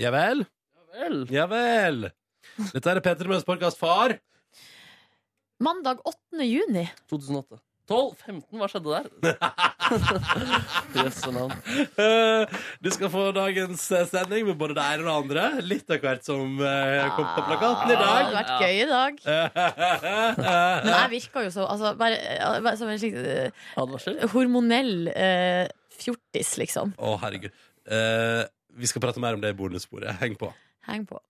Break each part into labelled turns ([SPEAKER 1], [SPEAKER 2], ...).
[SPEAKER 1] Ja vel?
[SPEAKER 2] Vel.
[SPEAKER 1] Ja vel. Dette er Petter Møhns podkast, far.
[SPEAKER 3] Mandag 8. juni.
[SPEAKER 2] 2008. 12, 15, hva skjedde der? Jøsse navn.
[SPEAKER 1] Eh, Du skal få dagens eh, sending med både det ene og det andre. Litt av hvert som eh, kom på plakaten i
[SPEAKER 3] Det
[SPEAKER 2] Ah,
[SPEAKER 1] dag.
[SPEAKER 3] hadde vært gøy i dag. Men jeg virka jo så altså, bare, eh, bare som en slik eh,
[SPEAKER 2] Advarsel?
[SPEAKER 3] hormonell eh, fjortis, liksom.
[SPEAKER 1] Å, herregud. Eh, vi skal prate mer om det i bonussporet. Heng på.
[SPEAKER 3] Heng på.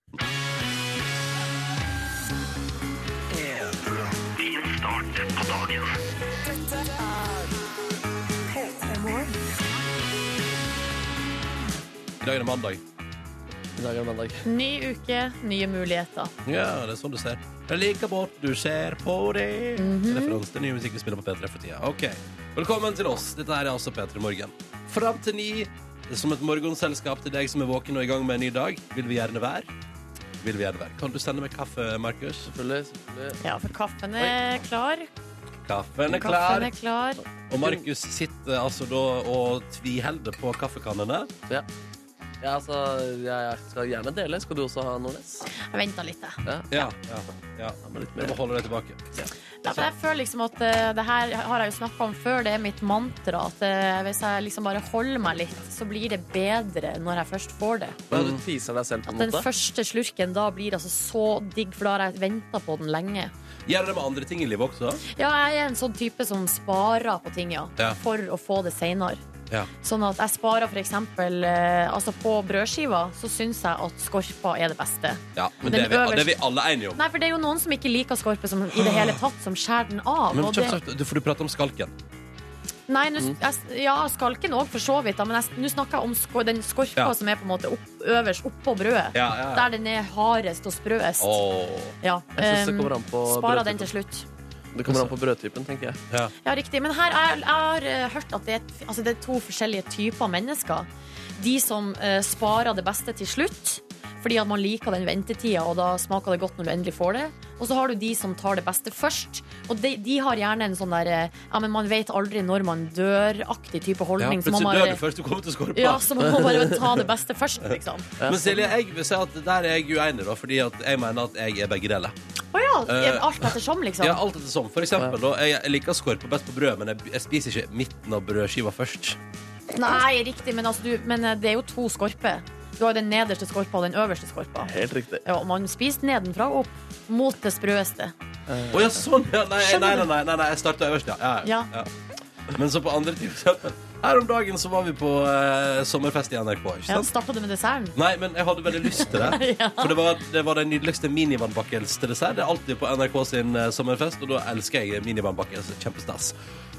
[SPEAKER 1] I dag er det mandag.
[SPEAKER 2] I dag er det mandag.
[SPEAKER 3] Ny uke, nye muligheter.
[SPEAKER 1] Ja, det er sånn du ser. Jeg liker bort du ser på det.
[SPEAKER 3] Mhm.
[SPEAKER 1] Referanse til ny musikk vi spiller på P3 for tida. Ok, Velkommen til oss. Dette her er altså P3 Morgen. Fram til ni, som et morgenselskap til deg som er våken og i gang med en ny dag, vil vi gjerne være. Vil vi gjerne være. Kan du sende meg kaffe, Markus?
[SPEAKER 2] Selvfølgelig. selvfølgelig.
[SPEAKER 3] Ja, for kaffen er klar.
[SPEAKER 1] Kaffen er klar.
[SPEAKER 3] Kaffen er klar.
[SPEAKER 1] Og Markus sitter altså da og tviholder på kaffekannene.
[SPEAKER 2] Ja, altså, jeg skal gjerne dele. Skal du også ha Nordnes?
[SPEAKER 3] Jeg venta litt, jeg.
[SPEAKER 1] Ja, ja, ja.
[SPEAKER 2] Ja, men litt
[SPEAKER 1] Du må
[SPEAKER 2] mer.
[SPEAKER 1] holde deg tilbake.
[SPEAKER 3] Ja, for jeg føler liksom at eh, det her har jeg jo snakka om før, det er mitt mantra. At eh, hvis jeg liksom bare holder meg litt, så blir det bedre når jeg først får det.
[SPEAKER 2] Ja, du teaser deg selv på
[SPEAKER 3] At
[SPEAKER 2] en
[SPEAKER 3] den
[SPEAKER 2] måte.
[SPEAKER 3] første slurken da blir altså så digg, for da har jeg venta på den lenge.
[SPEAKER 1] Gjør det med andre ting i livet også.
[SPEAKER 3] Ja, jeg er en sånn type som sparer på ting, ja.
[SPEAKER 1] Ja.
[SPEAKER 3] For å få det seinere.
[SPEAKER 1] Ja.
[SPEAKER 3] Sånn at jeg sparer for eksempel eh, Altså på brødskiva så syns jeg at skorpa er det beste.
[SPEAKER 1] Ja, men
[SPEAKER 3] Den
[SPEAKER 1] det er, vi, det er vi
[SPEAKER 3] øverste-
[SPEAKER 1] alle enige om.
[SPEAKER 3] Nei, for det er jo noen som ikke liker skorpe som, i det hele tatt, som skjærer den av.
[SPEAKER 1] Men
[SPEAKER 3] og det,
[SPEAKER 1] kjapt sagt, du- for du prater om skalken.
[SPEAKER 3] nei,
[SPEAKER 2] Mm.
[SPEAKER 3] nå s- jeg, ja, skalken òg, for så vidt, da, men jeg s- nå snakker jeg om sko, den skorpa
[SPEAKER 1] Ja.
[SPEAKER 3] som er på en måte opp, øverst oppå brødet.
[SPEAKER 1] Ja, ja, ja.
[SPEAKER 3] Der den er hardest og sprøest.
[SPEAKER 1] Åh.
[SPEAKER 3] Ja,
[SPEAKER 2] Jeg synes det
[SPEAKER 3] em,
[SPEAKER 2] kommer an på
[SPEAKER 3] sparer den til
[SPEAKER 2] brødtypen.
[SPEAKER 3] slutt.
[SPEAKER 2] Det kommer an på brødtypen, tenker jeg.
[SPEAKER 3] Ja, riktig. Men her er, jeg har eh, hørt at det er, et- altså, det er to forskjellige typer mennesker. De som eh, sparer det beste til slutt, fordi at man liker den ventetida, og da smaker det godt når du endelig får det. Og så har du de som tar det beste først. Og de, de har gjerne en sånn der eh, Ja, men man vet aldri når man dør-aktig type
[SPEAKER 1] Ja,
[SPEAKER 3] holdning. så man
[SPEAKER 1] plutselig
[SPEAKER 3] bare-
[SPEAKER 1] dør du først du kommer til skorpa.
[SPEAKER 3] ja, så man må bare ta det beste først, liksom.
[SPEAKER 1] Men Silje, jeg vil si at der er jeg uenig, da, fordi at jeg mener at jeg er begge deler.
[SPEAKER 3] Å ja!
[SPEAKER 1] Eh,
[SPEAKER 3] Alt ettersom, liksom.
[SPEAKER 1] Ja, alt etter som. sånn. For eksempel, da, jeg, jeg liker skorpa best på brød, men jeg, jeg spiser ikke midten av brødskiva først.
[SPEAKER 3] Nei, riktig, men, altså, du, men eh, det er jo to skorper. Du har jo den nederste skorpa og den øverste skorpa.
[SPEAKER 2] Helt riktig.
[SPEAKER 3] Ja, og man spiser nedenfra og opp mot det sprøeste.
[SPEAKER 1] Å ja, sånn! Ja, nei, nei, nei, nei, nei, nei, jeg starta øverst, ja. Ja, ja. ja. Men så på andre ting, for eksempel. Her om dagen så var vi på eh, sommerfest i NRK. ikke
[SPEAKER 3] Ja,
[SPEAKER 1] sant?
[SPEAKER 3] Starta du med desserten?
[SPEAKER 1] Nei, men jeg hadde veldig lyst til det. For det var, det var den nydeligste minivannbakkels til dessert. Det er alltid på NRK sin eh, sommerfest, og da elsker jeg minivannbakkels. Kjempestas.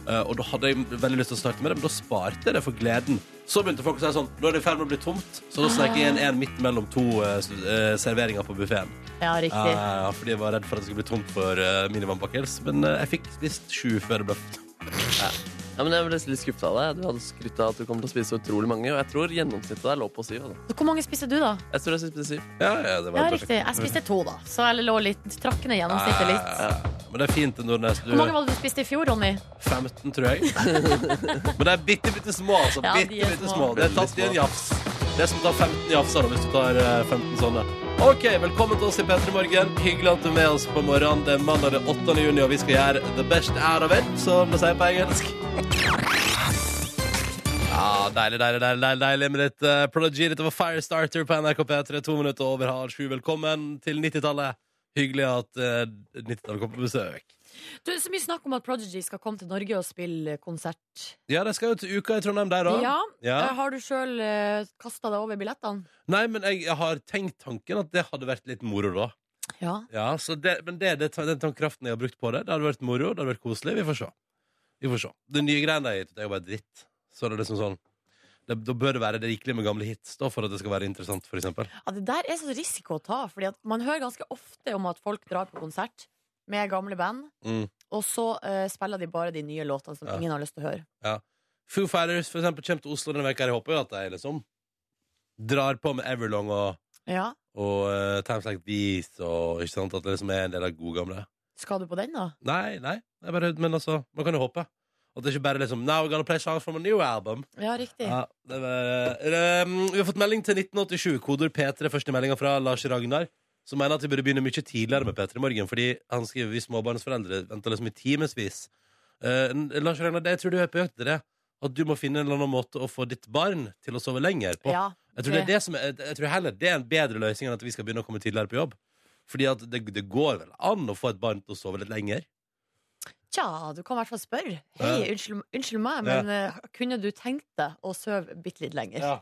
[SPEAKER 1] Eh, og da hadde jeg veldig lyst til å starte med det, men da sparte jeg det for gleden. Så begynte folk å si sånn Nå er det i ferd med å bli tomt, så da snek jeg inn en midt mellom to eh, s- eh, serveringer på buffeen.
[SPEAKER 3] Ja, riktig.
[SPEAKER 1] Ja, fordi jeg var redd for at det skulle bli tomt for uh, minivannbakkels. Men eh, jeg fikk spist sju før det ble
[SPEAKER 2] Ja, men jeg ble litt skuffet av deg. Du hadde skrytt av at du kommer til å spise så utrolig mange, og jeg tror gjennomsnittet der lå på syv. Da.
[SPEAKER 3] Så hvor mange spiste du, da?
[SPEAKER 2] Jeg tror jeg spiste syv.
[SPEAKER 1] Ja, ja, det var
[SPEAKER 3] Ja,
[SPEAKER 1] helt perfekt.
[SPEAKER 3] riktig. Jeg spiste to, da. Så jeg lå litt trakk ned gjennomsnittet litt.
[SPEAKER 1] Ja, ja, ja. Men det er fint, Nordnes. Du
[SPEAKER 3] Hvor mange var det du spiste i fjor, Ronny?
[SPEAKER 1] 15, tror jeg. Men de er bitte, bitte små. Altså.
[SPEAKER 3] Ja, de er
[SPEAKER 1] bitte, bitte
[SPEAKER 3] små.
[SPEAKER 1] små. Det er tatt i en jafs. Det er som å ta 15 jafser da, hvis du tar eh, 15 sånne. OK, velkommen til oss i P3 Morgen. Hyggelig at du er med oss på morgenen. Det er mandag den 8. juni, og vi skal gjøre the best out of it, som det sier på engelsk. Ja, Deilig, deilig, deilig deilig, deilig med litt uh, Prodigy. Dette var Firestarter på NRK P3. To minutter over halv sju. Velkommen til 90-tallet. Hyggelig at eh, 90-tallet kom på besøk.
[SPEAKER 3] Du, Så mye snakk om at Prodigy skal komme til Norge og spille konsert.
[SPEAKER 1] Ja, de skal jo til Uka i Trondheim, der òg.
[SPEAKER 3] Ja. Eh, Har du sjøl kasta deg over billettene?
[SPEAKER 1] Nei, men jeg, jeg har tenkt tanken at det hadde vært litt moro da.
[SPEAKER 3] Ja.
[SPEAKER 1] Ja, så det, Men det, det, den tankekraften jeg har brukt på det, det hadde vært moro, det hadde vært koselig. Vi får se. Vi får se. Det nye greiene de har gitt ut, er jo bare dritt. Så det er liksom sånn det, Da bør det være det rikelig med gamle hits da, for at det skal være interessant, for eksempel.
[SPEAKER 3] ja. Det der er så risiko å ta, Fordi at man hører ganske ofte om at folk drar på konsert med gamle band,
[SPEAKER 1] Mm.
[SPEAKER 3] og så eh, spiller de bare de nye låtene som
[SPEAKER 1] Ja.
[SPEAKER 3] ingen har lyst til å høre.
[SPEAKER 1] Foo Fighters for eksempel, kommer til Oslo denne veka. Jeg håper jo at de liksom drar på med Everlong og,
[SPEAKER 3] Ja.
[SPEAKER 1] og eh, Times Like These og ikke sant? At det liksom er en del av gode gamle.
[SPEAKER 3] Skal du på den, da?
[SPEAKER 1] Nei, nei. Det er bare, men altså, man kan jo håpe. At det ikke bare liksom Now we're gonna play songs from a new album.
[SPEAKER 3] Ja, riktig.
[SPEAKER 1] Ja, det var, um, vi har fått melding til 1987, koder P3, første meldinga fra Lars Ragnar, som mener at vi burde begynne mye tidligere med P3 Morgen, fordi han skriver vi småbarnsforeldre venter liksom i timevis. Eh, Lars Ragnar, det jeg tror du er på jakt etter det. At du må finne en eller annen måte å få ditt barn til å sove lenger på.
[SPEAKER 3] Ja,
[SPEAKER 1] jeg, tror det er det som er, jeg tror heller det er en bedre løsning enn at vi skal begynne å komme tidligere på jobb. Fordi at det, det går vel an å få et barn til å sove litt lenger.
[SPEAKER 3] Tja, du kan i hvert fall spørre. Hei,
[SPEAKER 1] Ja.
[SPEAKER 3] unnskyld, unnskyld meg,
[SPEAKER 1] Ja.
[SPEAKER 3] men eh, kunne du tenkt deg å sove bitte litt lenger?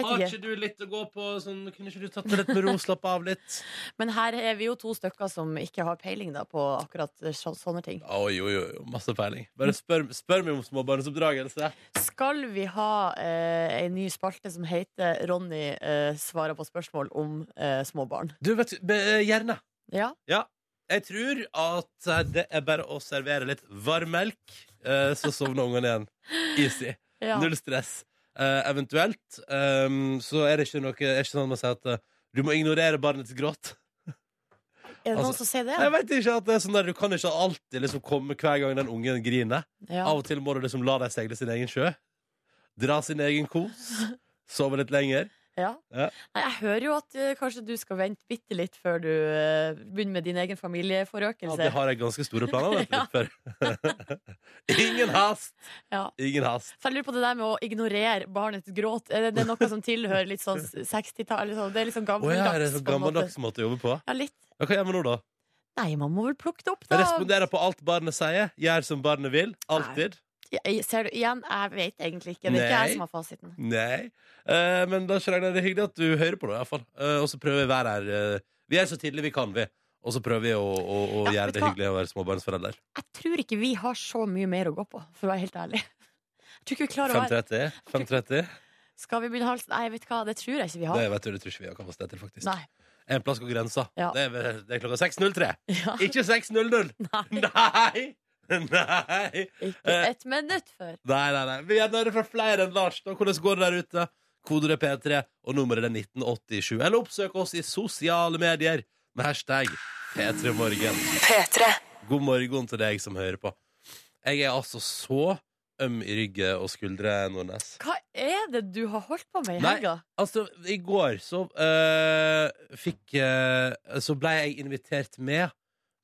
[SPEAKER 1] Har
[SPEAKER 3] vet
[SPEAKER 1] ikke
[SPEAKER 3] ikke.
[SPEAKER 1] du litt å gå på? Sånn, kunne ikke du tatt det litt med ro, slappe av litt?
[SPEAKER 3] Men her er vi jo to stykker som ikke har peiling da, på akkurat eh, så, sånne ting.
[SPEAKER 1] Ah, Oi, oi, oi, masse peiling. Bare spør, spør meg om småbarnsoppdragelse.
[SPEAKER 3] Skal vi ha eh, ei ny spalte som heter 'Ronny eh, svarer på spørsmål om eh, små barn'?
[SPEAKER 1] Du, vet du, be- eh, gjerne.
[SPEAKER 3] Ja.
[SPEAKER 1] Jeg tror at eh, det er bare å servere litt varm melk, eh, så sovner ungene igjen. Easy.
[SPEAKER 3] ja.
[SPEAKER 1] Null stress. Eh, eventuelt eh, så er det ikke noe er ikke sånn at man sier at eh, du må ignorere barnets gråt.
[SPEAKER 3] Er det noen
[SPEAKER 1] altså,
[SPEAKER 3] som sier det?
[SPEAKER 1] Jeg vet ikke at det er sånn der, Du kan ikke alltid liksom komme hver gang den ungen griner.
[SPEAKER 3] Ja.
[SPEAKER 1] Av og til må du liksom la dem seile sin egen sjø. Dra sin egen kos. Sove litt lenger.
[SPEAKER 3] Ja.
[SPEAKER 1] Ja.
[SPEAKER 3] Nei, jeg hører jo at eh, kanskje du skal vente bitte litt før du eh, begynner med din egen
[SPEAKER 1] Ja,
[SPEAKER 3] familieforøkelse.
[SPEAKER 1] det har jeg ganske store planer om.
[SPEAKER 3] Ja.
[SPEAKER 1] vet du, for. Ingen hast!
[SPEAKER 3] Ja.
[SPEAKER 1] Ingen hast.
[SPEAKER 3] Så jeg lurer på det der med å ignorere barnets gråt. Er det, det er noe som tilhører litt sånn 60-tall? eller sånn? Det er litt sånn
[SPEAKER 1] Å ja, er det en
[SPEAKER 3] gammeldags. på en måte.
[SPEAKER 1] gammeldags måte å jobbe på?
[SPEAKER 3] Ja, litt.
[SPEAKER 1] Ja, Hva gjør vi nå, da?
[SPEAKER 3] Nei, man må vel plukke det opp, da.
[SPEAKER 1] Respondere på alt barnet sier. Gjør som barnet vil. Alltid.
[SPEAKER 3] Jeg- Ser du, igjen, jeg vet egentlig ikke. Det er ikke
[SPEAKER 1] Nei.
[SPEAKER 3] jeg som har fasiten.
[SPEAKER 1] Nei. Eh, men da Kjell Ragnar, det er hyggelig at du hører på, da, i hvert fall. Eh, og så prøver vi å være her. eh, vi er så tidlig vi kan, vi. Og så prøver vi å, å, å
[SPEAKER 3] Ja,
[SPEAKER 1] gjøre
[SPEAKER 3] vet du
[SPEAKER 1] det
[SPEAKER 3] hva?
[SPEAKER 1] hyggelig å være småbarnsforelder.
[SPEAKER 3] Jeg tror ikke vi har så mye mer å gå på, for å være helt ærlig. Jeg tror ikke vi klarer å være
[SPEAKER 1] 5.30? 5.30?
[SPEAKER 3] Skal vi begynne halsen? Nei, vet du hva, det tror jeg ikke vi har.
[SPEAKER 1] Det vet du, det tror ikke vi har kapasitet til, faktisk.
[SPEAKER 3] Nei.
[SPEAKER 1] En plass går grensa.
[SPEAKER 3] Ja.
[SPEAKER 1] Det, er, vel- det er klokka 6.03.
[SPEAKER 3] Ja,
[SPEAKER 1] Ikke 6.00!
[SPEAKER 3] nei.
[SPEAKER 1] Nei! Nei!
[SPEAKER 3] Ikke
[SPEAKER 1] Eh.
[SPEAKER 3] et minutt før.
[SPEAKER 1] Nei, nei, nei. Vi gjerne hører fra flere enn Lars. Da. Hvordan går det der ute? Kodet er P3, og nummeret er 1987. Eller oppsøk oss i sosiale medier med hashtag P3morgen. God morgen til deg som hører på. Jeg er altså så øm i ryggen og skuldre, Nordnes.
[SPEAKER 3] Hva er det du har holdt på med i
[SPEAKER 1] Nei.
[SPEAKER 3] helga?
[SPEAKER 1] Altså, i går så eh, fikk eh, Så ble jeg invitert med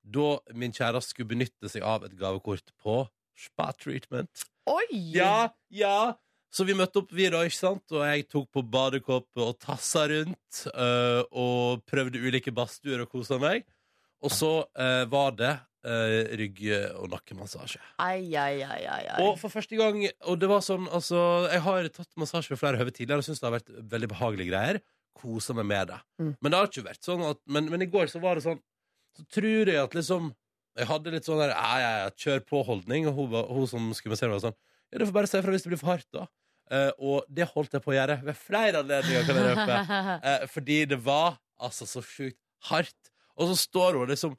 [SPEAKER 1] da min kjæreste skulle benytte seg av et gavekort på spa treatment.
[SPEAKER 3] Oi!
[SPEAKER 1] Ja, ja Så vi møtte opp vi da, ikke sant? Og jeg tok på badekåpet og tassa rundt øh, Og prøvde ulike badstuer og koset meg Og så øh, var det øh, rygg- og nakkemassasje
[SPEAKER 3] Ai, ai, ai, ai, ai.
[SPEAKER 1] Og for første gang Og det var sånn, altså Jeg har tatt massasje ved flere høve tidligere Og synes det har vært veldig behagelige greier Koset meg med det
[SPEAKER 3] Mm.
[SPEAKER 1] Men det har ikke vært sånn at men, men i går så var det sånn Så tror jeg at liksom Jeg hadde litt sånn der Ja, ja, ja, kjør på holdning Og hun, var- hun som skulle massere meg var sånn ja, du får bare se fra hvis det blir for hardt, da. Eh, og det holdt jeg på å gjøre ved flere anledninger, kan jeg røpe. Eh, fordi det var altså så sjukt hardt. Og så står hun liksom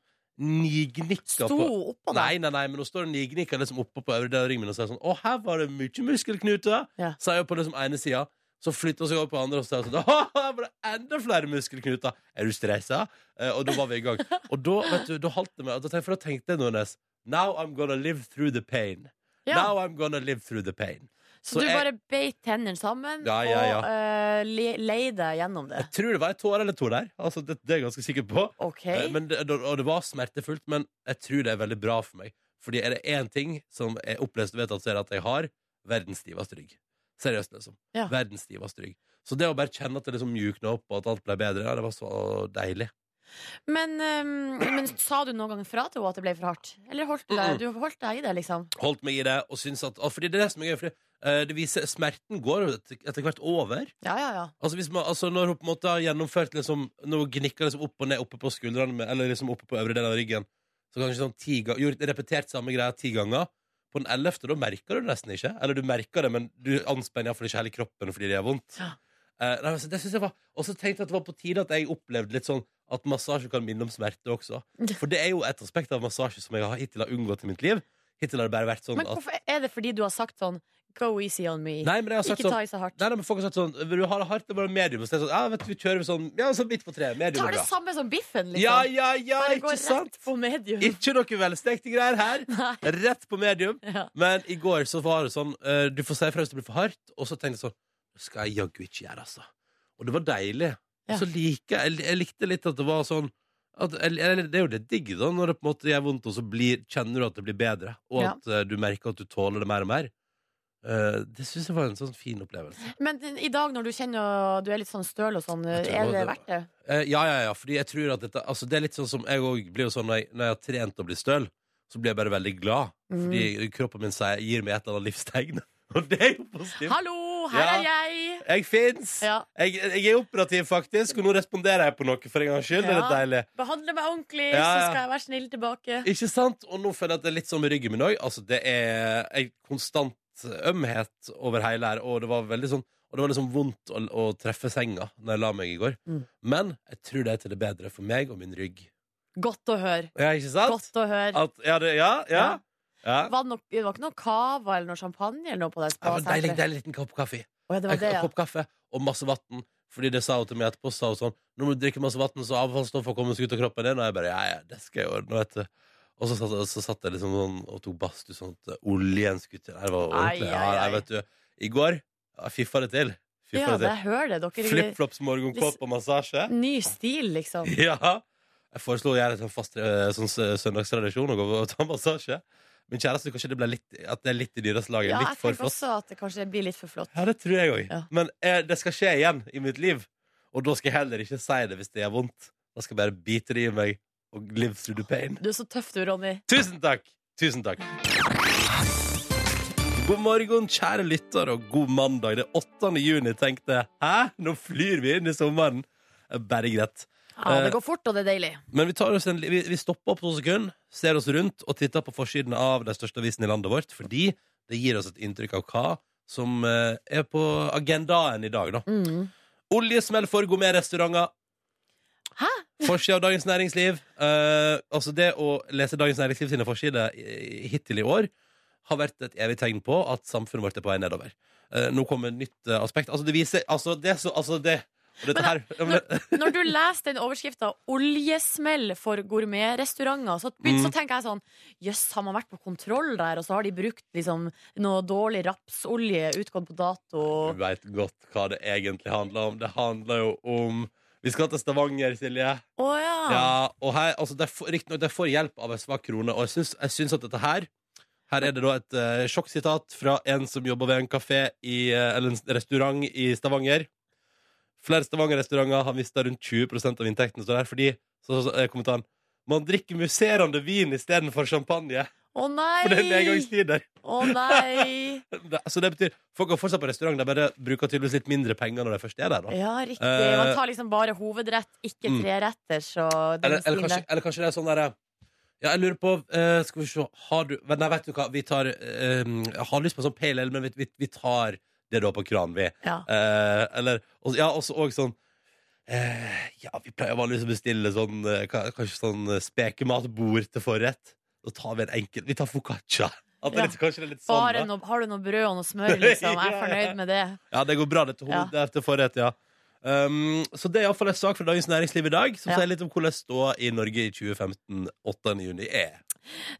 [SPEAKER 1] nignikka
[SPEAKER 3] Sto
[SPEAKER 1] på
[SPEAKER 3] oppå deg.
[SPEAKER 1] Nei, nei, nei, men hun står nignikka liksom oppå på øvre del av ryggen min og sier sånn Å, her var det mye muskelknuter!
[SPEAKER 3] Ja.
[SPEAKER 1] Sier hun på liksom ene sida. Så flytter hun seg over på andre og sier sånn Å, her var det enda flere muskelknuter! Er du stressa? Eh, og da var vi i gang. Og da, vet du, da holdt det meg. og da tenkte- For da tenkte jeg, Nordnes Now I'm gonna live through the pain.
[SPEAKER 3] Ja.
[SPEAKER 1] Now I'm gonna live through the pain.
[SPEAKER 3] Så, du
[SPEAKER 1] jeg,
[SPEAKER 3] bare beit tennene sammen
[SPEAKER 1] Ja, ja, ja.
[SPEAKER 3] og eh, le, lei deg gjennom det?
[SPEAKER 1] jeg tror det var en tåre eller to der. Altså, det, det er jeg ganske sikker på.
[SPEAKER 3] OK.
[SPEAKER 1] Eh, Men det, og det var smertefullt, men jeg tror det er veldig bra for meg. Fordi er det én ting som jeg opplest og vet at, så er det at jeg har verdens stiveste rygg. Seriøst, liksom.
[SPEAKER 3] Ja.
[SPEAKER 1] Verdens stiveste rygg. Så det å bare kjenne at det liksom mjukna opp, og at alt ble bedre, ja, det var så deilig.
[SPEAKER 3] Men, ehm, men sa du noen gang fra til henne at det ble for hardt? Eller holdt du deg, du holdt deg i det, liksom?
[SPEAKER 1] Holdt meg i det, og syns at og Fordi det er det som er gøy, fordi eh, det viser Smerten går jo etter, etter hvert over.
[SPEAKER 3] Ja, ja, ja.
[SPEAKER 1] Altså, hvis man, altså Når hun på en måte har gjennomført liksom, Når hun gnikker liksom opp og ned oppe på skuldrene med- Eller liksom oppe på øvre del av ryggen Så kanskje sånn ti ganger Gjort repetert samme greia ti ganger På den 11. da merker du det nesten ikke Eller du merker det, men du anspenner i hvert fall ikke hele kroppen Fordi det er vondt
[SPEAKER 3] Ja.
[SPEAKER 1] Eh, nei, altså, det synes jeg var Og så tenkte jeg at det var på tide at jeg opplevde litt sånn At massasje kan minne om smerte også For det er jo et aspekt av massasje som jeg har hittil har unngått i mitt liv Hittil har det bare vært sånn
[SPEAKER 3] Men
[SPEAKER 1] at
[SPEAKER 3] hvorfor er det fordi du har sagt sånn Go easy on me.
[SPEAKER 1] Nei, men jeg har sagt
[SPEAKER 3] Ikke ta
[SPEAKER 1] sånn
[SPEAKER 3] i så hardt.
[SPEAKER 1] Nei, nei, men folk har sagt sånn Vil du ha det hardt? Det er bare medium. Så det er sånn, ja, vet du, vi kjører sånn Ja, sånn midt på treet. Medium
[SPEAKER 3] Tar
[SPEAKER 1] er
[SPEAKER 3] det
[SPEAKER 1] bra.
[SPEAKER 3] samme som biffen, liksom.
[SPEAKER 1] Ja, ja, ja,
[SPEAKER 3] Bare går
[SPEAKER 1] ikke sant?
[SPEAKER 3] rett på medium.
[SPEAKER 1] Ikke noe velstekte greier her.
[SPEAKER 3] Nei.
[SPEAKER 1] Rett på medium.
[SPEAKER 3] Ja.
[SPEAKER 1] Men i går så var det sånn eh, Du får si fra hvis det blir for hardt. Og så tenkte jeg sånn Det skal jeg jaggu ikke gjøre, altså. Og det var deilig.
[SPEAKER 3] Ja.
[SPEAKER 1] Og så liker jeg Jeg likte litt at det var sånn at, eller, Det er jo det digge, da, når det på en måte gjør vondt, og så blir, kjenner du at det blir bedre. Og
[SPEAKER 3] Ja.
[SPEAKER 1] at eh, du merker at du tåler det mer og mer. Eh, det syns jeg var en sånn fin opplevelse.
[SPEAKER 3] Men den- i dag når du kjenner du er litt sånn støl og sånn,
[SPEAKER 1] Jeg tror
[SPEAKER 3] er det
[SPEAKER 1] det-
[SPEAKER 3] verdt det?
[SPEAKER 1] Eh, ja, ja, ja, fordi jeg tror at dette Altså, det er litt sånn som Jeg òg blir jo sånn når jeg, når jeg har trent og blir støl, så blir jeg bare veldig glad.
[SPEAKER 3] Mhm.
[SPEAKER 1] Fordi kroppen min sier, gir meg et eller annet livstegn. Og det er jo positivt.
[SPEAKER 3] Hallo, her
[SPEAKER 1] Ja.
[SPEAKER 3] er jeg!
[SPEAKER 1] Jeg fins!
[SPEAKER 3] Ja.
[SPEAKER 1] Jeg, jeg er operativ, faktisk, og nå responderer jeg på noe for en gangs skyld. Det er litt deilig.
[SPEAKER 3] Behandle meg ordentlig,
[SPEAKER 1] Ja,
[SPEAKER 3] så
[SPEAKER 1] ja.
[SPEAKER 3] skal jeg være snill tilbake.
[SPEAKER 1] Ikke sant? Og nå føler jeg at det er litt sånn med ryggen min òg. Altså, det er en konstant ømhet over hele her, og det var veldig sånn og det var liksom vondt å, å treffe senga når jeg la meg i går.
[SPEAKER 3] Mm.
[SPEAKER 1] Men jeg tror det er til det bedre for meg og min rygg.
[SPEAKER 3] Godt å høre.
[SPEAKER 1] Ja, ikke sant?
[SPEAKER 3] Godt å høre.
[SPEAKER 1] At, ja, det, ja, ja,
[SPEAKER 3] Ja.
[SPEAKER 1] ja.
[SPEAKER 3] Var det, nok, det var ikke noe cava eller noe champagne eller noe på det
[SPEAKER 1] Det var en deilig,
[SPEAKER 3] spasenteret?
[SPEAKER 1] deilig liten kopp kaffe.
[SPEAKER 3] Å, ja, det
[SPEAKER 1] En
[SPEAKER 3] var det, ja.
[SPEAKER 1] kopp kaffe og masse vann. Fordi det sa hun til meg etterpå. Sa hun sånn Nå må du drikke masse vann, så avfallsstoffet kommer seg ut av kroppen din. Og jeg bare Ja, ja, det skal jeg ordne, vet du. Og så satt, så satt jeg liksom sånn og tok badstue sånn at oljen skulle til. Det var
[SPEAKER 3] Ai,
[SPEAKER 1] ordentlig.
[SPEAKER 3] ai,
[SPEAKER 1] Ja, nei,
[SPEAKER 3] ai.
[SPEAKER 1] vet du. I går ja, fiffa det til.
[SPEAKER 3] Ja,
[SPEAKER 1] Fiffa det
[SPEAKER 3] jeg hører det.
[SPEAKER 1] til.
[SPEAKER 3] Dere
[SPEAKER 1] Flipflops, morgenkåpe og massasje.
[SPEAKER 3] Ny stil, liksom.
[SPEAKER 1] Ja. Jeg foreslo å gjøre det til en fast eh, sånn, s- søndagstradisjon å gå og ta massasje. Min kjæreste kanskje det ble litt, at det er litt i dyreste laget.
[SPEAKER 3] Ja, jeg
[SPEAKER 1] litt for
[SPEAKER 3] tenker
[SPEAKER 1] flott.
[SPEAKER 3] også at det kanskje blir litt for flott.
[SPEAKER 1] Ja, det tror jeg òg.
[SPEAKER 3] Ja.
[SPEAKER 1] Men eh, det skal skje igjen i mitt liv. Og da skal jeg heller ikke si det hvis det gjør vondt. Da skal jeg bare bite det i meg og live through the pain.
[SPEAKER 3] Du er så tøff du, Ronny.
[SPEAKER 1] Tusen takk! Tusen takk. God morgen, kjære lytter, og god mandag. Det er 8. juni. Tenkte hæ? Nå flyr vi inn i sommeren. Eh, Bare greit.
[SPEAKER 3] Ja,
[SPEAKER 1] Eh,
[SPEAKER 3] det går fort, og det er deilig.
[SPEAKER 1] Men vi, tar oss en, vi, vi stopper opp to sekunder, ser oss rundt og titter på forsiden av de største avisene i landet vårt, fordi det gir oss et inntrykk av hva som eh, er på agendaen i dag, da.
[SPEAKER 3] Mm.
[SPEAKER 1] Oljesmell for gourmetrestauranter.
[SPEAKER 3] Hæ?
[SPEAKER 1] Forsida av Dagens Næringsliv. Eh, altså Det å lese Dagens Næringsliv sine forsider i- hittil i år har vært et evig tegn på at samfunnet vårt er på vei nedover. Eh, nå kommer et nytt eh, aspekt. Altså, det viser Altså, det så Altså, det og dette her, ja, men,
[SPEAKER 3] Når du leser den overskrifta 'Oljesmell for gourmetrestauranter', så, begyn-
[SPEAKER 1] Mm.
[SPEAKER 3] så tenker jeg sånn Jøss, har man vært på kontroll der, og så har de brukt liksom noe dårlig rapsolje utgått på dato?
[SPEAKER 1] Du veit godt hva det egentlig handler om. Det handler jo om Vi skal til Stavanger, Silje.
[SPEAKER 3] Å ja.
[SPEAKER 1] Ja, og her, altså det er for- Riktignok, de får hjelp av en svak krone, og jeg syns, jeg syns at dette her her er det da et eh, sjokksitat fra en som jobber ved en kafé i, eh, eller en restaurant i Stavanger. Flere Stavanger-restauranter har mista rundt 20 av inntekten. Står der, fordi, så, så er kommentaren Man drikker musserende vin istedenfor champagne.
[SPEAKER 3] Å
[SPEAKER 1] For det er
[SPEAKER 3] nei!
[SPEAKER 1] nedgangstider.
[SPEAKER 3] Å nei!
[SPEAKER 1] Det- Så det betyr folk går fortsatt på restaurant. De bare bruker tydeligvis litt mindre penger når de først er der. da
[SPEAKER 3] Ja, riktig.
[SPEAKER 1] Eh,
[SPEAKER 3] Man tar liksom bare hovedrett, ikke
[SPEAKER 1] mm.
[SPEAKER 3] treretters og den
[SPEAKER 1] Eller, eller,
[SPEAKER 3] stilen
[SPEAKER 1] kanskje,
[SPEAKER 3] der.
[SPEAKER 1] eller kanskje det er sånn derre Ja, jeg lurer på eh, Skal vi se Har du Nei, vet du hva Vi tar eh, Jeg har lyst på en sånn pale ale Men vi, vi, vi tar det du har på kranen vi
[SPEAKER 3] Ja.
[SPEAKER 1] Eh, Eller og- Ja, også, og sånn eh, Ja, vi pleier vanligvis å bestille sånn eh, ka- Kanskje sånn eh, spekematbord til forrett Da tar vi en enkel Vi tar focaccia At det er
[SPEAKER 3] Ja.
[SPEAKER 1] litt, Kanskje det er litt sånn
[SPEAKER 3] Bare
[SPEAKER 1] da.
[SPEAKER 3] noe, har du noe brød og noe smør, liksom? Jeg er
[SPEAKER 1] Ja, ja.
[SPEAKER 3] fornøyd med det.
[SPEAKER 1] Ja, det går bra det til
[SPEAKER 3] Ja.
[SPEAKER 1] hodet til forrett, ja. Um, så det er iallfall en sak fra Dagens Næringsliv i dag som
[SPEAKER 3] Ja.
[SPEAKER 1] sier litt om hvordan ståa i Norge i 2015 8. juni er.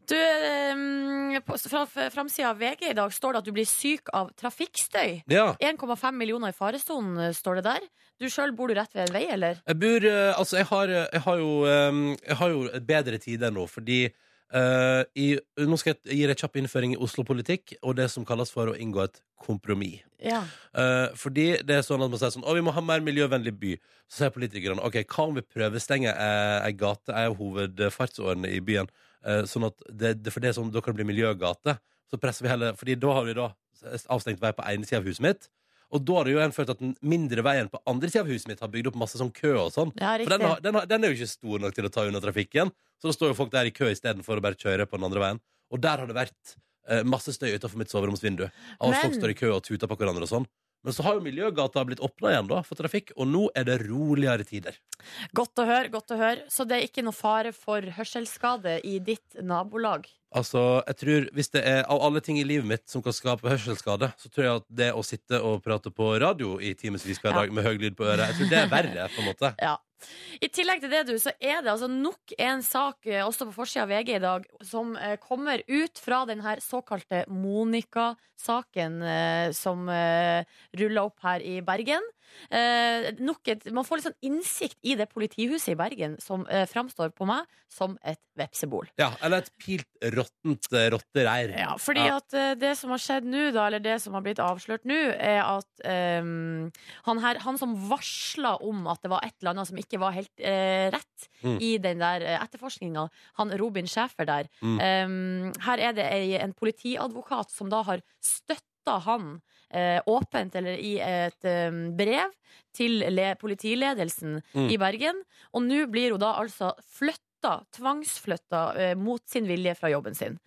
[SPEAKER 3] Du, eh, på, fra f- framsida av VG i dag står det at du blir syk av trafikkstøy.
[SPEAKER 1] Ja.
[SPEAKER 3] 1,5 millioner i faresonen, eh, står det der. Du sjøl, bor du rett ved en vei, eller?
[SPEAKER 1] Jeg bor eh, Altså, jeg har, eh, jeg har jo um, Jeg har jo et bedre tider nå, fordi eh, i, Nå skal jeg gi deg en kjapp innføring i Oslo-politikk og det som kalles for å inngå et kompromiss.
[SPEAKER 3] Ja.
[SPEAKER 1] Eh, fordi det er sånn at man sier sånn Å, vi må ha mer miljøvennlig by. Så sier politikerne OK, hva om vi prøvestenger eh, ei gate, ei av hovedfartsårene i byen, eh, sånn at det, det, for det er sånn, da kan det bli miljøgate. Så presser vi heller Fordi da har vi da avstengt vei på ene sida av huset mitt. Og da har det jo en følt at den mindre veien på andre sida av huset mitt har bygd opp masse sånn kø og sånn.
[SPEAKER 3] Ja,
[SPEAKER 1] For
[SPEAKER 3] riktig.
[SPEAKER 1] den, har, den, har, den er jo ikke stor nok til å ta unna trafikken. Så da står jo folk der i kø istedenfor å bare kjøre på den andre veien. Og der har det vært eh, masse støy utenfor mitt soveromsvindu. Av at
[SPEAKER 3] Men-
[SPEAKER 1] folk står i kø og tuter på hverandre og sånn. Men så har jo Miljøgata blitt åpna igjen da, for trafikk, og nå er det roligere tider.
[SPEAKER 3] Godt å høre, godt å høre. Så det er ikke noe fare for hørselsskade i ditt nabolag.
[SPEAKER 1] Altså, jeg tror, hvis det er Av alle ting i livet mitt som kan skape hørselsskade, så tror jeg at det å sitte og prate på radio i timevis hver
[SPEAKER 3] Ja.
[SPEAKER 1] dag med høy lyd på øret, jeg tror det er verre. på en måte
[SPEAKER 3] Ja. I tillegg til det, du, så er det altså nok en sak eh, også på forsida av VG i dag som eh, kommer ut fra den her såkalte Monica-saken eh, som eh, rulla opp her i Bergen. Eh, nok et, man får litt sånn innsikt i det politihuset i Bergen som eh, framstår på meg som et vepsebol.
[SPEAKER 1] Ja, Eller et pilt råttent eh, rottereir.
[SPEAKER 3] Ja, fordi
[SPEAKER 1] Ja.
[SPEAKER 3] at eh, det som har skjedd nå, da, eller det som har blitt avslørt nå, er at ehm, han, her, han som varsla om at det var et eller annet som ikke var helt eh, rett
[SPEAKER 1] Mm.
[SPEAKER 3] i den der uh, etterforskninga, han Robin Schæfer der
[SPEAKER 1] Mm.
[SPEAKER 3] ehm, Her er det ei, en politiadvokat som da har støtta han eh, åpent eller i et ehm, brev til le politiledelsen
[SPEAKER 1] Mm.
[SPEAKER 3] i Bergen. Og nå blir hun da altså flytta, tvangsflytta eh, mot sin vilje fra jobben sin.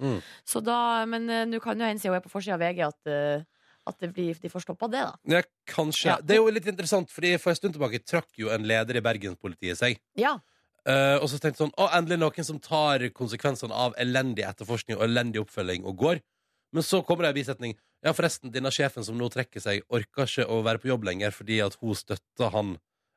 [SPEAKER 3] Så da, men eh, nå kan jo en si hun er på forsida av VG at, eh, at det blir, de får stoppa det, da.
[SPEAKER 1] Ja, kanskje.
[SPEAKER 3] Ja.
[SPEAKER 1] Det er jo litt interessant, fordi for en stund tilbake trakk jo en leder i Bergenspolitiet seg.
[SPEAKER 3] Ja.
[SPEAKER 1] Eh, og så tenkte jeg sånn, å, endelig noen som tar konsekvensene av elendig etterforskning og elendig oppfølging og går. Men så kommer det en bisetning. Ja, forresten, denne sjefen som nå trekker seg, orker ikke å være på jobb lenger fordi at hun støtta han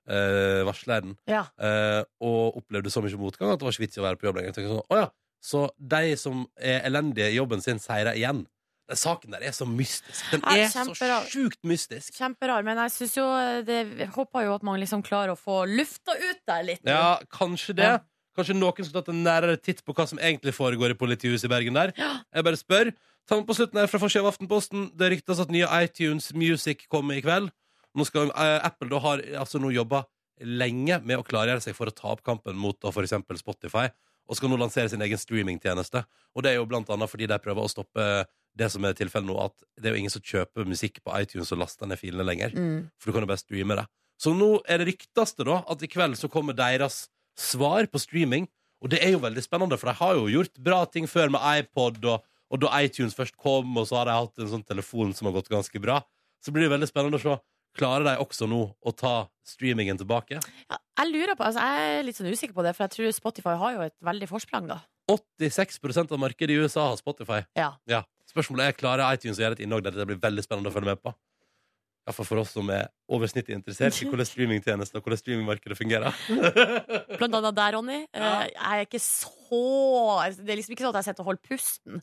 [SPEAKER 1] eh, varsleren
[SPEAKER 3] ja.
[SPEAKER 1] eh, og opplevde så mye motgang at det var ikke vits i å være på jobb lenger. Jeg tenkte sånn, å ja, så de som er elendige i jobben sin, seirer igjen. Den saken der er så mystisk. Den
[SPEAKER 3] Ja,
[SPEAKER 1] er så
[SPEAKER 3] kjemperar.
[SPEAKER 1] sjukt mystisk.
[SPEAKER 3] Kjemperar, men jeg synes jo eh, det, jeg håper jo at man liksom klarer å få lufta ut der litt.
[SPEAKER 1] Ja, kanskje det.
[SPEAKER 3] Ja.
[SPEAKER 1] Kanskje noen skulle tatt en nærere titt på hva som egentlig foregår i politihuset i Bergen der. Jeg bare spør. Ta med på slutten her fra forsida av Aftenposten. Det ryktes at nye iTunes Music kommer i kveld. Nå skal eh, Apple da har altså nå jobba lenge med å klargjøre seg for å ta opp kampen mot da f.eks. Spotify, og skal nå lansere sin egen streamingtjeneste. Og det er jo blant annet fordi de prøver å stoppe eh, det som er tilfellet nå, at det er jo ingen som kjøper musikk på iTunes og laster ned filene lenger.
[SPEAKER 3] Mm.
[SPEAKER 1] For du kan jo bare streame det. Så nå er det rykteste da at i kveld så kommer deres svar på streaming. Og det er jo veldig spennende, for de har jo gjort bra ting før med iPod, og, og da iTunes først kom, og så har de hatt en sånn telefon som har gått ganske bra. Så blir det veldig spennende å se. Klarer de også nå å ta streamingen tilbake?
[SPEAKER 3] Ja, jeg lurer på, altså jeg er litt sånn usikker på det, for jeg tror Spotify har jo et veldig forsprang, da.
[SPEAKER 1] 86 av markedet i USA har Spotify.
[SPEAKER 3] Ja.
[SPEAKER 1] Ja. Spørsmålet er klarer iTunes å gjøre et innhogg der det blir veldig spennende å følge med på. Iallfall for oss som er over snittet interessert i hvordan streamingtjenester og hvordan streamingmarkedet fungerer.
[SPEAKER 3] Blant annet der, Ronny. eh,
[SPEAKER 1] Ja.
[SPEAKER 3] Jeg er ikke så Det er liksom ikke sånn at jeg sitter og holder pusten.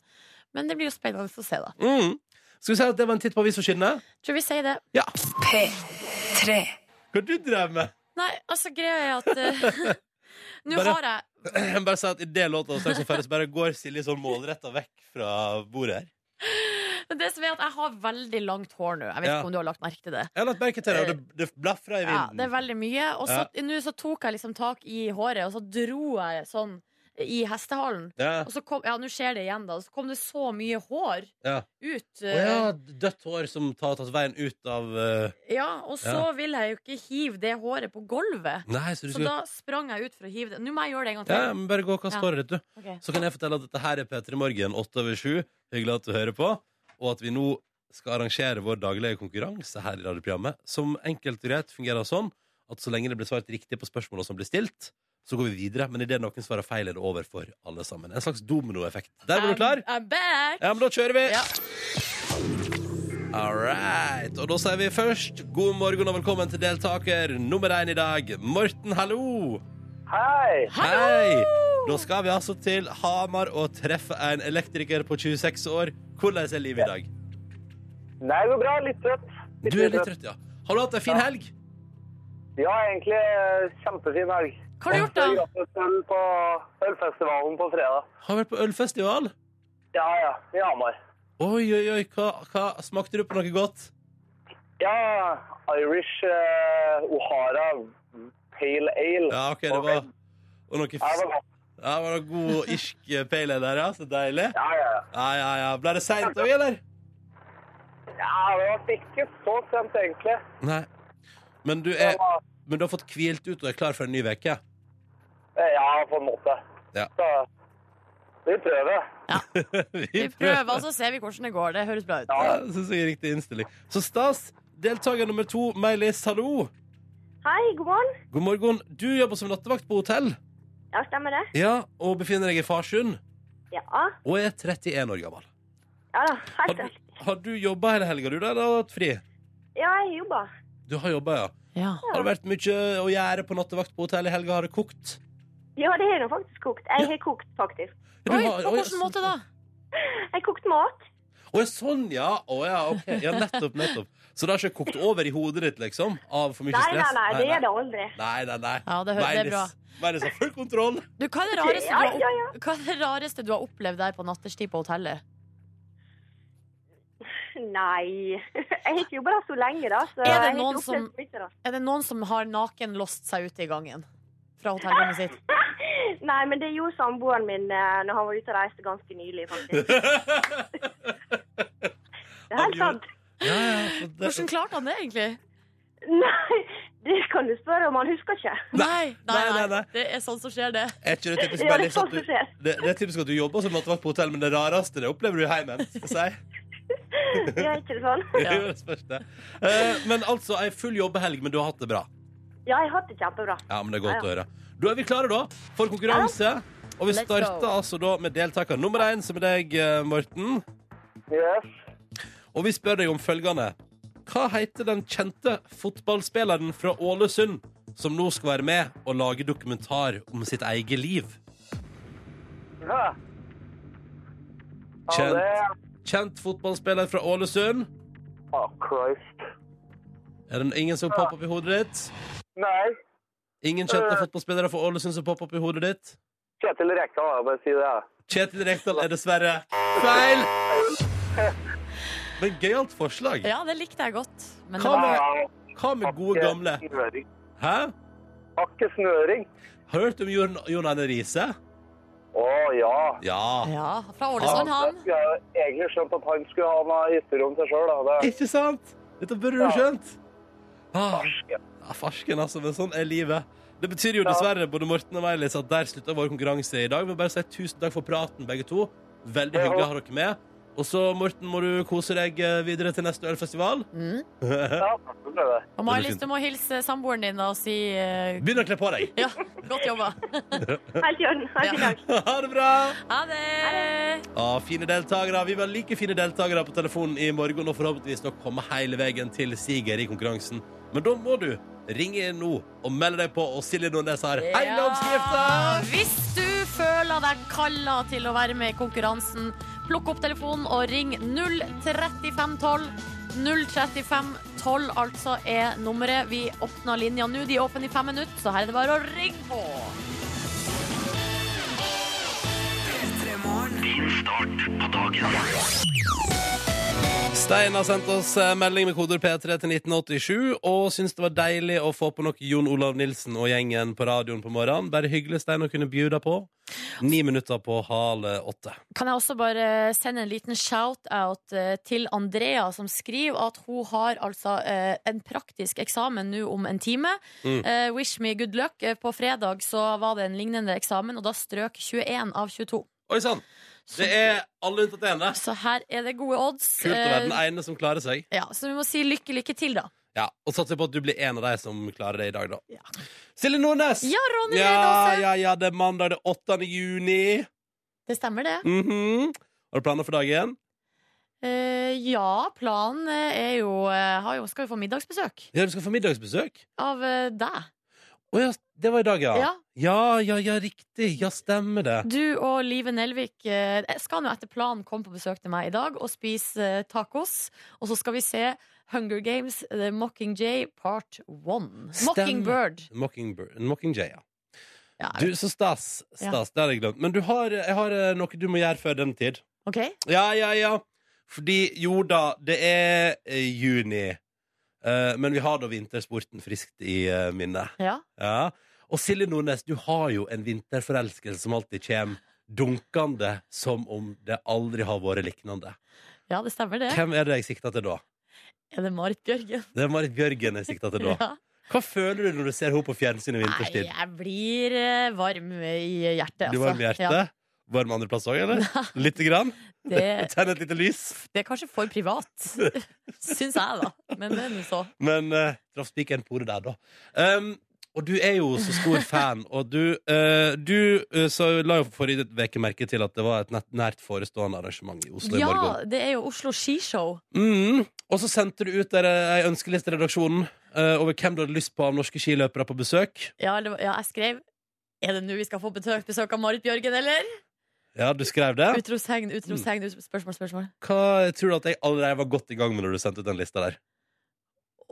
[SPEAKER 3] Men det blir jo spennende å se, da.
[SPEAKER 1] Mm. Skal vi si at det var en titt på avis og skinne?
[SPEAKER 3] Tror vi sier det.
[SPEAKER 1] Ja.
[SPEAKER 4] P3.
[SPEAKER 1] Hva du drev med?
[SPEAKER 3] Nei, altså, greia er at eh, Nå
[SPEAKER 1] Bare-
[SPEAKER 3] har jeg
[SPEAKER 1] Bare si at i det låta og Straks og ferdig så bare går Silje sånn målretta vekk fra bordet her.
[SPEAKER 3] Men det som er at jeg har veldig langt hår nå. Jeg vet
[SPEAKER 1] Ja.
[SPEAKER 3] ikke om du har lagt merke til det.
[SPEAKER 1] Jeg har lagt merke til det, og det, Eh, det blafra i
[SPEAKER 3] Ja,
[SPEAKER 1] vinden.
[SPEAKER 3] det er veldig mye. Og så nå så tok jeg liksom tak i håret, og så dro jeg sånn i hestehalen.
[SPEAKER 1] ja.
[SPEAKER 3] Og så kom, ja, nå skjer det igjen, da. Så kom det så mye hår
[SPEAKER 1] Ja.
[SPEAKER 3] ut. eh,
[SPEAKER 1] Å ja, dødt hår som har tatt veien ut av eh,
[SPEAKER 3] Ja, og så
[SPEAKER 1] Ja.
[SPEAKER 3] vil jeg jo ikke hive det håret på gulvet.
[SPEAKER 1] Nei, så du
[SPEAKER 3] Så
[SPEAKER 1] skulle
[SPEAKER 3] da sprang jeg ut for å hive det. Nå må jeg gjøre det en gang
[SPEAKER 1] Ja,
[SPEAKER 3] til.
[SPEAKER 1] men bare gå og kast
[SPEAKER 3] Ja.
[SPEAKER 1] håret ditt, du.
[SPEAKER 3] Ok.
[SPEAKER 1] Så kan jeg fortelle at dette her er P3 Morgen 8 over 7. Hyggelig at du hører på. Og at vi nå skal arrangere vår daglige konkurranse her i radioprogrammet. Som enkelt og greit fungerer sånn at så lenge det blir svart riktig på spørsmåla som blir stilt, så går vi videre. Men idet noen svarer feil, er det over for alle sammen. En slags dominoeffekt. Der var du klar?
[SPEAKER 3] I'm, I'm back!
[SPEAKER 1] Ja, men da kjører vi!
[SPEAKER 3] Ja.
[SPEAKER 1] All right. Og da sier vi først god morgen og velkommen til deltaker nummer én i dag, Morten. Hallo!
[SPEAKER 5] Hei!
[SPEAKER 1] Hei! Da skal vi altså til Hamar og treffe en elektriker på 26 år. Hvordan er livet i dag?
[SPEAKER 5] Nei, det går bra. Litt trøtt.
[SPEAKER 1] Du er litt trøtt, ja. Har du hatt en fin helg?
[SPEAKER 5] Ja, egentlig eh, kjempefin helg.
[SPEAKER 3] Hva har du gjort,
[SPEAKER 5] Jeg
[SPEAKER 3] da?
[SPEAKER 5] har fått øl på ølfestivalen på fredag.
[SPEAKER 1] Har vært på ølfestival?
[SPEAKER 5] Ja, ja. I Hamar.
[SPEAKER 1] Oi, oi, oi. Hva, hva smakte du på noe godt?
[SPEAKER 5] Ja, Irish eh, O'Hara Pale Ale.
[SPEAKER 1] Ja, OK, det var Og noe
[SPEAKER 5] Ja, det var
[SPEAKER 1] f-
[SPEAKER 5] godt.
[SPEAKER 1] ja, var det god irsk pale ale der, ja? Så deilig.
[SPEAKER 5] Ja, ja, ja.
[SPEAKER 1] Ja, ja, ja. Ble det seint òg, eller?
[SPEAKER 5] Ja, det var ikke så sent, egentlig.
[SPEAKER 1] Nei. Men du,
[SPEAKER 5] Det
[SPEAKER 1] er,
[SPEAKER 5] var,
[SPEAKER 1] men du har fått hvilt ut og er klar for en ny uke?
[SPEAKER 5] eh, ja, på en måte.
[SPEAKER 1] Ja.
[SPEAKER 5] Så vi prøver.
[SPEAKER 3] Vi prøver, og så ser vi hvordan det går. Det høres bra ut.
[SPEAKER 1] Ja, det synes jeg er riktig innstilling. Så stas. Deltaker nummer to, Meilis, hallo.
[SPEAKER 6] Hei, god morgen.
[SPEAKER 1] God morgen. Du jobber som nattevakt på hotell
[SPEAKER 6] Ja, stemmer det?
[SPEAKER 1] Ja, og befinner deg i Farsund
[SPEAKER 6] Ja.
[SPEAKER 1] og er 31 år gammel.
[SPEAKER 6] Ja da,
[SPEAKER 1] Har
[SPEAKER 6] helt
[SPEAKER 1] du,
[SPEAKER 6] rett.
[SPEAKER 1] har du jobba hele helga, du, da, eller har du hatt fri?
[SPEAKER 6] Ja, jeg jobba.
[SPEAKER 1] Du har jobba, ja.
[SPEAKER 3] Ja.
[SPEAKER 1] Har det vært mye å gjøre på nattevakt på hotell i helga? Har det kokt?
[SPEAKER 6] Ja, det har jeg faktisk kokt. Jeg har kokt, faktisk.
[SPEAKER 1] Ja, du
[SPEAKER 3] Oi,
[SPEAKER 1] har-
[SPEAKER 3] på
[SPEAKER 1] oi,
[SPEAKER 3] hvilken måte da?
[SPEAKER 6] Jeg kokte mat.
[SPEAKER 1] Å, ja, sånn, ja. Å, ja, ok. Ja, nettopp, nettopp. Så det har ikke kokt over i hodet ditt, liksom? Av for mye
[SPEAKER 6] Nei, nei,
[SPEAKER 1] stress?
[SPEAKER 6] nei, det er det aldri.
[SPEAKER 1] Nei, nei, nei.
[SPEAKER 3] Ja, det hø- det er bra.
[SPEAKER 1] Meilis har sånn, full kontroll.
[SPEAKER 3] Du, hva, er det rareste du
[SPEAKER 6] Ja,
[SPEAKER 3] har opp...
[SPEAKER 6] ja, ja.
[SPEAKER 3] hva er det rareste du har opplevd der på natterstid på hotellet?
[SPEAKER 6] Nei. Jeg har ikke jobba der så lenge, da. Så
[SPEAKER 3] det
[SPEAKER 6] jeg har ikke
[SPEAKER 3] noen
[SPEAKER 6] opplevd
[SPEAKER 3] som-
[SPEAKER 6] så mye, da.
[SPEAKER 3] Er det noen som har nakenlåst seg ute i gangen? Fra hotellrommet sitt?
[SPEAKER 6] Nei, men det gjorde samboeren min eh, når han var ute og reiste ganske nylig, faktisk. Det er
[SPEAKER 1] Han
[SPEAKER 6] helt
[SPEAKER 1] gjorde-
[SPEAKER 6] sant.
[SPEAKER 1] Ja, ja, så det-
[SPEAKER 3] Hvordan klarte han det, egentlig?
[SPEAKER 6] Nei, det kan du spørre om. Han husker ikke.
[SPEAKER 3] Nei, nei,
[SPEAKER 1] Nei, nei,
[SPEAKER 3] nei.
[SPEAKER 1] nei.
[SPEAKER 3] Det er sånn som skjer, det.
[SPEAKER 1] Er ikke det typisk
[SPEAKER 6] Ja, det er
[SPEAKER 1] Meilis at
[SPEAKER 6] sånn
[SPEAKER 1] du,
[SPEAKER 6] det skjer.
[SPEAKER 1] det, det er typisk at du jobber som nattevakt på hotell, men det rareste det opplever du i heimen? Skal jeg si.
[SPEAKER 6] Det er ikke det sånn?
[SPEAKER 1] Det er jo det spørste. Eh, Men altså, ei full jobbehelg, men du har hatt det bra.
[SPEAKER 6] Ja, jeg har hatt det kjempebra.
[SPEAKER 1] Ja, men det er godt
[SPEAKER 6] Ja, ja.
[SPEAKER 1] å høre. Da er vi klare, da, for konkurranse. Og vi
[SPEAKER 3] Let's
[SPEAKER 1] starter
[SPEAKER 3] go.
[SPEAKER 1] altså da med deltaker nummer én, som er deg, eh, Morten.
[SPEAKER 5] Yes.
[SPEAKER 1] Og vi spør deg om følgende. Hva heter den kjente fotballspilleren fra Ålesund som nå skal være med og lage dokumentar om sitt eget liv?
[SPEAKER 5] Ja. Ja,
[SPEAKER 1] Kjent,
[SPEAKER 5] det er...
[SPEAKER 1] kjent fotballspiller fra Ålesund.
[SPEAKER 5] Oh, Christ.
[SPEAKER 1] Er det ingen som popper opp i hodet ditt?
[SPEAKER 5] Nei.
[SPEAKER 1] Ingen kjente
[SPEAKER 5] Øh.
[SPEAKER 1] fotballspillere fra Ålesund som popper opp i hodet ditt?
[SPEAKER 5] Kjetil Rekdal, jeg bare sier det. jeg.
[SPEAKER 1] Kjetil Rekdal er dessverre feil! Men gøyalt forslag.
[SPEAKER 3] Ja, det likte jeg godt. Men det
[SPEAKER 1] Hva
[SPEAKER 3] var...
[SPEAKER 1] med, hva med gode
[SPEAKER 5] Ikke
[SPEAKER 1] gamle
[SPEAKER 5] snøring.
[SPEAKER 1] Hæ?
[SPEAKER 5] Ikke snøring.
[SPEAKER 1] Har du hørt om Jon, Jon Arne Riise?
[SPEAKER 5] Å, ja.
[SPEAKER 1] Ja.
[SPEAKER 3] Ja, fra Ålesund, han.
[SPEAKER 5] Jeg skulle jo egentlig skjønt at han skulle ha noe hytterom til sjøl, da. Det
[SPEAKER 1] Ikke sant? Dette burde du skjønt. Ah,
[SPEAKER 5] Farsken.
[SPEAKER 1] ja, farsken, altså. Men sånn er livet. Det betyr jo dessverre både Morten og Meilis at der slutter vår konkurranse i dag. Vi vil bare si tusen takk for praten, begge to. Veldig hyggelig å ha dere med. Og så, Morten, må du kose deg eh, videre til neste ølfestival.
[SPEAKER 3] Mm.
[SPEAKER 1] Begynn
[SPEAKER 5] ja, takk for det.
[SPEAKER 3] Og Mailis, du må hilse samboeren din og si eh,
[SPEAKER 1] å kle på deg.
[SPEAKER 3] ja, godt jobba.
[SPEAKER 6] Helt i orden. Helt i dag.
[SPEAKER 1] Ha det bra!
[SPEAKER 3] Ha det!
[SPEAKER 1] Ja, fine deltakere. Vi var like fine deltakere på telefonen i morgen og forhåpentligvis nok komme hele veien til siger i konkurransen. Men da må du ringe inn nå og melde deg på, og Silje Nordnes har hele
[SPEAKER 3] Ja,
[SPEAKER 1] oppskrifta!
[SPEAKER 3] Hvis du føler deg kalla til å være med i konkurransen, plukk opp telefonen og ring 03512. 03512 altså er nummeret. Vi åpner linja nå. De er åpne i fem minutter, så her er det bare å ringe på.
[SPEAKER 1] Stein har sendt oss eh, melding med koder P3 til 1987 og syns det var deilig å få på nok Jon Olav Nilsen og gjengen på radioen på morgenen. Bare hyggelig, Stein, å kunne bjuda på. Ni minutter på halv åtte.
[SPEAKER 3] Kan jeg også bare sende en liten shout-out eh, til Andrea, som skriver at hun har altså eh, en praktisk eksamen nå om en time.
[SPEAKER 1] Mm.
[SPEAKER 3] Eh, wish me good luck. Eh, På fredag så var det en lignende eksamen, og da strøk 21 av 22.
[SPEAKER 1] Oi sann! Det er alle unntatt ene.
[SPEAKER 3] Så her er det gode odds.
[SPEAKER 1] Kult å være den
[SPEAKER 3] Eh,
[SPEAKER 1] ene som klarer seg.
[SPEAKER 3] ja, så vi må si lykke, lykke til, da.
[SPEAKER 1] Ja, Og satser på at du blir en av de som klarer det i dag, da. Silje Nordnes!
[SPEAKER 3] Ja, Ronny
[SPEAKER 1] ja,
[SPEAKER 3] Rødåse!
[SPEAKER 1] ja, ja, det er mandag det er 8. juni.
[SPEAKER 3] Det stemmer, det.
[SPEAKER 1] Mhm. Har du planer for dagen?
[SPEAKER 3] Eh, ja, planen er jo, eh, har jo Skal jo få middagsbesøk
[SPEAKER 1] Ja, du skal få middagsbesøk?
[SPEAKER 3] av eh, deg.
[SPEAKER 1] Å ja, det var i dag, ja.
[SPEAKER 3] Ja.
[SPEAKER 1] ja, ja, ja, riktig. Ja, stemmer det.
[SPEAKER 3] Du og Live Nelvik eh, skal nå etter planen komme på besøk til meg i dag og spise eh, tacos. Og så skal vi se Hunger Games The Mockingjay Part 1.
[SPEAKER 1] Stemmer.
[SPEAKER 3] Mockingbird.
[SPEAKER 1] Mockingbird- Mockingjay, ja.
[SPEAKER 3] Ja,
[SPEAKER 1] Du, så stas.
[SPEAKER 3] Ja.
[SPEAKER 1] Stas, det har jeg glemt. Men du har, jeg har eh, noe du må gjøre før den tid.
[SPEAKER 3] OK?
[SPEAKER 1] Ja, ja, ja. Fordi jo da, det er eh, juni. Eh, men vi har da vintersporten friskt i eh, minnet.
[SPEAKER 3] Ja.
[SPEAKER 1] Ja. Og Silje Nordnes, du har jo en vinterforelskelse som alltid kommer dunkende som om det aldri har vært lignende.
[SPEAKER 3] ja, det stemmer, det.
[SPEAKER 1] Hvem er det jeg sikter til da?
[SPEAKER 3] Er det Marit Bjørgen?
[SPEAKER 1] Det er Marit Bjørgen jeg sikter til da.
[SPEAKER 3] Ja.
[SPEAKER 1] Hva føler du når du ser henne på fjernsynet
[SPEAKER 3] Nei,
[SPEAKER 1] vinterstid?
[SPEAKER 3] jeg blir eh, varm i hjertet.
[SPEAKER 1] Du
[SPEAKER 3] altså.
[SPEAKER 1] varm i
[SPEAKER 3] Ja.
[SPEAKER 1] hjertet? Varm andreplass òg, eller? Lite grann?
[SPEAKER 3] Det,
[SPEAKER 1] Tenn et lite lys?
[SPEAKER 3] det er kanskje for privat, syns jeg, da. Men det er nå så.
[SPEAKER 1] Men uh, traff spikeren på ordet der, da. Um, og du er jo så stor fan, og du, eh, du eh, så la jo forrige uke merke til at det var et nett- nært forestående arrangement i Oslo i morgen.
[SPEAKER 3] Ja, det er jo Oslo Skishow.
[SPEAKER 1] Mm. Og så sendte du ut der eh, ei ønskeliste i redaksjonen eh, over hvem du hadde lyst på av norske skiløpere på besøk.
[SPEAKER 3] Ja, eller, ja, jeg skrev Er det nå vi skal få besøk, besøk av Marit Bjørgen, eller?
[SPEAKER 1] Ja, Mm. du skrev det.
[SPEAKER 3] Utropstegn, utropstegn, utro- spørsmål, spørsmål.
[SPEAKER 1] Hva tror du at jeg allerede var godt i gang med når du sendte ut den lista der?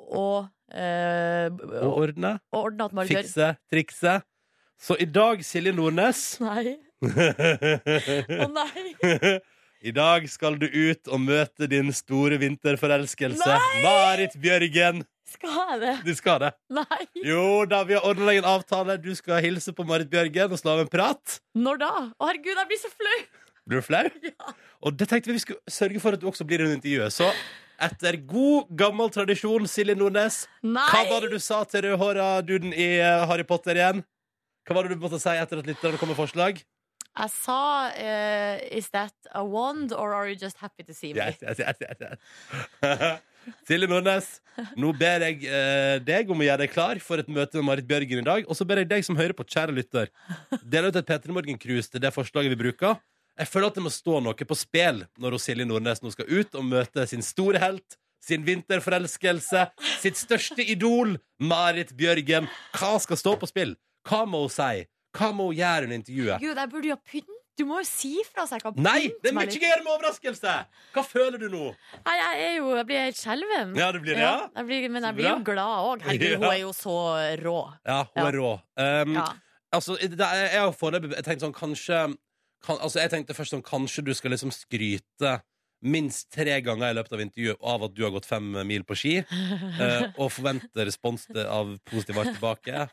[SPEAKER 3] Og, eh,
[SPEAKER 1] Å
[SPEAKER 3] og
[SPEAKER 1] ordne,
[SPEAKER 3] ordna at Marit Bjørgen
[SPEAKER 1] fikse, trikse. Så i dag, Silje Nordnes
[SPEAKER 3] Nei. Å nei!
[SPEAKER 1] I dag skal du ut og møte din store vinterforelskelse. Marit Bjørgen.
[SPEAKER 3] Skal jeg det?
[SPEAKER 1] Du skal det.
[SPEAKER 3] Nei!
[SPEAKER 1] Jo da, vi har ordna deg en avtale. Du skal hilse på Marit Bjørgen og slå av en prat.
[SPEAKER 3] Når da? Å herregud, jeg blir så flau!
[SPEAKER 1] Blir du flau? Og det tenkte vi vi skulle sørge for at du også blir under intervjuet. Så etter god, gammel tradisjon, Silje Nordnes, hva
[SPEAKER 3] Nei!
[SPEAKER 1] var det du sa til rødhåra duden i eh, Harry Potter igjen? Hva var det du måtte si etter at lytterne kom med forslag?
[SPEAKER 3] Jeg sa eh, Is that a wand, or are you just happy to see me?
[SPEAKER 1] Yes, yes, yes, yes, yes. Silje Nordnes, nå ber jeg eh, deg om å gjøre deg klar for et møte med Marit Bjørgen i dag. Og så ber jeg deg som hører på, kjære lytter, del ut et P3 Morgen-krus til det forslaget vi bruker. Jeg føler at det må stå noe på spill når hun Silje Nordnes nå skal ut og møte sin store helt, sin vinterforelskelse, sitt største idol, Marit Bjørgen. Hva skal stå på spill? Hva må hun si? Hva må hun gjøre under intervjuet?
[SPEAKER 3] Gud, jeg burde jo ha pynt. Du må jo si fra så jeg kan
[SPEAKER 1] Nei!
[SPEAKER 3] pynte
[SPEAKER 1] Det er
[SPEAKER 3] meg
[SPEAKER 1] mye
[SPEAKER 3] litt.
[SPEAKER 1] gøyere med overraskelse! Hva føler du nå?
[SPEAKER 3] Nei, jeg er jo Jeg blir helt skjelven.
[SPEAKER 1] Ja, det blir det, ja?
[SPEAKER 3] jeg blir, men
[SPEAKER 1] Så
[SPEAKER 3] jeg blir jo
[SPEAKER 1] bra.
[SPEAKER 3] glad òg. Herregud,
[SPEAKER 1] Ja.
[SPEAKER 3] hun er jo så rå.
[SPEAKER 1] Ja, hun
[SPEAKER 3] Ja.
[SPEAKER 1] er rå. Um,
[SPEAKER 3] Ja.
[SPEAKER 1] altså, det, er- jeg har foreløpig jeg tenkte sånn kanskje kan, altså, Jeg tenkte først sånn kanskje du skal liksom skryte minst tre ganger i løpet av intervjuet av at du har gått fem mil på ski, eh, og forvente respons til- av positiv art tilbake.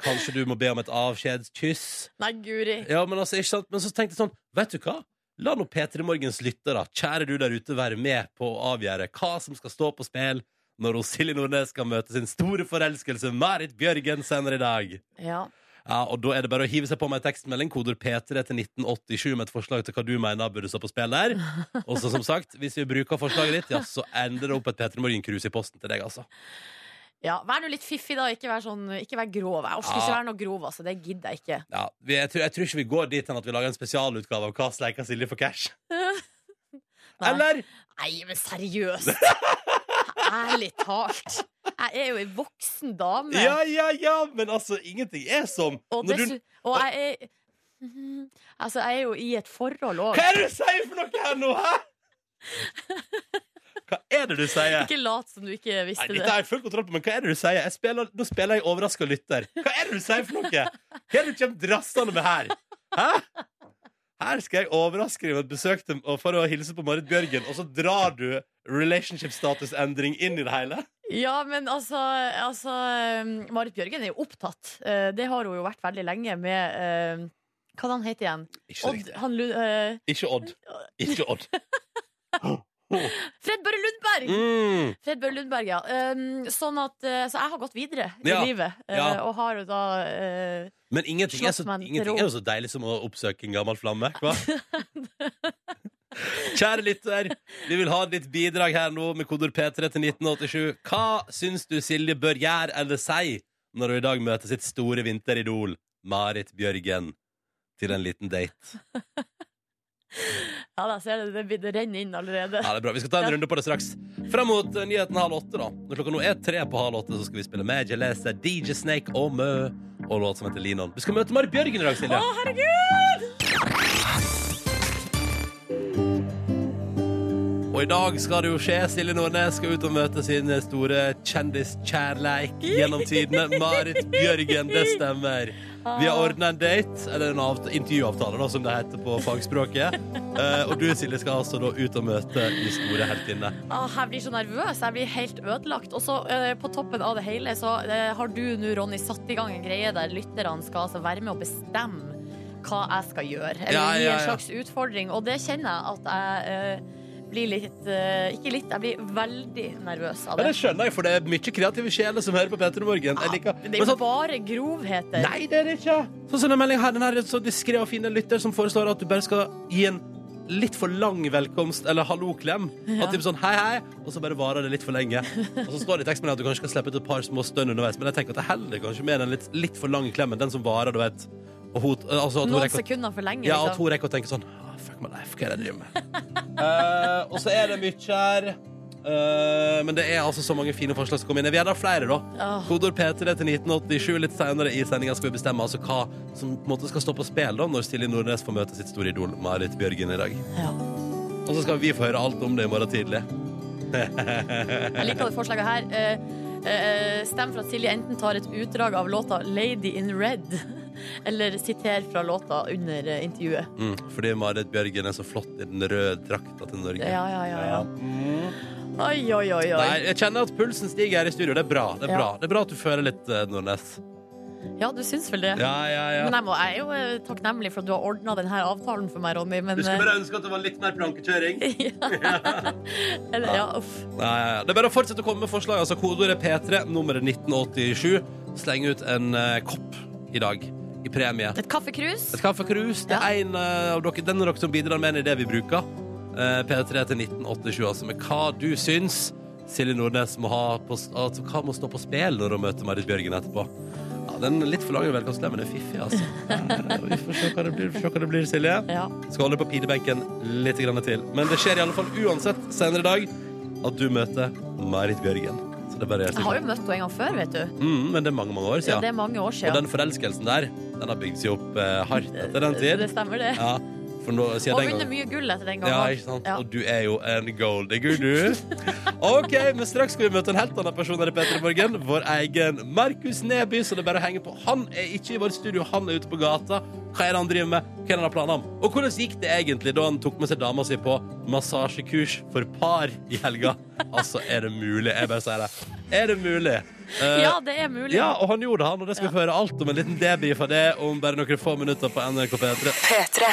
[SPEAKER 1] Kanskje du må be om et avskjedskyss.
[SPEAKER 3] Nei, guri.
[SPEAKER 1] Ja, men altså, ikke sant? Men så tenkte jeg sånn, vet du hva? La nå P3 Morgens lyttere, kjære du der ute, være med på å avgjøre hva som skal stå på spill når hun Silje Nordnes skal møte sin store forelskelse Marit Bjørgen senere i dag.
[SPEAKER 3] Ja.
[SPEAKER 1] Ja, og da er det bare å hive seg på med en tekstmelding, koder P3 til 1987 med et forslag til hva du mener burde stå på spill der. Og så som sagt, hvis vi bruker forslaget ditt, ja, så ender det opp et P3 Morgen-krus i posten til deg, altså.
[SPEAKER 3] ja. Vær nå litt fiffig, da. Ikke vær, sånn, ikke vær grov. Jeg orker ikke
[SPEAKER 1] Ja.
[SPEAKER 3] være noe grov, altså. Det gidder jeg ikke.
[SPEAKER 1] Ja, vi, jeg, tror, jeg tror ikke vi går dit hen at vi lager en spesialutgave av Hva sleiker Silje for cash?
[SPEAKER 3] Nei.
[SPEAKER 1] Eller?
[SPEAKER 3] Nei, men seriøst! Ærlig talt. Jeg er jo ei voksen dame.
[SPEAKER 1] Ja, ja, ja, men altså, ingenting er som
[SPEAKER 3] Og,
[SPEAKER 1] når du...
[SPEAKER 3] dessu- og jeg er Mhm. Altså, jeg er jo i et forhold òg.
[SPEAKER 1] Hva er det du sier for noe her nå, hæ?! Hva er det du sier?
[SPEAKER 3] Ikke lat som du ikke
[SPEAKER 1] Nei,
[SPEAKER 3] visste
[SPEAKER 1] dette
[SPEAKER 3] det.
[SPEAKER 1] har jeg full kontroll på, men hva er det du sier? Jeg spiller, nå spiller jeg overraska lytter. Hva er det du sier for noe?! Hva er det du kommer drassende med her?! Hæ?! Her skal jeg overraske deg med et besøk til, og for å hilse på Marit Bjørgen, og så drar du relationship-status-endring inn i det hele?
[SPEAKER 3] Ja, men altså, altså um, Marit Bjørgen er jo opptatt. Eh, Det har hun jo vært veldig lenge med eh, Hva er det han heter igjen?
[SPEAKER 1] Ikke så
[SPEAKER 3] Odd,
[SPEAKER 1] riktig.
[SPEAKER 3] han, Lund- eh,
[SPEAKER 1] Ikke Odd. Ikke Odd.
[SPEAKER 3] Fred Børre Lundberg!
[SPEAKER 1] Mm.
[SPEAKER 3] Fred Børre Lundberg, ja. Um, sånn at, eh, så jeg har gått videre i
[SPEAKER 1] Ja.
[SPEAKER 3] livet, eh,
[SPEAKER 1] Ja.
[SPEAKER 3] og har jo da eh,
[SPEAKER 1] Men ingenting er, så,
[SPEAKER 3] Slått meg til
[SPEAKER 1] ingenting
[SPEAKER 3] ro.
[SPEAKER 1] er jo så deilig som å oppsøke en gammel flamme. Hva? Kjære lytter, vi vil ha ditt bidrag her nå med kodord P3 til 1987. Hva syns du Silje bør gjøre eller si når hun i dag møter sitt store vinteridol, Marit Bjørgen, til en liten date?
[SPEAKER 3] Ja, da ser du, det, blir- det renner inn allerede.
[SPEAKER 1] Ja, det er bra. Vi skal ta en runde på det straks. Fram mot eh, nyheten halv åtte, da. Når klokka nå er tre på halv åtte, så skal vi spille Major Lazer, DJ Snake og Mø og låt som heter Linon. Du skal møte Marit Bjørgen i dag, Silje.
[SPEAKER 3] Å, herregud!
[SPEAKER 1] Og i dag skal det jo skje. Silje Nordnes skal ut og møte sin store kjendiskjærleik gjennom tidene. Marit Bjørgen, det stemmer. Vi har ordna en date, eller en avt- intervjuavtale, da, som det heter på fagspråket. Eh, og du, Silje, skal altså da ut og møte de store heltinne.
[SPEAKER 3] Ah, jeg blir så nervøs. Jeg blir helt ødelagt. Og så eh, på toppen av det hele så eh, har du nå, Ronny, satt i gang en greie der lytterne skal altså være med og bestemme hva jeg skal gjøre. Eller
[SPEAKER 1] Ja,
[SPEAKER 3] gi
[SPEAKER 1] ja,
[SPEAKER 3] en
[SPEAKER 1] ja.
[SPEAKER 3] slags utfordring. Og det kjenner jeg at jeg eh, blir litt eh, Ikke litt, jeg blir veldig nervøs av
[SPEAKER 1] Ja,
[SPEAKER 3] det.
[SPEAKER 1] det skjønner jeg, for det er mye kreative sjeler som hører på P3 Morgen. Jeg liker
[SPEAKER 3] Det
[SPEAKER 1] Men
[SPEAKER 3] er jo
[SPEAKER 1] sånn-
[SPEAKER 3] bare grovheter.
[SPEAKER 1] Nei, det er det ikke! Sånn som den meldingen her, den her er så diskré og fin en lytter som foreslår at du bare skal gi en litt for lang velkomst eller hallo-klem. At typ sånn hei, hei, og så bare varer det litt for lenge. Og så står det i tekstmeldingen at du kanskje skal slippe ut et par små stønn underveis, men jeg tenker at det heller kanskje mer den litt, litt for lange klemmen, den som varer, du vet. Og hun, altså, at hun
[SPEAKER 3] Noen
[SPEAKER 1] rekker,
[SPEAKER 3] sekunder for lenge.
[SPEAKER 1] ja, at
[SPEAKER 3] Liksom.
[SPEAKER 1] hun rekker å tenke sånn ah, Fuck my life, hva er det jeg driver med? Eh, og så er det mye her. Eh, men det er altså så mange fine forslag som kommer inn. Vi er da flere, da.
[SPEAKER 3] Ja.
[SPEAKER 1] Kodord P3 til 1987. Litt senere i sendinga skal vi bestemme altså hva som på en måte skal stå på spill da, når Silje Nordnes får møte sitt store idol Marit Bjørgen i dag.
[SPEAKER 3] Ja.
[SPEAKER 1] Og så skal vi få høre alt om det i morgen tidlig.
[SPEAKER 3] Jeg liker det forslaget her. Eh, eh, stem for at Silje enten tar et utdrag av låta 'Lady in Red', eller siter fra låta under eh, intervjuet.
[SPEAKER 1] Mm, fordi Marit Bjørgen er så flott i den røde drakta til Norge.
[SPEAKER 3] Ja, ja, ja. ja.
[SPEAKER 1] Mm.
[SPEAKER 3] Oi, oi, oi.
[SPEAKER 1] Nei,
[SPEAKER 3] oi.
[SPEAKER 1] jeg kjenner at pulsen stiger her i studio. Det er bra. Det er
[SPEAKER 3] Ja.
[SPEAKER 1] bra, det er bra at du føler litt eh, Nordnes.
[SPEAKER 3] Ja, du syns vel det?
[SPEAKER 1] Ja, ja, ja.
[SPEAKER 3] Men jeg, må, jeg er jo eh, takknemlig for at du har ordna denne avtalen for meg, Ronny. Men
[SPEAKER 1] Du skulle
[SPEAKER 3] eh,
[SPEAKER 1] bare ønske at det var litt mer plankekjøring.
[SPEAKER 3] eller, ja, uff.
[SPEAKER 1] Nei, det er bare å fortsette å komme med forslag. Altså, Kodeordet P3, nummeret 1987. Sleng ut en eh, kopp i dag i premie.
[SPEAKER 3] Et kaffekrus.
[SPEAKER 1] Et kaffekrus. Det er en eh, av dere, den av dere som bidrar med en idé vi bruker. Eh, P3 til 1987, altså. Med hva du syns Silje Nordnes må ha på, altså, hva må stå på spill når hun møter Marit Bjørgen etterpå. Ja, den er litt for lange velkomstlemmen er fiffig, altså. Ja, Vi får se hva det blir, vi får se hva det blir Silje.
[SPEAKER 3] Ja.
[SPEAKER 1] Skal holde på pinebenken litt grann til. Men det skjer i alle fall uansett senere i dag at du møter Marit Bjørgen. Så det er bare å
[SPEAKER 3] Jeg
[SPEAKER 1] gjøre
[SPEAKER 3] har
[SPEAKER 1] seg
[SPEAKER 3] jo
[SPEAKER 1] klar.
[SPEAKER 3] møtt henne en gang før, vet du.
[SPEAKER 1] Mm, men det er mange, mange år
[SPEAKER 3] Ja,
[SPEAKER 1] siden.
[SPEAKER 3] det er mange år
[SPEAKER 1] Og
[SPEAKER 3] siden.
[SPEAKER 1] den forelskelsen der, den har bygd seg opp eh, hardt etter den
[SPEAKER 3] Det,
[SPEAKER 1] tid.
[SPEAKER 3] det stemmer, det.
[SPEAKER 1] Ja, for nå, siden
[SPEAKER 3] Og
[SPEAKER 1] den
[SPEAKER 3] vunnet
[SPEAKER 1] gangen.
[SPEAKER 3] mye gull etter den gangen.
[SPEAKER 1] Ja, ikke sant?
[SPEAKER 3] Ja.
[SPEAKER 1] Og du er jo en golddigger, du. OK, men straks skal vi møte en helt annen person her i Petter i Morgen. Vår egen Markus Neby, så det er bare å henge på. Han er ikke i vårt studio, han er ute på gata. Hva er det han driver med? Hva er det han har planer om? Og hvordan gikk det egentlig da han tok med seg dama si på massasjekurs for par i helga? Altså, er det mulig? Jeg bare sier det. Er det mulig? Eh,
[SPEAKER 3] Ja, det er mulig.
[SPEAKER 1] ja, og han gjorde det, han, og det skal vi få høre alt om en liten debrief av det om bare noen få minutter på NRK P3.
[SPEAKER 4] P3.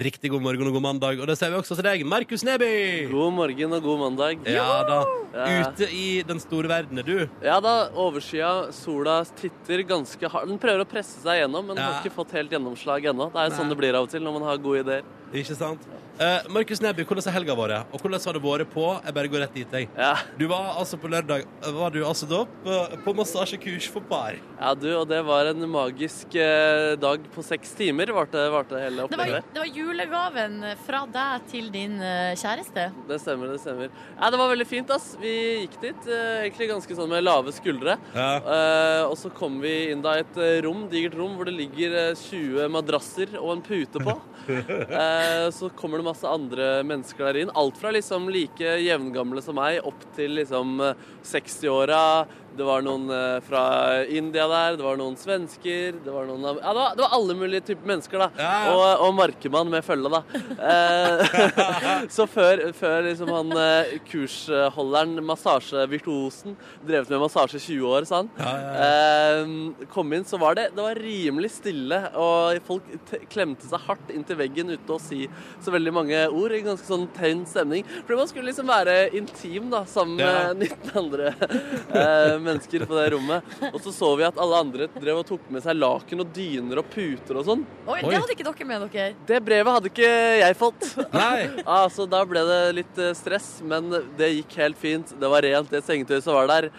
[SPEAKER 1] Riktig god morgen og god mandag, og det sier vi også til deg, Markus Neby!
[SPEAKER 2] God morgen og god mandag.
[SPEAKER 1] Ja da,
[SPEAKER 2] Ja.
[SPEAKER 1] ute i den store verden er du.
[SPEAKER 2] Ja da, overskya, sola titter ganske hardt. Den prøver å presse seg gjennom, men
[SPEAKER 1] Ja.
[SPEAKER 2] har ikke fått helt gjennomslag ennå. Det er jo sånn det blir av og til når man har gode ideer.
[SPEAKER 1] Ikke sant? Eh, Markus Neby, hvordan har helga vært? Og hvordan har det vært på? Jeg bare går rett dit, jeg.
[SPEAKER 2] Ja.
[SPEAKER 1] Du var altså på lørdag Var du altså da på, på massasjekurs for par.
[SPEAKER 2] ja, du, og det var en magisk eh, dag på seks timer, varte, varte hele
[SPEAKER 3] Det var,
[SPEAKER 2] opplegget.
[SPEAKER 3] det var julegaven fra deg til din eh, kjæreste.
[SPEAKER 2] Det stemmer, det stemmer. Ja, det var veldig fint, ass. Vi gikk dit eh, egentlig ganske sånn med lave skuldre.
[SPEAKER 1] Ja.
[SPEAKER 2] Eh, og så kom vi inn da i et eh, rom, digert rom, hvor det ligger eh, 20 madrasser og en pute på. Eh, så kommer det masse andre mennesker der inn. Alt fra liksom like jevngamle som meg, opp til liksom eh, 60-åra. Det var noen eh, fra India der, det var noen svensker, det var noen av- Ja, det var, det var alle mulige typer mennesker, da.
[SPEAKER 1] Ja, ja.
[SPEAKER 2] Og og, og markemann med følge, da. Eh, så før, før liksom han eh, kursholderen, massasjevirtuosen, drevet med massasje i 20 år, sa han,
[SPEAKER 1] Ja, ja,
[SPEAKER 2] eh, kom inn, så var det, det var rimelig stille. Og folk t klemte seg hardt inntil veggen uten å si så veldig mange ord. I ganske sånn tønn stemning. Fordi man skulle liksom være intim da, sammen
[SPEAKER 1] Ja.
[SPEAKER 2] med 19 andre eh, mennesker på det rommet. Og så så vi at alle andre drev og tok med seg laken og dyner og puter og sånn.
[SPEAKER 3] Oi,
[SPEAKER 1] Oi.
[SPEAKER 3] Det hadde ikke dere med dere.
[SPEAKER 2] Det brevet hadde ikke jeg fått.
[SPEAKER 1] Nei.
[SPEAKER 2] Ja, så da ble det litt eh, stress, men det gikk helt fint. Det var rent, det sengetøyet som var der.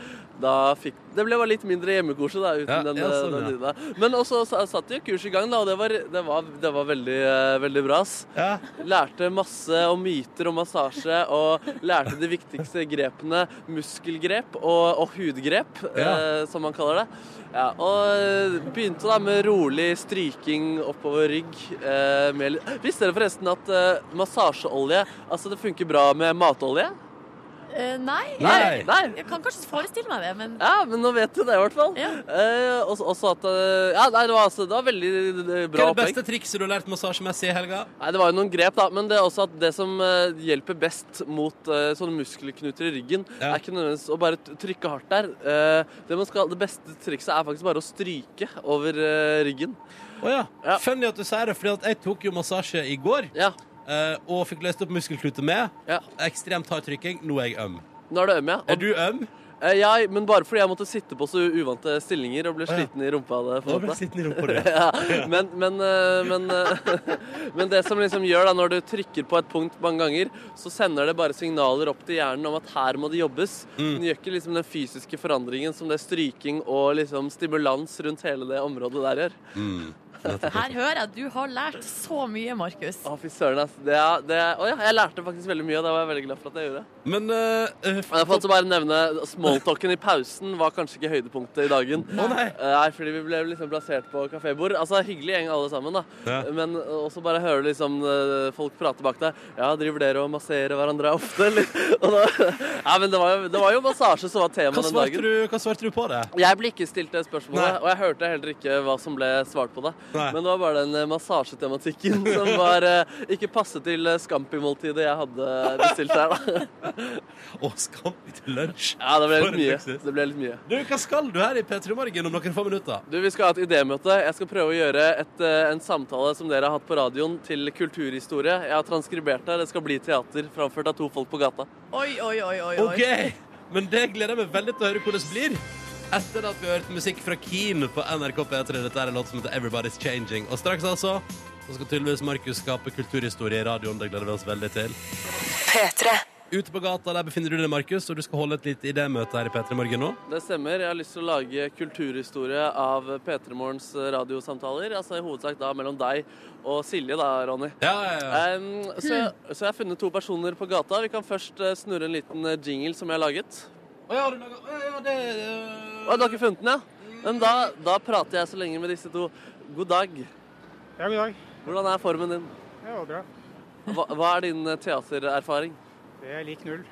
[SPEAKER 2] Da fikk, det ble bare litt mindre hjemmekose da, uten
[SPEAKER 1] Ja,
[SPEAKER 2] den, eh,
[SPEAKER 1] ja, sånn,
[SPEAKER 2] den
[SPEAKER 1] ja.
[SPEAKER 2] lyden. Men også sa- satt jo kurs i gang, da, og det var, det var, det var veldig, eh, veldig bra. ass.
[SPEAKER 1] Ja.
[SPEAKER 2] Lærte masse om myter og massasje, og lærte de viktigste grepene muskelgrep og, og hudgrep,
[SPEAKER 1] Ja.
[SPEAKER 2] eh, som man kaller det. Ja, og begynte da med rolig stryking oppover rygg. Eh, med, litt- visste dere forresten at eh, massasjeolje altså det funker bra med matolje?
[SPEAKER 3] Eh, nei.
[SPEAKER 1] Nei.
[SPEAKER 3] Jeg, nei. Jeg kan kanskje forestille meg det, men
[SPEAKER 2] Ja, men nå vet du det, i hvert fall.
[SPEAKER 3] Ja.
[SPEAKER 2] Eh, og så- også at eh, Ja, nei, det var, altså, det var veldig eh,
[SPEAKER 1] Hva
[SPEAKER 2] bra
[SPEAKER 1] er det
[SPEAKER 2] opplegg.
[SPEAKER 1] beste trikset du har lært massasjemessig i helga?
[SPEAKER 2] Nei, Det var jo noen grep, da, men det er også at det som eh, hjelper best mot eh, sånne muskelknuter i ryggen,
[SPEAKER 1] Ja.
[SPEAKER 2] er ikke nødvendigvis å bare t- trykke hardt der. Eh, det, man skal, det beste trikset er faktisk bare å stryke over eh, ryggen.
[SPEAKER 1] Å ja.
[SPEAKER 2] Ja.
[SPEAKER 1] Funny at du sier det, for jeg tok jo massasje i går.
[SPEAKER 2] Ja.
[SPEAKER 1] eh, og fikk løst opp muskelkluter med.
[SPEAKER 2] Ja.
[SPEAKER 1] Ekstremt hard trykking. Nå er jeg øm.
[SPEAKER 2] Nå er du øm, ja.
[SPEAKER 1] Er du øm?
[SPEAKER 2] Eh, ja, men bare fordi jeg måtte sitte på så uvante stillinger og ble
[SPEAKER 1] ja.
[SPEAKER 2] sliten i rumpa. av Det, på
[SPEAKER 1] Nå
[SPEAKER 2] en
[SPEAKER 1] ble
[SPEAKER 2] måte.
[SPEAKER 1] jeg sittende i rumpa di.
[SPEAKER 2] ja, men, men, eh, men, eh, men det som liksom gjør da, når du trykker på et punkt mange ganger, så sender det bare signaler opp til hjernen om at her må det jobbes. Den gjør ikke liksom den fysiske forandringen som det er stryking og liksom stimulans rundt hele det området der gjør.
[SPEAKER 3] Her hører jeg at du har lært så mye, Markus.
[SPEAKER 2] Å, fy søren, ass. Det, er- det, er- å ja, jeg lærte faktisk veldig mye, og det var jeg veldig glad for at jeg gjorde.
[SPEAKER 1] Men eh, eh,
[SPEAKER 2] Men jeg får også bare nevne smalltalken i pausen var kanskje ikke høydepunktet i dagen.
[SPEAKER 1] Å, nei.
[SPEAKER 2] Eh, Nei, fordi vi ble liksom plassert på kafébord. Altså, hyggelig gjeng alle sammen, da.
[SPEAKER 1] Ja.
[SPEAKER 2] Men eh, også bare høre liksom eh, folk prate bak deg. Ja, driver dere og masserer hverandre ofte, eller? Og da, ja, men det var, jo, det var jo massasje som var tema
[SPEAKER 1] hva,
[SPEAKER 2] den
[SPEAKER 1] svarte
[SPEAKER 2] dagen.
[SPEAKER 1] du, hva svarte du på det?
[SPEAKER 2] Jeg ble ikke stilt det spørsmålet,
[SPEAKER 1] Nei.
[SPEAKER 2] og jeg hørte heller ikke hva som ble svart på det.
[SPEAKER 1] Nei.
[SPEAKER 2] Men det var bare den eh, massasjetematikken som var eh, ikke passe til eh, Scampi-måltidet jeg hadde bestilt her, da.
[SPEAKER 1] Å, skal vi til lunsj?
[SPEAKER 2] Ja, det ble
[SPEAKER 1] For
[SPEAKER 2] litt mye.
[SPEAKER 1] praksis.
[SPEAKER 2] Det ble litt mye.
[SPEAKER 1] Du, hva skal du her i P3 Morgen om noen få minutter?
[SPEAKER 2] Du, Vi skal ha et idémøte. Jeg skal prøve å gjøre et, eh, en samtale som dere har hatt på radioen, til kulturhistorie. Jeg har transkribert det. Det skal bli teater framført av to folk på gata.
[SPEAKER 3] Oi, oi, oi, oi. oi.
[SPEAKER 1] OK! Men det gleder jeg meg veldig til å høre hvordan det blir. Etter at vi har hørt musikk fra Keen på NRK P3. Dette er en låt som heter Everybody's Changing. Og straks, altså, så skal tydeligvis Markus skape kulturhistorie i radioen. Det gleder vi oss veldig til.
[SPEAKER 4] P3.
[SPEAKER 1] Ute på gata der befinner du deg, Markus, og du skal holde et lite idémøte her i P3 Morgen nå.
[SPEAKER 2] Det stemmer. Jeg har lyst til å lage kulturhistorie av P3 Morgens eh, radiosamtaler. Altså i hovedsak da mellom deg og Silje, da, Ronny.
[SPEAKER 1] Ja, ja, ja.
[SPEAKER 2] Em, så, jeg, så jeg har funnet to personer på gata. Vi kan først eh, snurre en liten eh, jingle som jeg har laget.
[SPEAKER 1] Å, ja, har du laga Å, ja, det
[SPEAKER 2] Å, du har ikke funnet den, ja? Men da, da prater jeg så lenge med disse to. God dag.
[SPEAKER 7] Ja, god dag.
[SPEAKER 2] Hvordan er formen din?
[SPEAKER 7] Det var bra.
[SPEAKER 2] Hva, hva er din eh, teatererfaring?
[SPEAKER 7] Det er lik null.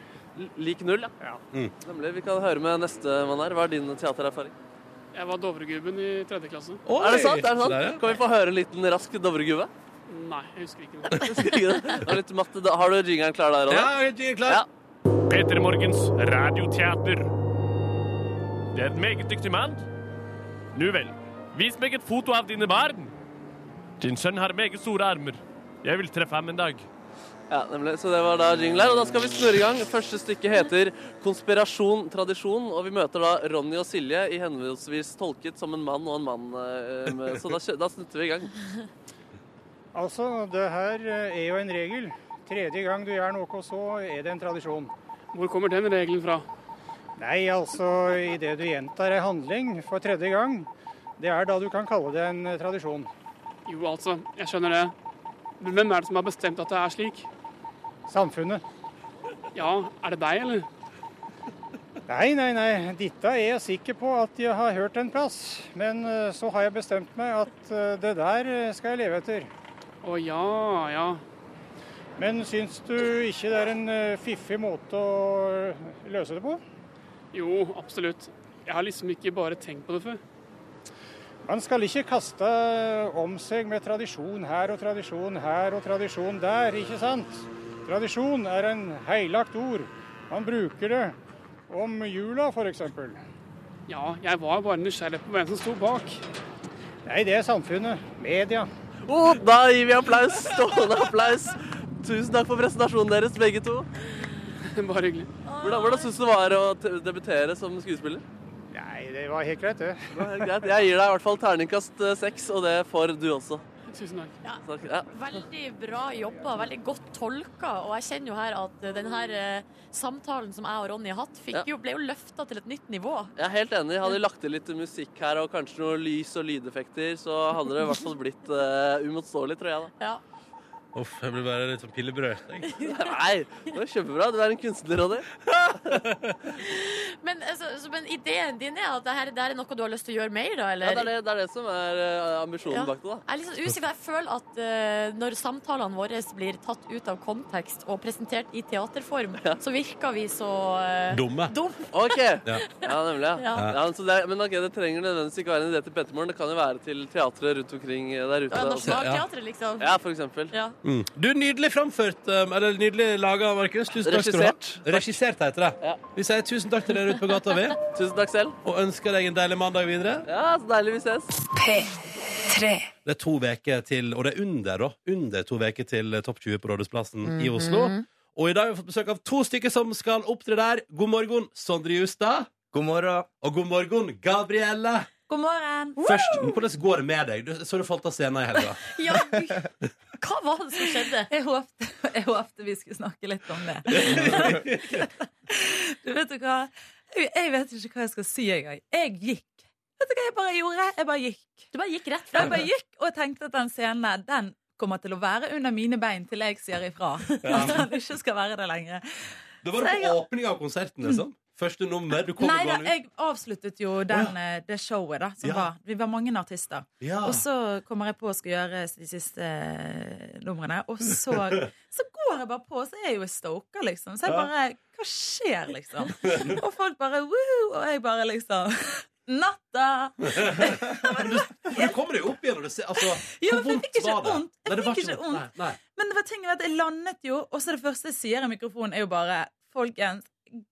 [SPEAKER 2] L- Lik null, ja.
[SPEAKER 7] Ja.
[SPEAKER 2] Nemlig. Vi kan høre med neste mann her. Hva er din eh, teatererfaring?
[SPEAKER 8] Jeg var Dovregubben i tredje klasse.
[SPEAKER 1] Oi,
[SPEAKER 2] Er det sant? Er det
[SPEAKER 1] der, ja.
[SPEAKER 2] sant? Kan vi få høre en liten rask Dovregubbe?
[SPEAKER 8] Nei, jeg husker ikke noe.
[SPEAKER 2] Det var litt matt. Da Har du ringeren klar der
[SPEAKER 1] Ja,
[SPEAKER 2] Ronny?
[SPEAKER 1] jeg er klar.
[SPEAKER 2] Ja.
[SPEAKER 9] Peter Morgens radioteater. Det er et meget dyktig mann. Nu vel. Vis meg et foto av dine barn. Din sønn har meget store armer. Jeg vil treffe ham en dag.
[SPEAKER 2] Ja, nemlig. Så det var da jingle her. Og da skal vi snurre i gang. Første stykke heter 'Konspirasjon tradisjon', og vi møter da Ronny og Silje i henholdsvis tolket som en mann og en mann. eh, med- Så da, kjø- da snutter vi i gang.
[SPEAKER 7] Altså, det her eh, er jo en regel. Tredje gang du gjør noe, så er det en tradisjon.
[SPEAKER 8] Hvor kommer den regelen fra?
[SPEAKER 7] Nei, altså, idet du gjentar ei handling for tredje gang, det er da du kan kalle det en eh, tradisjon.
[SPEAKER 8] Jo, altså, jeg skjønner det. Men hvem er det som har bestemt at det er slik?
[SPEAKER 7] Samfunnet.
[SPEAKER 8] Ja, er det deg, eller?
[SPEAKER 7] Nei, nei, nei. Dette er jeg sikker på at jeg har hørt en plass. Men eh, så har jeg bestemt meg at eh, det der eh, skal jeg leve etter.
[SPEAKER 8] Å ja, ja.
[SPEAKER 7] Men syns du ikke det er en eh, fiffig måte å eh, løse det på?
[SPEAKER 8] Jo, absolutt. Jeg har liksom ikke bare tenkt på det før.
[SPEAKER 7] Man skal ikke kaste eh, om seg med tradisjon her og tradisjon her og tradisjon der, ikke sant? Tradisjon er en heilagt ord. Man bruker det om jula, f.eks.
[SPEAKER 8] Ja, jeg var bare nysgjerrig på hvem som sto bak.
[SPEAKER 7] Nei, det er samfunnet. Media.
[SPEAKER 2] Oh, da gir vi applaus. Stående applaus. Tusen takk for presentasjonen deres, begge to.
[SPEAKER 8] Bare hyggelig.
[SPEAKER 2] Hvordan, hvordan syns du det var å te- debutere som skuespiller?
[SPEAKER 7] Nei, det var helt greit, det.
[SPEAKER 2] Det var helt greit. Jeg gir deg i hvert fall terningkast eh, seks, og det får du også.
[SPEAKER 8] Tusen takk.
[SPEAKER 2] Takk. Ja.
[SPEAKER 3] Veldig bra jobba, veldig godt tolka. Og jeg kjenner jo her at den her eh, samtalen som jeg og Ronny har hatt, fikk jo, ble jo løfta til et nytt nivå.
[SPEAKER 2] Jeg er helt enig. Hadde de lagt til litt musikk her og kanskje noe lys og lydeffekter, så hadde det i hvert fall blitt eh, uimotståelig, tror jeg.
[SPEAKER 3] Ja.
[SPEAKER 1] Uff, jeg blir bare litt sånn pillebrød. jeg.
[SPEAKER 2] da. Nei, det var kjempebra. Du er en kunstner, Ronny.
[SPEAKER 3] Men, altså, så- men ideen din er at det her, det her er noe du har lyst til å gjøre mer av, eller?
[SPEAKER 2] Ja, det, er det, det er det som er eh, ambisjonen
[SPEAKER 3] Ja.
[SPEAKER 2] bak det. da.
[SPEAKER 3] Jeg er litt sånn usikker. Jeg føler at eh, når samtalene våre blir tatt ut av kontekst og presentert i teaterform, så virker vi så eh,
[SPEAKER 1] Dumme.
[SPEAKER 3] dumme.
[SPEAKER 2] OK.
[SPEAKER 1] Ja.
[SPEAKER 2] Ja, nemlig. Ja.
[SPEAKER 3] Ja.
[SPEAKER 2] Ja, men så det, er- men ok, det trenger nødvendigvis ikke være en idé til Pettermoren. Det kan jo være til teatret rundt omkring eh, der ute.
[SPEAKER 3] Ja,
[SPEAKER 2] også.
[SPEAKER 3] Nationalteatret, liksom.
[SPEAKER 2] Ja, for eksempel.
[SPEAKER 3] Ja.
[SPEAKER 1] Du, nydelig framført, um, eller nydelig laga, Markus. Tusen takk skal du
[SPEAKER 2] Regissert.
[SPEAKER 1] ha. Regissert, heter det.
[SPEAKER 2] Ja.
[SPEAKER 1] Vi sier tusen takk til dere ute på gata, vi.
[SPEAKER 2] Tusen takk selv.
[SPEAKER 1] Og ønsker deg en deilig mandag videre.
[SPEAKER 2] Ja, så deilig vi ses.
[SPEAKER 4] P3. tre,
[SPEAKER 1] Det er to veker til, og det er under da, under to veker til eh, Topp 20 på Rådhusplassen i Oslo. Og i dag har vi fått besøk av to stykker som skal opptre der. God morgen, Sondre Justad.
[SPEAKER 10] God morgen.
[SPEAKER 1] Og god morgen, Gabrielle.
[SPEAKER 11] God morgen.
[SPEAKER 1] Først, hvordan går det med deg? Du, så du falt av scenen i helga.
[SPEAKER 11] Ja, hva var det som skjedde? Jeg håpte, jeg håpte vi skulle snakke litt om det. Du vet jo hva? Jeg jeg vet ikke hva jeg skal si engang. Jeg gikk. Vet du hva jeg bare gjorde? Jeg bare gikk.
[SPEAKER 3] Du bare gikk rett
[SPEAKER 11] frem? Jeg bare gikk, og jeg tenkte at den scenen der, den kommer til å være under mine bein til jeg sier ifra.
[SPEAKER 1] Ja.
[SPEAKER 11] At den ikke skal være det lenger.
[SPEAKER 1] Det var
[SPEAKER 11] Så
[SPEAKER 1] det
[SPEAKER 11] jeg-
[SPEAKER 1] på åpninga av konserten, liksom. Første nummer. Du kom
[SPEAKER 11] Nei
[SPEAKER 1] og
[SPEAKER 11] da,
[SPEAKER 1] går ut.
[SPEAKER 11] jeg avsluttet jo den, eh, det showet da, som
[SPEAKER 1] Ja. Ah.
[SPEAKER 11] var. Vi var mange artister.
[SPEAKER 1] Ja.
[SPEAKER 11] Og så kommer jeg på å skal gjøre de siste eh, numrene, og så, så går jeg bare på, og så er jeg jo en stoker, liksom. Så jeg
[SPEAKER 12] Ja.
[SPEAKER 11] bare Hva skjer, liksom? Og folk bare woohoo, og jeg bare liksom Natta!
[SPEAKER 1] Men du kommer deg opp igjen, og du ser altså,
[SPEAKER 11] Ja,
[SPEAKER 1] Hvor
[SPEAKER 11] men jeg fikk
[SPEAKER 1] vondt
[SPEAKER 11] ikke
[SPEAKER 1] var det?
[SPEAKER 11] vondt. Jeg
[SPEAKER 1] Nei, det var
[SPEAKER 11] fikk
[SPEAKER 1] ikke
[SPEAKER 11] ikke
[SPEAKER 1] vondt.
[SPEAKER 11] vondt.
[SPEAKER 1] Nei, nei.
[SPEAKER 11] Men det var ting at jeg landet jo, og så det første jeg sier i mikrofonen, er jo bare Folkens,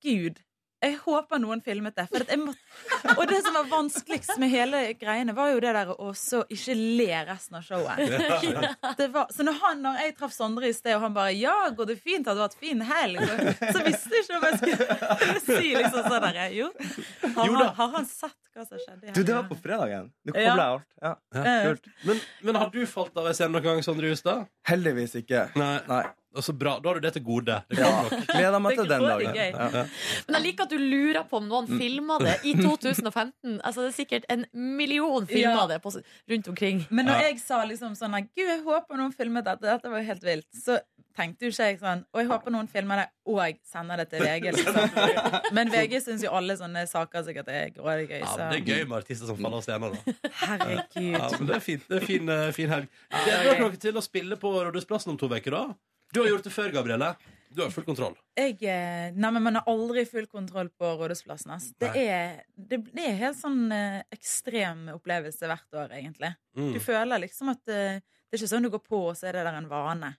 [SPEAKER 11] gud. Jeg håper noen filmet det. For at jeg måtte... Og det som var vanskeligst med hele greiene, var jo det der å så ikke le resten av showet. Det var... Så når, han, når jeg traff Sondre i sted, og han bare 'Ja, går det fint? Har du hatt fin helg?' Så visste jeg ikke om jeg skulle si liksom sånn der. Jo. Har han, har han sett hva som skjedde?
[SPEAKER 10] Du, det var på fredagen. Nå
[SPEAKER 11] Ja.
[SPEAKER 10] kobler jeg alt. Ja.
[SPEAKER 11] Ja.
[SPEAKER 10] Kult.
[SPEAKER 1] Men, men har du falt av ei scene noen gang, Sondre Justad?
[SPEAKER 10] Heldigvis ikke.
[SPEAKER 1] Nei. Og så bra. Da har du det til gode. Det
[SPEAKER 10] Ja.
[SPEAKER 1] kommer nok.
[SPEAKER 10] Gleder meg
[SPEAKER 11] Det
[SPEAKER 10] til den
[SPEAKER 11] går
[SPEAKER 10] dagen.
[SPEAKER 11] gøy.
[SPEAKER 10] Ja.
[SPEAKER 3] Men jeg liker at du lurer på om noen
[SPEAKER 10] Mm.
[SPEAKER 3] filma det i 2015. Altså, det er sikkert en million filmer
[SPEAKER 11] Ja.
[SPEAKER 3] det på, rundt omkring.
[SPEAKER 11] Men når jeg sa liksom sånn at, Gud, jeg håper noen filmer dette, dette var jo helt vilt, så tenkte jo ikke jeg sånn Og jeg håper noen filmer det og sender det til VG, liksom. Men VG syns jo alle sånne saker sikkert er grådig gøy,
[SPEAKER 1] Ja,
[SPEAKER 11] så
[SPEAKER 1] men det er gøy med artister som faller av scenen. Da.
[SPEAKER 11] Herregud.
[SPEAKER 1] Ja, men det er fint. Det er fin, eh, fin helg.
[SPEAKER 11] det
[SPEAKER 1] Gleder
[SPEAKER 11] er
[SPEAKER 1] dere dere til å spille på Rådhusplassen om to uker, da? Du har gjort det før, Gabrielle. Du har full kontroll.
[SPEAKER 11] Jeg, eh, nei, men Man har aldri full kontroll på Rådhusplassen. ass. Det
[SPEAKER 1] Nei.
[SPEAKER 11] er, det, det er helt sånn eh, ekstrem opplevelse hvert år, egentlig.
[SPEAKER 1] Mm.
[SPEAKER 11] Du føler liksom at eh, Det er ikke sånn du går på, og så er det der en vane.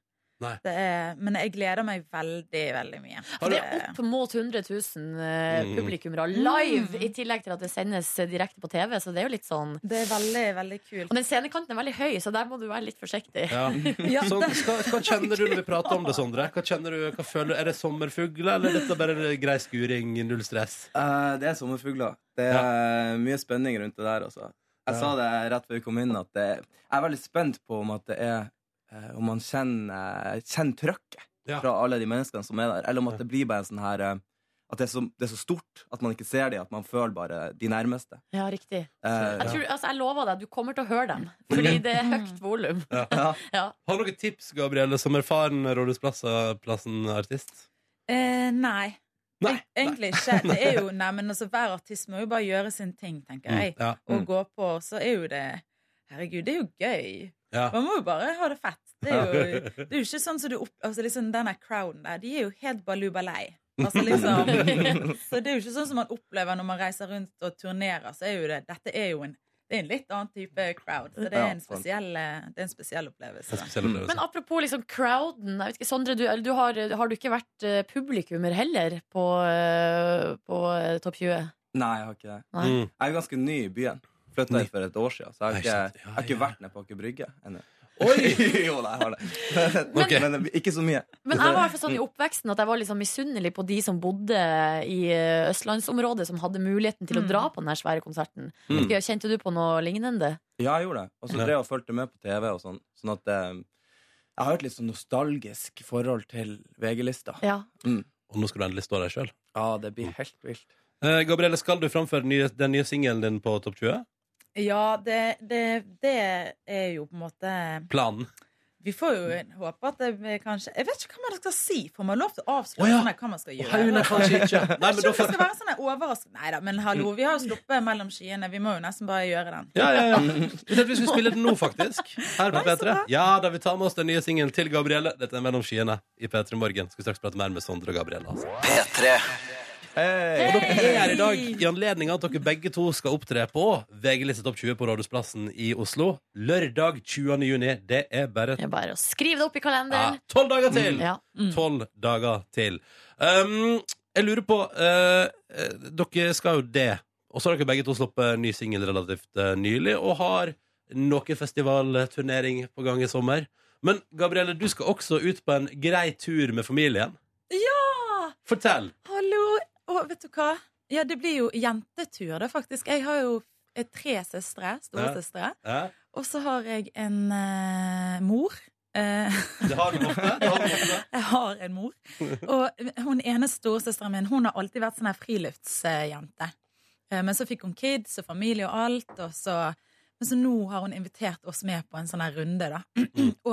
[SPEAKER 1] Nei.
[SPEAKER 11] Det er, men jeg gleder meg veldig, veldig mye.
[SPEAKER 3] For det er opp mot 100 000 eh,
[SPEAKER 11] Mm.
[SPEAKER 3] publikummere live, i tillegg til at det sendes eh, direkte på TV. Så det er jo litt sånn
[SPEAKER 11] Det er veldig, veldig kult.
[SPEAKER 3] Og den scenekanten er veldig høy, så der må du være litt forsiktig.
[SPEAKER 1] Ja. Så, hva, hva kjenner du når vi prater om det, Sondre? Hva kjenner du, hva føler, er det sommerfugler, eller er dette bare grei skuring, null stress?
[SPEAKER 10] Eh, det er sommerfugler. Det er mye spenning rundt det der, altså. Jeg
[SPEAKER 1] Ja.
[SPEAKER 10] sa det rett før vi kom inn, at det, jeg er veldig spent på om at det er eh, Om man kjenner, kjenner trøkket fra alle de menneskene som er der, eller om at det blir bare en sånn her eh, At det er, så, det er så stort at man ikke ser de, at man føler bare de nærmeste.
[SPEAKER 3] Ja, riktig.
[SPEAKER 10] Eh,
[SPEAKER 3] Jeg, tror, altså, jeg lover deg, du kommer til å høre dem. Fordi det er høyt volum.
[SPEAKER 1] Ja. Har du noen tips, Gabrielle, som erfaren Rådhusplassen-artist?
[SPEAKER 11] Eh, nei. Eg- Egentlig ikke. Det er jo, nei, men altså, hver artist må jo bare gjøre sin ting, tenker jeg.
[SPEAKER 1] Mm, ja.
[SPEAKER 11] Og
[SPEAKER 1] Mm.
[SPEAKER 11] gå på, så er jo det Herregud, det er jo gøy.
[SPEAKER 1] Ja.
[SPEAKER 11] Man må jo bare ha det fett. Det er jo, det er jo ikke sånn som du opp... Altså, liksom, den der crowden der, de er jo helt balubalei. Altså, liksom Så det er jo ikke sånn som man opplever når man reiser rundt og turnerer, så er jo det Dette er jo en det er en litt annen type crowd, så det
[SPEAKER 3] Ja,
[SPEAKER 11] er en
[SPEAKER 3] sant.
[SPEAKER 11] spesiell, eh, det er en spesiell opplevelse. da.
[SPEAKER 3] Men apropos liksom crowden. Jeg vet ikke, Sondre, du, eller du har, har du ikke vært eh, publikummer heller på, eh, på eh, Topp 20?
[SPEAKER 10] Nei, jeg har ikke det.
[SPEAKER 3] Nei. Mm.
[SPEAKER 10] Jeg er ganske ny i byen. Flytta hit for et år siden, så jeg har ikke, jeg har ikke vært nede på Aker Brygge ennå. jo da, jeg har det. Men, men ikke så mye.
[SPEAKER 3] Men jeg var i hvert fall sånn i oppveksten at jeg var liksom misunnelig på de som bodde i eh, østlandsområdet, som hadde muligheten til å dra på den her svære konserten.
[SPEAKER 10] Mm.
[SPEAKER 3] Vet ikke, Kjente du på noe lignende?
[SPEAKER 10] Ja, jeg gjorde det. Og så drev jeg og fulgte med på TV og sånn. Sånn at eh, jeg har et litt sånn nostalgisk forhold til VG-lista.
[SPEAKER 3] Ja.
[SPEAKER 1] Og nå skal du endelig stå der sjøl.
[SPEAKER 10] Ja, det blir helt vilt.
[SPEAKER 1] Eh, Gabrielle, skal du framføre den nye, den nye singelen din på Topp 20?
[SPEAKER 11] Ja, det, det, det er jo på en måte
[SPEAKER 1] Planen?
[SPEAKER 11] Vi får jo håpe at det kanskje Jeg vet ikke hva man skal si. Får man lov til å avsløre
[SPEAKER 1] Å, ja.
[SPEAKER 11] sånn her, hva man skal gjøre?
[SPEAKER 1] Nei, kanskje ikke. Nei, men
[SPEAKER 11] jeg
[SPEAKER 1] da
[SPEAKER 11] tror det skal være sånn her overraskende. Nei da, men hallo, vi har jo sluppet mellom skyene. Vi må jo nesten bare gjøre den.
[SPEAKER 1] Ja, ja, ja. Vi tenkte vi skulle spille den nå, faktisk. Her på P3. Ja, da vi tar med oss den nye singelen til Gabrielle. Dette er Mellom skyene i P3 Morgen. Skal straks prate mer med Sondre og Gabrielle. Altså.
[SPEAKER 10] P3.
[SPEAKER 1] Og dere er her i dag i anledning av at dere begge to skal opptre på VG-liste Topp 20 på Rådhusplassen i Oslo. Lørdag 20. juni. Det er bare
[SPEAKER 3] Bare å skrive det opp i kalenderen.
[SPEAKER 1] Ja, tolv dager til!
[SPEAKER 3] Mm, ja.
[SPEAKER 1] Tolv dager til. Um, jeg lurer på eh, eh, Dere skal jo det. Og så har dere begge to sluppet ny singel relativt eh, nylig, og har noe festivalturnering på gang i sommer. Men Gabrielle, du skal også ut på en grei tur med familien.
[SPEAKER 11] Ja!
[SPEAKER 1] Fortell!
[SPEAKER 11] Hallo! Og vet du hva? Ja, det blir jo jentetur, da, faktisk. Jeg har jo eh, tre søstre. Storesøstre.
[SPEAKER 1] Ja.
[SPEAKER 11] Og så har jeg en eh, mor. Eh,
[SPEAKER 1] Det har du ofte. Det har du ofte.
[SPEAKER 11] jeg har en mor. Og hun ene storesøsteren min Hun har alltid vært sånn her friluftsjente. Eh, Men så fikk hun kids og familie og alt. Og så, men så nå har hun invitert oss med på en sånn her runde da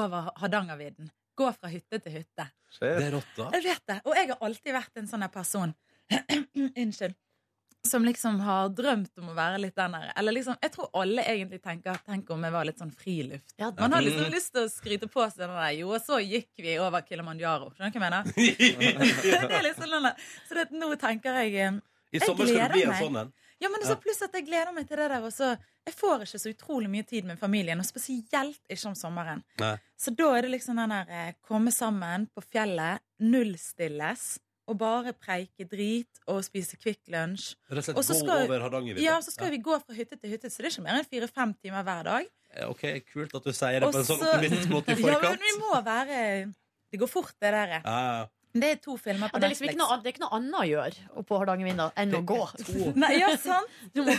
[SPEAKER 11] over Hardangervidda. Gå fra hytte til hytte.
[SPEAKER 1] Det er rått, da.
[SPEAKER 11] Jeg vet det. Og jeg har alltid vært en sånn her person Unnskyld. Som liksom har drømt om å være litt den der. Eller liksom, jeg tror alle egentlig tenker Tenk om jeg var litt sånn friluft. Man har liksom
[SPEAKER 12] Mm.
[SPEAKER 11] lyst til å skryte på seg den der Jo, og så gikk vi over Kilimanjaro. Skjønner du hva jeg mener? det er liksom den der. Så det, nå tenker jeg eh,
[SPEAKER 1] I
[SPEAKER 11] jeg
[SPEAKER 1] sommer skal det
[SPEAKER 11] gleder
[SPEAKER 1] bli en
[SPEAKER 11] meg.
[SPEAKER 1] sånn en.
[SPEAKER 11] Ja, men
[SPEAKER 1] Ja.
[SPEAKER 11] så pluss at jeg gleder meg til det der. Og så, jeg får ikke så utrolig mye tid med familien, og spesielt ikke om sommeren.
[SPEAKER 1] Nei.
[SPEAKER 11] Så da er det liksom den der eh, komme sammen på fjellet, nullstilles, og bare preike drit og spise Kvikk Lunsj.
[SPEAKER 1] Rett og slett
[SPEAKER 11] Og så
[SPEAKER 1] gå
[SPEAKER 11] skal-
[SPEAKER 1] over Hardangervidda.
[SPEAKER 11] Ja, så skal
[SPEAKER 1] Ja.
[SPEAKER 11] vi gå fra hytte til hytte, så det er ikke mer enn fire-fem timer hver dag.
[SPEAKER 1] Eh, OK, kult at du sier det
[SPEAKER 11] Og
[SPEAKER 1] på en sånn
[SPEAKER 11] så-
[SPEAKER 1] optimistisk måte i
[SPEAKER 11] Ja, men
[SPEAKER 1] forkant.
[SPEAKER 11] vi må være Det går fort, det der.
[SPEAKER 1] Ja, ja.
[SPEAKER 11] Det er to filmer på
[SPEAKER 3] Ja, det er liksom ikke noe, det er ikke noe annet å gjøre oppe på Hardangervidda enn å gå.
[SPEAKER 11] Nei, ja, sant.
[SPEAKER 3] Du, må,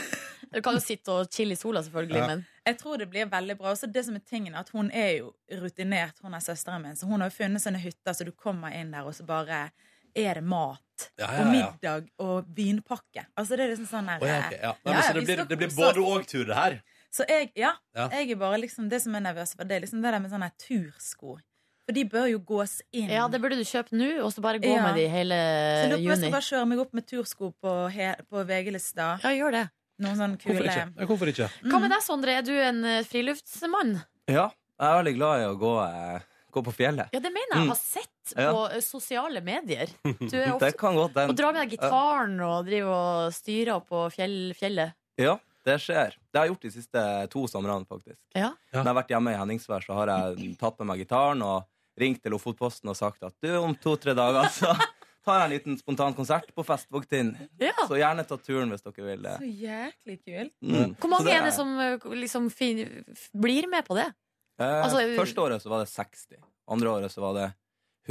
[SPEAKER 3] du kan jo sitte og chille i sola, selvfølgelig,
[SPEAKER 11] Ja.
[SPEAKER 3] men
[SPEAKER 11] Jeg tror det blir veldig bra. Også det som er tingen er at Hun er jo rutinert, hun er søsteren min. Så hun har jo funnet sånne hytter så du kommer inn der, og så bare er det mat
[SPEAKER 1] Ja, ja,
[SPEAKER 11] og
[SPEAKER 1] ja.
[SPEAKER 11] middag og vinpakke. Altså det er liksom sånn her,
[SPEAKER 1] Å, ja, ok, ja. Nei,
[SPEAKER 11] Ja,
[SPEAKER 1] men,
[SPEAKER 11] ja,
[SPEAKER 1] så det
[SPEAKER 11] vi
[SPEAKER 1] blir,
[SPEAKER 11] skal
[SPEAKER 1] det blir
[SPEAKER 11] kose oss.
[SPEAKER 1] både og-tur, det her.
[SPEAKER 11] Så jeg, ja,
[SPEAKER 1] Ja.
[SPEAKER 11] jeg er bare liksom Det som er nervøs for, det er liksom det der med sånne her tursko. For de bør jo gås inn.
[SPEAKER 3] Ja, det burde du kjøpe nå, og så bare gå
[SPEAKER 11] Ja.
[SPEAKER 3] med de hele
[SPEAKER 11] så jeg lurer på om jeg
[SPEAKER 3] juni.
[SPEAKER 11] skal bare kjøre meg opp med tursko på, he- på VG-lista.
[SPEAKER 3] Ja, gjør det. Mm.
[SPEAKER 11] Noen sånne kule
[SPEAKER 10] Hvorfor ikke?
[SPEAKER 1] Ja, hvorfor ikke?
[SPEAKER 3] Hva med deg, Sondre? Er du en eh, friluftsmann?
[SPEAKER 10] Ja, jeg er veldig glad i å gå, eh, gå på fjellet.
[SPEAKER 3] Ja, det mener jeg. Jeg har sett på
[SPEAKER 10] Ja.
[SPEAKER 3] eh, sosiale medier. Du er ofte
[SPEAKER 10] det kan godt den.
[SPEAKER 3] og drar med deg gitaren og driver og styrer på fjell, fjellet.
[SPEAKER 10] Ja, det skjer. Det har jeg gjort de siste to somrene, faktisk.
[SPEAKER 3] Ja.
[SPEAKER 10] Når jeg har vært hjemme i Henningsvær, så har jeg tatt med meg gitaren og ringt til Lofotposten og sagt at du, om to-tre dager så tar jeg en liten spontan konsert på Festvogtind. Så gjerne ta turen hvis dere vil.
[SPEAKER 11] Så jæklig kult.
[SPEAKER 10] Mm.
[SPEAKER 3] Hvor
[SPEAKER 10] Så
[SPEAKER 3] mange
[SPEAKER 10] det
[SPEAKER 3] er det som eh, liksom fin, f- blir med på det?
[SPEAKER 10] Eh,
[SPEAKER 3] altså-
[SPEAKER 10] første året så var det 60. Andre året så var det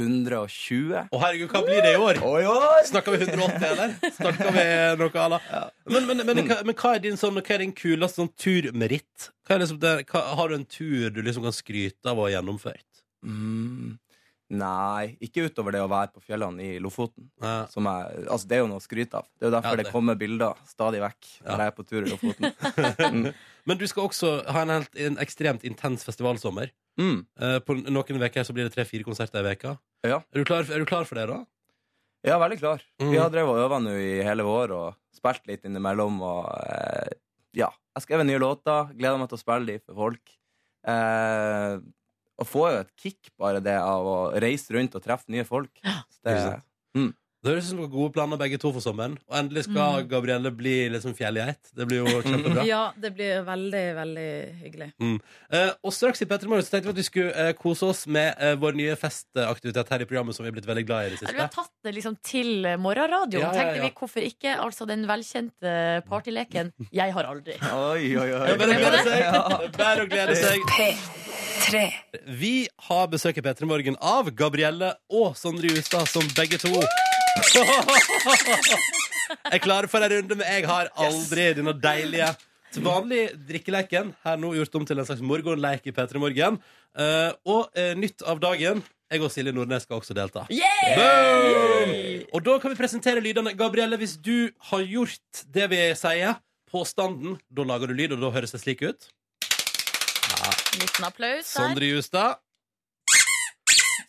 [SPEAKER 10] 120. Å
[SPEAKER 1] herregud, hva blir det i år?
[SPEAKER 10] i år?
[SPEAKER 1] Snakker vi 180, eller? Snakker vi noe annet? Men, men, men,
[SPEAKER 11] Mm.
[SPEAKER 1] hva, men hva er din, sånn, hva er din kuleste sånn turmeritt? Hva er liksom det, hva, har du en tur du liksom kan skryte av å ha gjennomført?
[SPEAKER 10] Mm. Nei, ikke utover det å være på fjellene i Lofoten. Som er, altså det er jo noe å skryte av. Det er jo derfor
[SPEAKER 1] Ja,
[SPEAKER 10] det.
[SPEAKER 1] det.
[SPEAKER 10] kommer bilder stadig vekk når jeg er på tur i Lofoten. Mm.
[SPEAKER 1] Men du skal også ha en, helt, en ekstremt intens festivalsommer.
[SPEAKER 10] Mm.
[SPEAKER 1] Eh, på noen uker så blir det tre-fire konserter i veka. Er, du klar, er du klar for det, da?
[SPEAKER 10] Ja, veldig klar.
[SPEAKER 1] Mm.
[SPEAKER 10] Vi har drevet og øva nå i hele vår og spilt litt innimellom. Og eh, ja, jeg skrev nye låter. Gleder meg til å spille de for folk. Eh, og får jo et kick bare det av å reise rundt og treffe nye folk. Så det,
[SPEAKER 1] Ikke sant? Det høres ut som dere har gode planer begge to for sommeren. Og endelig skal
[SPEAKER 11] Mm.
[SPEAKER 1] Gabrielle bli liksom fjellgeit. Det blir jo kjempebra.
[SPEAKER 11] Ja, det blir veldig, veldig hyggelig.
[SPEAKER 1] Mm. Eh, og straks i Petter Morgen så tenkte vi at vi skulle eh, kose oss med eh, vår nye festaktivitet her i programmet, som vi er blitt veldig glad i i det
[SPEAKER 3] Eller vi
[SPEAKER 1] siste.
[SPEAKER 3] har tatt det liksom til eh, morgenradioen.
[SPEAKER 1] Ja, ja,
[SPEAKER 3] Tenkte
[SPEAKER 1] ja.
[SPEAKER 3] vi hvorfor ikke? Altså den velkjente partyleken 'Jeg har aldri'.
[SPEAKER 10] Oi, oi, oi.
[SPEAKER 1] Det er bare å glede seg.
[SPEAKER 10] Ja.
[SPEAKER 1] Det er bare å glede seg.
[SPEAKER 4] P3.
[SPEAKER 1] Vi har besøk i Petter Morgen av Gabrielle og Sondre Justad, som begge to er klare for en runde med Jeg har aldri denne deilige til vanlig drikkeleken. Her nå gjort om til en slags morgenleik i P3 Morgen. Eh, og eh, nytt av dagen. Jeg og Silje Nordnes skal også delta.
[SPEAKER 3] Yay!
[SPEAKER 1] Boom! Og da kan vi presentere lydene. Gabrielle, hvis du har gjort det vi sier, påstanden, da lager du lyd, og da høres det slik ut. Ja.
[SPEAKER 3] Liten applaus der.
[SPEAKER 1] Sondre Justad.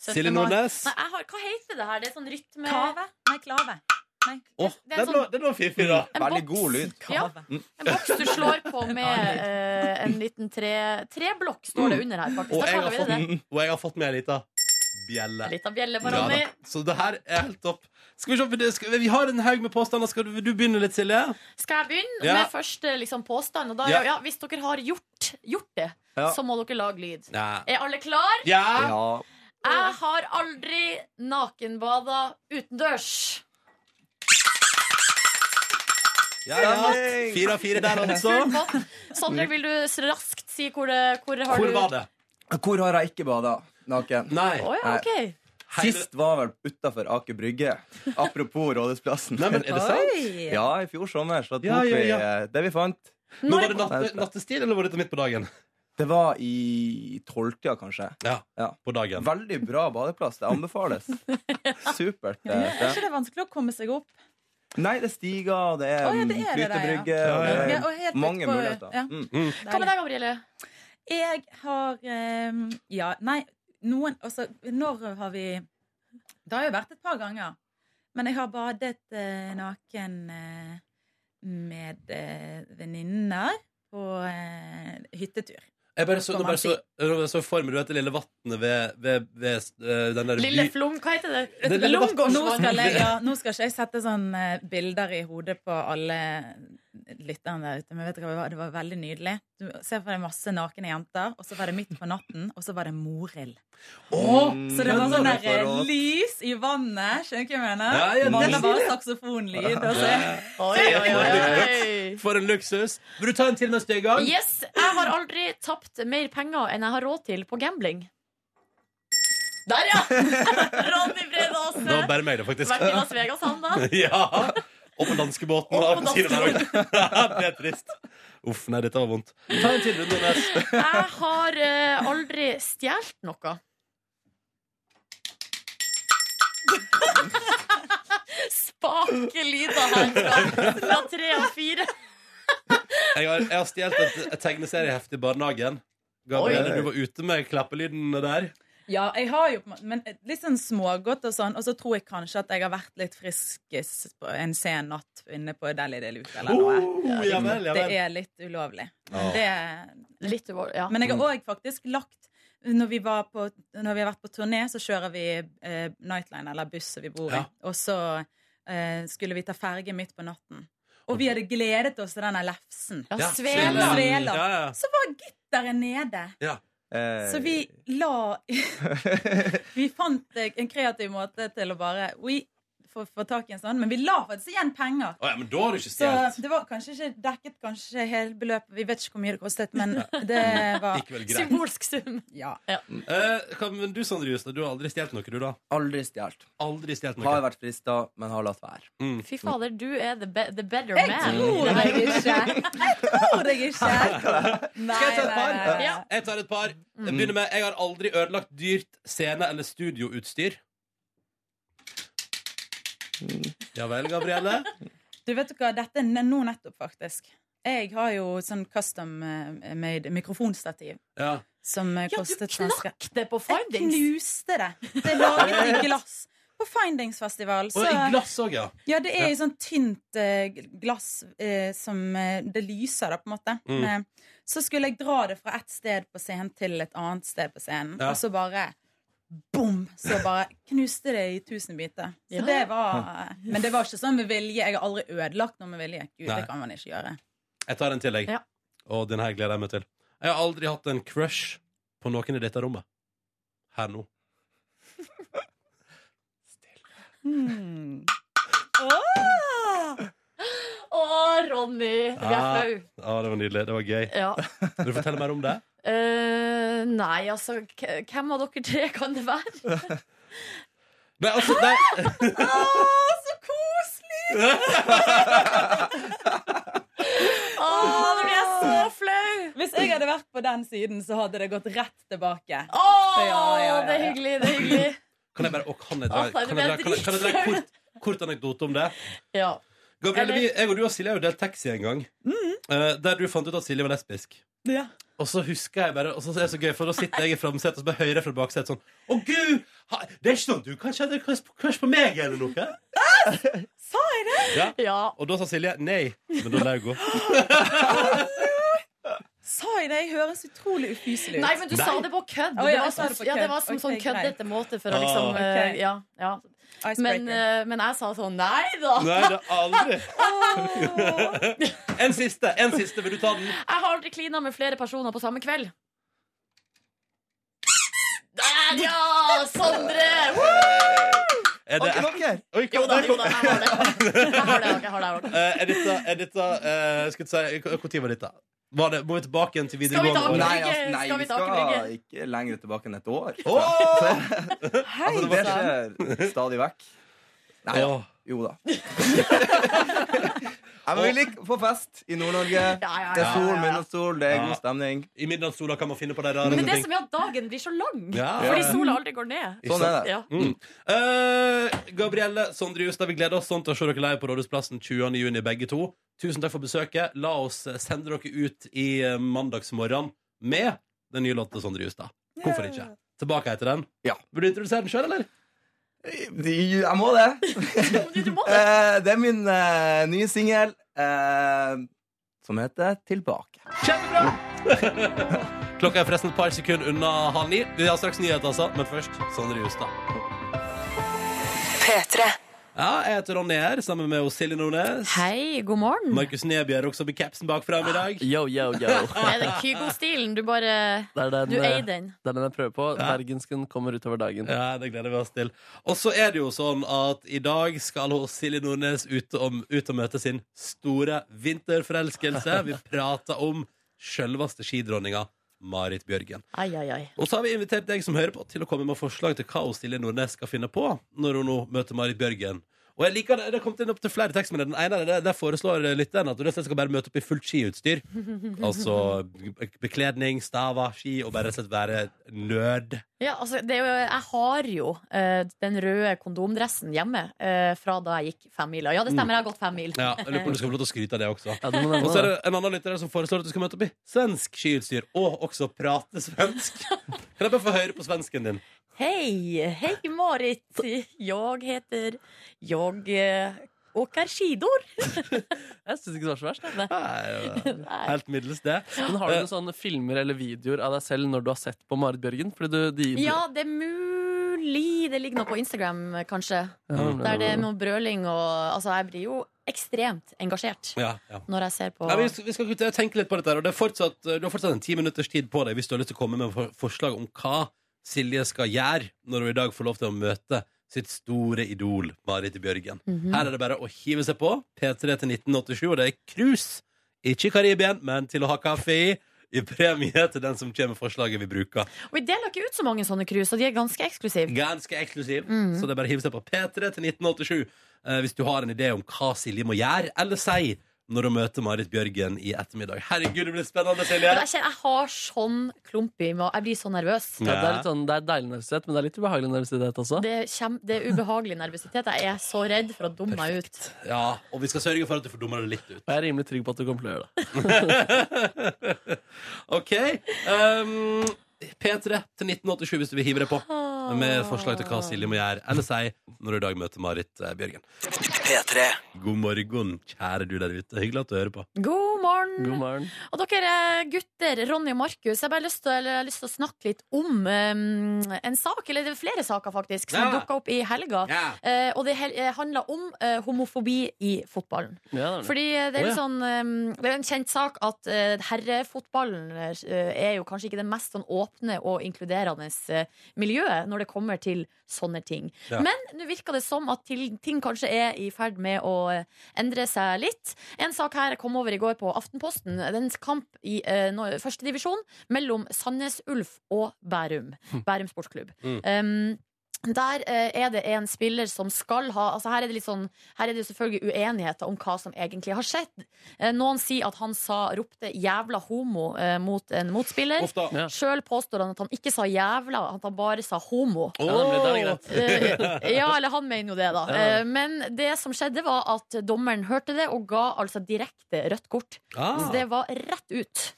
[SPEAKER 1] Silje
[SPEAKER 3] 17. mars.
[SPEAKER 1] Nordnes.
[SPEAKER 3] Nei, jeg har, hva heter det her? Det er sånn rytme...
[SPEAKER 11] Kave? Nei, klave.
[SPEAKER 1] Åh,
[SPEAKER 3] Det er sånn- Mm. en
[SPEAKER 1] den var- den var fiffig, da.
[SPEAKER 3] En Veldig boks. god lyd. Ja. En boks du slår på med eh, en liten tre... Treblokk står det under her,
[SPEAKER 1] Mm. Og
[SPEAKER 3] faktisk. Da
[SPEAKER 1] jeg har
[SPEAKER 3] kaller vi det
[SPEAKER 1] fått,
[SPEAKER 3] det.
[SPEAKER 1] og jeg har fått med ei lita bjelle.
[SPEAKER 3] En liten bjelle på
[SPEAKER 1] Ja
[SPEAKER 3] Ronny.
[SPEAKER 1] da. så det her er helt topp. Skal Vi se, for det- skal, vi har en haug med påstander. Skal du, vil du begynne litt, Silje?
[SPEAKER 3] Skal jeg begynne
[SPEAKER 1] Ja.
[SPEAKER 3] med første liksom, påstand? Og da,
[SPEAKER 1] Ja.
[SPEAKER 3] ja. hvis dere har gjort, gjort det,
[SPEAKER 1] Ja.
[SPEAKER 3] så må dere lage lyd.
[SPEAKER 1] Ja.
[SPEAKER 3] Er alle klar?
[SPEAKER 1] Ja.
[SPEAKER 3] Jeg har aldri nakenbada utendørs.
[SPEAKER 1] ja, altså. ja. Fire av fire der, altså.
[SPEAKER 3] Full pott. Sondre, vil du s- raskt si hvor, det- hvor har du
[SPEAKER 10] Hvor har jeg ikke bada naken?
[SPEAKER 1] Nei.
[SPEAKER 3] Å ja, OK.
[SPEAKER 10] Sist var vel utafor Aker Brygge. Apropos Rådhusplassen.
[SPEAKER 1] Nei, men er det sant? Oi.
[SPEAKER 10] Ja, i fjor sommer så tok
[SPEAKER 1] Ja, ja, ja.
[SPEAKER 10] vi eh, det vi fant.
[SPEAKER 1] Nå var det natte- nattestid, eller var dette midt på dagen?
[SPEAKER 10] Det var i tolvtida, kanskje.
[SPEAKER 1] Ja, på dagen
[SPEAKER 10] Veldig bra badeplass. Det anbefales. Supert.
[SPEAKER 11] Men
[SPEAKER 10] eh,
[SPEAKER 11] er ikke det vanskelig å komme seg opp?
[SPEAKER 10] Nei, det er stiger, og det er
[SPEAKER 11] Å, ja, det er det der, ja.
[SPEAKER 10] flytebrygge og
[SPEAKER 11] Ja,
[SPEAKER 10] det
[SPEAKER 11] ja,
[SPEAKER 10] er
[SPEAKER 11] og helt
[SPEAKER 10] mange
[SPEAKER 11] utpå-
[SPEAKER 10] muligheter.
[SPEAKER 11] ja.
[SPEAKER 10] Mm.
[SPEAKER 3] Hva med deg, Gabrielle?
[SPEAKER 11] Jeg har ehm, Ja, nei, noen Altså, når har vi Det har jo vært et par ganger. Men jeg har badet eh, naken eh, med eh, venninner på eh, hyttetur.
[SPEAKER 1] Jeg bare så,
[SPEAKER 11] Kan
[SPEAKER 1] nå
[SPEAKER 11] man
[SPEAKER 1] bare så, nå bare så for meg du heter Lille Vatnet ved, ved, ved eh, den der
[SPEAKER 3] Lille
[SPEAKER 1] by-
[SPEAKER 3] Flom, hva heter det?
[SPEAKER 1] Det er Lille Vatn.
[SPEAKER 11] Nå skal, jeg, ja, nå skal ikke jeg sette sånn eh, bilder i hodet på alle lytterne der ute, men vet du hva det var? Det var veldig nydelig. Du ser for deg masse nakne jenter, og så var det midt på natten, og så var det Morild. så det var
[SPEAKER 3] men
[SPEAKER 11] sånn
[SPEAKER 3] det
[SPEAKER 11] der
[SPEAKER 3] var
[SPEAKER 11] eh,
[SPEAKER 3] rått.
[SPEAKER 11] lys i vannet, skjønner du hva jeg mener?
[SPEAKER 1] Ja, ja, det
[SPEAKER 11] Mangler
[SPEAKER 1] er
[SPEAKER 11] bare
[SPEAKER 1] stilig.
[SPEAKER 11] saksofonlyd. altså. Og så.
[SPEAKER 3] Oi, oi, oi.
[SPEAKER 1] For en luksus! Vil du ta en til mens du er i gang?
[SPEAKER 3] Yes, jeg har aldri tapt mer penger enn jeg har råd til på gambling. Der, ja! Ronny Brede Aase.
[SPEAKER 1] Det var bare meg, det, faktisk.
[SPEAKER 3] Vært i Las Vegas, han, da.
[SPEAKER 1] ja. Og på danskebåten. Og på det er trist. Uff, nei, dette var vondt. Ta en til runde, Nes.
[SPEAKER 3] Jeg har eh, aldri stjålet noe. Spake lyder her fra, fra tre og fire.
[SPEAKER 1] Jeg har, jeg har stjålet et, et tegneseriehefte i barnehagen.
[SPEAKER 11] Oi.
[SPEAKER 1] Gabrielle, du var ute med klappelyden der.
[SPEAKER 11] Ja, jeg har jo på en måte- Men litt sånn smågodt og sånn, og så tror jeg kanskje at jeg har vært litt friskest på en sen natt inne på Deli de Luca eller noe.
[SPEAKER 1] Oh, ja vel, ja vel.
[SPEAKER 11] Det er litt ulovlig. Men,
[SPEAKER 1] Ja.
[SPEAKER 11] det,
[SPEAKER 3] litt ulovlig, ja.
[SPEAKER 11] men jeg har òg faktisk lagt når vi, var på, når vi har vært på turné, så kjører vi eh, Nightline, eller busset vi bor i.
[SPEAKER 12] Ja.
[SPEAKER 11] Og så eh, skulle vi ta ferge midt på natten. Og vi hadde gledet oss til denne lefsen.
[SPEAKER 3] Ja,
[SPEAKER 10] Ja,
[SPEAKER 11] Svela.
[SPEAKER 10] Svela.
[SPEAKER 11] Svela.
[SPEAKER 10] Ja, ja.
[SPEAKER 11] Så var gitteret nede.
[SPEAKER 10] Eh,
[SPEAKER 11] Så vi la Vi fant eh, en kreativ måte til å bare We få få tak i en sånn, men vi la faktisk igjen penger.
[SPEAKER 1] Å, ja, men da har du ikke
[SPEAKER 11] Så
[SPEAKER 1] stjålet.
[SPEAKER 11] det var kanskje ikke dekket kanskje hele beløpet. Vi vet ikke hvor mye det kostet, men det var
[SPEAKER 1] Gikk vel greit.
[SPEAKER 3] sum.
[SPEAKER 11] Ja.
[SPEAKER 1] Eh, hva- men du, Sondre Justad, du har aldri stjålet noe, du, da?
[SPEAKER 10] Aldri stjålet.
[SPEAKER 1] Aldri stjålet noe. Mm.
[SPEAKER 10] Har vært frista, men har latt være.
[SPEAKER 3] Fy fader, du er the, be the better
[SPEAKER 11] Jeg
[SPEAKER 3] man.
[SPEAKER 11] tror deg ikke. Jeg tror deg ikke. Nei,
[SPEAKER 1] Skal jeg ta et
[SPEAKER 11] nei,
[SPEAKER 1] par?
[SPEAKER 11] nei, nei.
[SPEAKER 1] Jeg tar et par. Jeg begynner med Jeg har aldri ødelagt dyrt scene- eller studioutstyr. Ja vel, Gabrielle?
[SPEAKER 11] Du vet hva, dette er ne- nå nettopp, faktisk. Jeg har jo sånn custom eh, made mikrofonstativ.
[SPEAKER 1] Ja.
[SPEAKER 11] Som eh, kostet
[SPEAKER 3] knakk det på Findings.
[SPEAKER 11] Jeg knuste det. Det er laget i glass. På Findingsfestival.
[SPEAKER 1] Og i glass òg, ja.
[SPEAKER 11] Ja, det er i sånn tynt eh, glass eh, som eh, det lyser, da, på en måte.
[SPEAKER 1] Mm.
[SPEAKER 11] Men, så skulle jeg dra det fra et sted på scenen til et annet sted på scenen,
[SPEAKER 1] Ja.
[SPEAKER 11] og så bare Bom! Så bare knuste det i tusen biter. Så
[SPEAKER 3] Ja.
[SPEAKER 11] det var Men det var ikke sånn med vilje. Jeg har aldri ødelagt noe med vilje. Gud,
[SPEAKER 1] Nei.
[SPEAKER 11] det kan man ikke gjøre.
[SPEAKER 1] Jeg tar en til, jeg. Og den her gleder jeg meg til. Jeg har aldri hatt en crush på noen i dette rommet. Her nå.
[SPEAKER 3] Åh! Åh, Ronny. Vi er flau.
[SPEAKER 1] ah, det var nydelig. Det var gøy.
[SPEAKER 3] Ja.
[SPEAKER 1] Vil du fortelle mer om det?
[SPEAKER 3] Eh, nei, altså, k hvem av dere tre kan det være?
[SPEAKER 1] Nei, altså, nei.
[SPEAKER 11] Åh, så koselig!
[SPEAKER 3] Åh, nå blir jeg så flau!
[SPEAKER 11] Hvis jeg hadde vært på den siden, så hadde det gått rett tilbake.
[SPEAKER 3] Åh,
[SPEAKER 11] Ja, ja, ja, ja.
[SPEAKER 3] det er hyggelig, det er hyggelig.
[SPEAKER 1] Kan jeg bare å, kan jeg dra,
[SPEAKER 3] Å, nei,
[SPEAKER 1] kan jeg dra, kan
[SPEAKER 3] det ble
[SPEAKER 1] jeg, kan jeg dra en kort, kort anekdote om det?
[SPEAKER 3] Ja.
[SPEAKER 1] Gabrielle,
[SPEAKER 3] Eller-
[SPEAKER 1] vi, jeg og du og Silje har jo delt taxi en gang. eh, der du fant ut at Silje var lesbisk. Og så husker jeg bare, og så er det så gøy, for da sitter jeg i framsetet og så bare hører jeg fra baksetet sånn Å, gud! ha- Det er ikke sånn du kanskje hadde crush på- crush på meg eller noe?
[SPEAKER 11] Sa jeg det?
[SPEAKER 1] Ja. Og da sa Silje nei. Men da la jeg gå.
[SPEAKER 11] Sa jeg det? Jeg høres utrolig ufyselig ut.
[SPEAKER 3] Nei, men du sa det på kødd.
[SPEAKER 11] Å, ja,
[SPEAKER 3] det, var
[SPEAKER 11] jeg sa
[SPEAKER 3] som,
[SPEAKER 11] det på
[SPEAKER 3] ja, det
[SPEAKER 11] kødd.
[SPEAKER 3] var som
[SPEAKER 11] Ok,
[SPEAKER 3] sånn
[SPEAKER 11] greit.
[SPEAKER 3] køddete måte for å liksom
[SPEAKER 1] Ah.
[SPEAKER 3] eh,
[SPEAKER 11] Ok.
[SPEAKER 3] ja, ja. Men, eh, men jeg sa sånn Nei da!
[SPEAKER 1] Nei, det er aldri. en siste. En siste. Vil du ta den?
[SPEAKER 3] Jeg har aldri klina med flere personer på samme kveld. Der, ja! Sondre!
[SPEAKER 1] Er det Oi, hva-
[SPEAKER 3] Jo da,
[SPEAKER 1] der
[SPEAKER 3] jo
[SPEAKER 1] kom-
[SPEAKER 3] da, jeg har det. Jeg har det, jeg har det, jeg har det.
[SPEAKER 1] Eh, er dette, er dette eh, Skal vi si Når var dette? Var det, må vi tilbake igjen til
[SPEAKER 10] Skal vi til
[SPEAKER 1] videregående?
[SPEAKER 10] Aker Brygge?
[SPEAKER 1] altså,
[SPEAKER 10] Nei, vi skal ikke lenger tilbake enn et år.
[SPEAKER 1] Åh!
[SPEAKER 10] altså, det skjer stadig vekk. Nei da. Jo da. Nei, men vi liker på fest i Nord-Norge.
[SPEAKER 3] ja,
[SPEAKER 10] Det er sol,
[SPEAKER 3] ja, ja.
[SPEAKER 10] middagssol, det er
[SPEAKER 1] Ja.
[SPEAKER 10] god stemning.
[SPEAKER 1] I midnattssola kan man finne på de
[SPEAKER 3] Men det som er at dagen blir så lang,
[SPEAKER 1] Ja.
[SPEAKER 3] fordi
[SPEAKER 1] Ja.
[SPEAKER 3] sola aldri går ned.
[SPEAKER 1] Ikke
[SPEAKER 2] Sånn
[SPEAKER 1] sant?
[SPEAKER 3] Ja.
[SPEAKER 1] Mm. Eh, Gabrielle, Sondre Justad, vi gleder oss sånn til å se dere live på Rådhusplassen 20. juni, begge to. Tusen takk for besøket. La oss eh, sende dere ut i eh, mandagsmorgen med den nye låten til Sondre Justad. Hvorfor ikke? Tilbake etter den. Vil du introdusere den sjøl, eller?
[SPEAKER 10] Jeg må det. Eh, det er min eh, nye singel eh, som heter Tilbake.
[SPEAKER 1] Klokka er forresten et par sekunder unna halv ni. Vi har straks nyheter, altså. Men først Sondre Justad.
[SPEAKER 4] P3.
[SPEAKER 1] Ja, jeg heter Ronny her, sammen med Silje Nordnes.
[SPEAKER 3] Hei, god morgen.
[SPEAKER 1] Markus Neby er også med capsen bak fram i dag.
[SPEAKER 2] Yo, yo,
[SPEAKER 3] Det er den Kygo-stilen. Du bare
[SPEAKER 2] Det er den,
[SPEAKER 3] Du
[SPEAKER 2] eh,
[SPEAKER 3] eier den.
[SPEAKER 2] Det er den jeg prøver på. Bergensken kommer utover dagen.
[SPEAKER 1] Ja, det gleder vi oss til. Og så er det jo sånn at i dag skal hun, Silje Nordnes ut, om, ut og møte sin store vinterforelskelse. Vi prater om selveste skidronninga Marit Bjørgen.
[SPEAKER 3] Ai, ai, ai.
[SPEAKER 1] Og så har vi invitert deg som hører på til å komme med forslag til hva hun Silje Nordnes skal finne på når hun nå møter Marit Bjørgen. Og jeg liker det, det har kommet inn opp til flere tekster, men den ene er det, der foreslår lytteren at du rett og slett skal bare møte opp i fullt skiutstyr. Altså bekledning, staver, ski, og bare rett og slett være nerd.
[SPEAKER 3] Ja, altså, det er jo, jeg har jo eh, den røde kondomdressen hjemme eh, fra da jeg gikk femmila. Ja, det stemmer, jeg har gått fem mil.
[SPEAKER 1] Ja, jeg lurer på om du skal få lov til å skryte av det også.
[SPEAKER 2] du må nevne
[SPEAKER 1] og så er det
[SPEAKER 2] det.
[SPEAKER 1] en annen lytter her som foreslår at du skal møte opp i svensk skiutstyr, og også prate svensk. Kan jeg bare få høre på svensken din?
[SPEAKER 3] Hei, hei Marit. Jeg heter Jeg eh, åker skidor.
[SPEAKER 2] Jeg syns ikke det var så verst. jeg.
[SPEAKER 3] Nei.
[SPEAKER 1] Helt middels, det. Eh,
[SPEAKER 2] Men har du sånn- noen sånne filmer eller videoer av deg selv når du har sett på Marit Bjørgen? Fordi du, de,
[SPEAKER 3] Ja, det er mulig det ligger noe på Instagram, kanskje.
[SPEAKER 2] Mm.
[SPEAKER 3] Der det er noe brøling og Altså, jeg blir jo ekstremt engasjert
[SPEAKER 1] Ja, ja.
[SPEAKER 3] når jeg ser på
[SPEAKER 1] Nei, vi skal, vi skal ikke tenke litt på dette her, og det er fortsatt, eh, Du har fortsatt en ti minutters tid på deg hvis du har lyst til å komme med for- forslag om hva Silje skal gjøre når hun i dag får lov til å møte sitt store idol Marit Bjørgen.
[SPEAKER 12] Mhm.
[SPEAKER 1] Her er det bare å hive seg på. P3 til 1987, og det er cruise. Ikke i Karibien, men til å ha kaffe i. I premie til den som kommer med forslaget vi bruker.
[SPEAKER 3] Og vi deler ikke ut så mange sånne cruise, og de er ganske eksklusive.
[SPEAKER 1] Ganske eksklusiv.
[SPEAKER 3] Mhm.
[SPEAKER 2] Mm.
[SPEAKER 1] Så det er bare å hive seg på P3 til 1987 eh, hvis du har en idé om hva Silje må gjøre eller si når hun møter Marit Bjørgen i ettermiddag. Herregud, det blir spennende, Silje!
[SPEAKER 3] Men jeg, kjenner, jeg har sånn klump i meg. Jeg blir så nervøs.
[SPEAKER 2] Ja, det, er litt sånn, det er deilig nervøsitet, men det er litt ubehagelig nervøsitet også.
[SPEAKER 3] Det, kjem, det er ubehagelig nervøsitet. Jeg er så redd for å dumme meg ut.
[SPEAKER 1] Ja, og vi skal sørge for at du får dumma det litt ut.
[SPEAKER 2] Og jeg er rimelig trygg på at du kommer til å gjøre det.
[SPEAKER 1] OK. Um, P3 til 1987 hvis du vil hive deg på med forslag til hva Silje må gjøre eller si når du i dag møter Marit eh, Bjørgen. P3 God morgen, kjære du der ute. Hyggelig at du hører på.
[SPEAKER 3] God morgen.
[SPEAKER 1] God morgen.
[SPEAKER 3] Og dere eh, gutter, Ronny og Markus, jeg har bare lyst til, eller, jeg har lyst til å snakke litt om eh, en sak, eller det er flere saker faktisk, som
[SPEAKER 11] Ja.
[SPEAKER 3] dukka opp i helga.
[SPEAKER 11] Ja.
[SPEAKER 3] Eh, og det hel- eh, handla om eh, homofobi i fotballen. Fordi eh, det er, litt sånn, eh, det er jo en kjent sak at eh, herrefotballen eh, er jo kanskje ikke det mest sånn åpne og inkluderende eh, miljøet når det kommer til sånne ting.
[SPEAKER 11] Ja.
[SPEAKER 3] Men nå virker det som at til, ting kanskje er i ferd med å eh, endre seg litt. En sak her jeg kom over i går på Aftenposten. Det er en kamp i eh, nå- første divisjon mellom Sandnes Ulf og Bærum. Bærum sportsklubb. Um, der eh, er det en spiller som skal ha altså Her er det litt sånn Her er det jo selvfølgelig uenigheter om hva som egentlig har skjedd. Eh, noen sier at han sa, ropte 'jævla homo' eh, mot en motspiller.
[SPEAKER 11] Uff da. Ja.
[SPEAKER 3] Sjøl påstår han at han ikke sa 'jævla', at han bare sa 'homo'.
[SPEAKER 11] Ja, nemlig, da er det greit.
[SPEAKER 3] Eh, ja, eller han mener jo det, da.
[SPEAKER 11] Ja.
[SPEAKER 3] Eh, men det som skjedde, var at dommeren hørte det og ga altså direkte rødt kort.
[SPEAKER 11] Ah.
[SPEAKER 3] Så det var rett ut.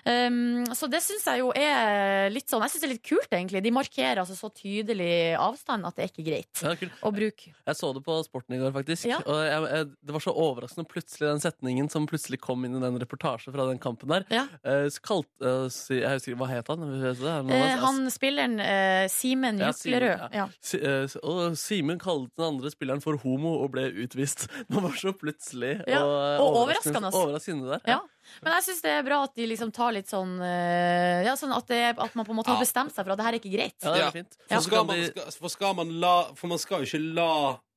[SPEAKER 3] Um, så det syns jeg jo er litt sånn Jeg synes det er litt kult, egentlig. De markerer altså så tydelig avstand at det er ikke greit
[SPEAKER 2] Ja, kult.
[SPEAKER 3] å bruke.
[SPEAKER 2] Jeg så det på Sporten i går, faktisk. Og jeg, jeg, det var så overraskende plutselig den setningen som plutselig kom inn i den reportasjen fra den kampen der. Eh, så kalt, eh, si, jeg husker, hva het han? Vet du det? Er det noe
[SPEAKER 3] Eh,
[SPEAKER 2] annet?
[SPEAKER 3] han spilleren eh, Simen
[SPEAKER 2] Ja,
[SPEAKER 3] Juklerød.
[SPEAKER 2] Simen, ja.
[SPEAKER 3] Ja.
[SPEAKER 2] Si, eh, s- og Simen kalte den andre spilleren for homo og ble utvist. Det var så plutselig
[SPEAKER 3] Ja,
[SPEAKER 11] eh,
[SPEAKER 2] og,
[SPEAKER 3] og overraskende.
[SPEAKER 2] overraskende der.
[SPEAKER 3] Ja. Men jeg syns det er bra at de liksom tar litt sånn eh, Ja, sånn at, det, at man på en måte har
[SPEAKER 1] Ja.
[SPEAKER 3] bestemt seg for at det her er ikke greit.
[SPEAKER 1] For, skal man, skal, for, skal man la, for man skal jo ikke la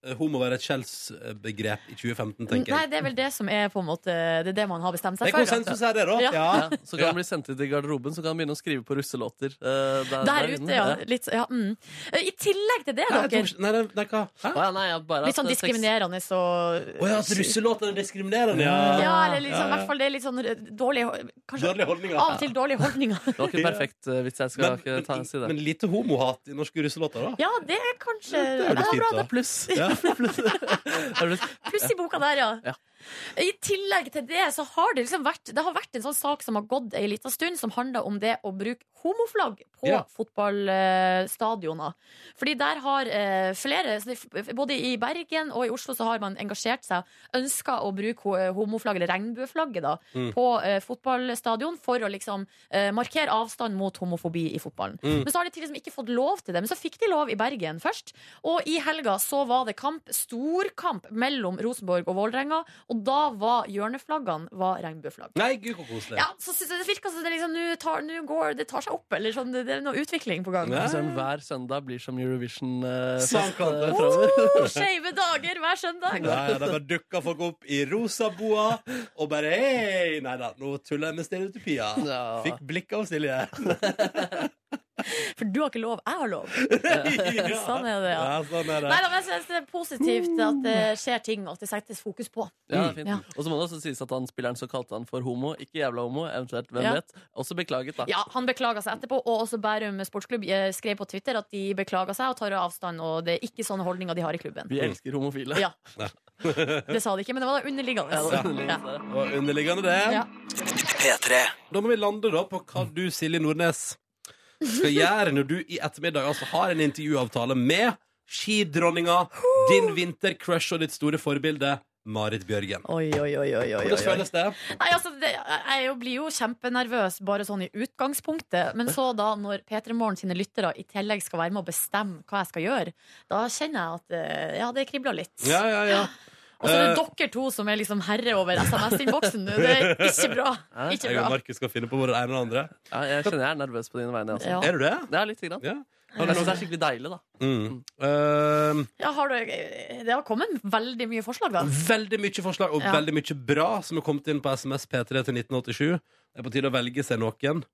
[SPEAKER 1] eh, homo være et skjellsbegrep i 2015, tenker
[SPEAKER 3] Nei,
[SPEAKER 1] jeg.
[SPEAKER 3] det er vel det som er på en måte Det er det man har bestemt seg
[SPEAKER 1] Det er
[SPEAKER 3] for.
[SPEAKER 1] konsensus her, det da.
[SPEAKER 3] Ja.
[SPEAKER 1] Ja.
[SPEAKER 2] Så kan han bli sendt ut i garderoben, så kan han begynne å skrive på russelåter. eh, der,
[SPEAKER 3] Der
[SPEAKER 2] inne.
[SPEAKER 3] ute, ja. Litt, ja mm. Eh, I tillegg til det,
[SPEAKER 2] Nei, jeg
[SPEAKER 3] dere.
[SPEAKER 2] tror ikke-
[SPEAKER 1] Nei, nei, hva?
[SPEAKER 3] Litt sånn diskriminerende og
[SPEAKER 1] Å ja, at russelåten er diskriminerende, ja.
[SPEAKER 3] Ja, eller litt sånn, i
[SPEAKER 1] Ja, ja.
[SPEAKER 3] hvert fall det er litt sånn eh, dårlig kanskje,
[SPEAKER 1] Dårlige holdninger.
[SPEAKER 3] Av og til dårlige holdninger.
[SPEAKER 2] Det var ikke perfekt eh, vits, jeg skal
[SPEAKER 1] Men-
[SPEAKER 2] ikke ta, si det.
[SPEAKER 1] Men lite homohat i norske russelåter, da.
[SPEAKER 3] Ja, det er kanskje
[SPEAKER 1] Det er jo litt
[SPEAKER 3] bra,
[SPEAKER 1] fint, da.
[SPEAKER 3] det er pluss.
[SPEAKER 1] Ja.
[SPEAKER 3] Pluss i boka der, ja.
[SPEAKER 2] Ja.
[SPEAKER 3] I tillegg til det så har det liksom vært Det har vært en sånn sak som har gått ei lita stund, som handler om det å bruke homoflagg på
[SPEAKER 12] Ja.
[SPEAKER 3] fotballstadioner. Fordi der har eh, flere, så det- både i Bergen og i Oslo, så har man engasjert seg, ønska å bruke ho- eh, homoflagg, eller regnbueflagget, da,
[SPEAKER 12] Mm.
[SPEAKER 3] på eh, fotballstadion for å liksom eh, markere avstand mot homofobi i fotballen. Men
[SPEAKER 12] Mm.
[SPEAKER 3] så har de liksom ikke fått lov til det. Men så fikk de lov i Bergen først. Og i helga så var det kamp, storkamp, mellom Rosenborg og Vålerenga. Og da var hjørneflaggene var regnbueflagg.
[SPEAKER 1] Nei, gud, så koselig.
[SPEAKER 3] Ja, så synes jeg det virker som det liksom nå tar, nå går- det tar seg opp, eller sånn. Det, det er noe utvikling på gang.
[SPEAKER 2] Men sånn, hver søndag blir som Eurovision-fest
[SPEAKER 1] Sant, sant.
[SPEAKER 3] Oh, Skeive dager hver søndag.
[SPEAKER 1] Nei, da bare dukka folk opp i rosa boa og bare hei! Nei da, nå tuller jeg med stereotypia.
[SPEAKER 2] Ja.
[SPEAKER 1] Fikk blikk av Silje.
[SPEAKER 3] For du har ikke lov, jeg har lov. Sånn er det, ja.
[SPEAKER 1] Ja, sånn er det.
[SPEAKER 3] Nei da, men jeg synes det er positivt at det skjer ting, og at det settes fokus på.
[SPEAKER 2] Ja, det er fint.
[SPEAKER 3] Ja.
[SPEAKER 2] Og så må det også sies at han spilleren som kalte han for homo, ikke jævla homo, eventuelt, hvem
[SPEAKER 3] Ja.
[SPEAKER 2] vet, også beklaget, da.
[SPEAKER 3] Ja, Han beklaga seg etterpå, og også Bærum sportsklubb eh, skrev på Twitter at de beklaga seg og tar avstand, og det er ikke sånne holdninger de har i klubben.
[SPEAKER 2] Vi elsker homofile.
[SPEAKER 3] Ja. Det sa de ikke, men det var underliggende.
[SPEAKER 1] Ja, det var underliggende. Og underliggende det.
[SPEAKER 3] Ja.
[SPEAKER 1] Da må vi lande da på hva du, Silje Nordnes, skal gjøre når du i ettermiddag altså har en intervjuavtale med skidronninga, din vintercrush og ditt store forbilde Marit Bjørgen.
[SPEAKER 3] Oi, oi, oi, oi, oi,
[SPEAKER 1] Hvordan føles det?
[SPEAKER 3] Nei, altså, det, jeg jo blir jo kjempenervøs bare sånn i utgangspunktet, men så da når P3 Morgen sine lyttere i tillegg skal være med og bestemme hva jeg skal gjøre, da kjenner jeg at eh, ja, det kribler litt.
[SPEAKER 1] Ja, ja, ja.
[SPEAKER 3] Og så er
[SPEAKER 1] Eh,
[SPEAKER 3] det dere to som er liksom herre over SMS-innboksen nå. Det er ikke bra. Ikke
[SPEAKER 1] Jeg og
[SPEAKER 3] bra.
[SPEAKER 1] Markus skal finne på både det ene og det andre.
[SPEAKER 2] jeg kjenner jeg er nervøs på dine vegne. Altså.
[SPEAKER 3] Ja.
[SPEAKER 1] Er du det?
[SPEAKER 2] Ja, lite grann.
[SPEAKER 1] Har du
[SPEAKER 2] Jeg synes det
[SPEAKER 1] noe-
[SPEAKER 2] er skikkelig deilig, da.
[SPEAKER 1] Mm. Ehm,
[SPEAKER 3] Ja, har du, det har kommet veldig mye forslag, da.
[SPEAKER 1] veldig mye forslag, og
[SPEAKER 3] Ja.
[SPEAKER 1] veldig mye bra, som er kommet inn på SMS P3 til 1987. Det er på tide å velge seg noen.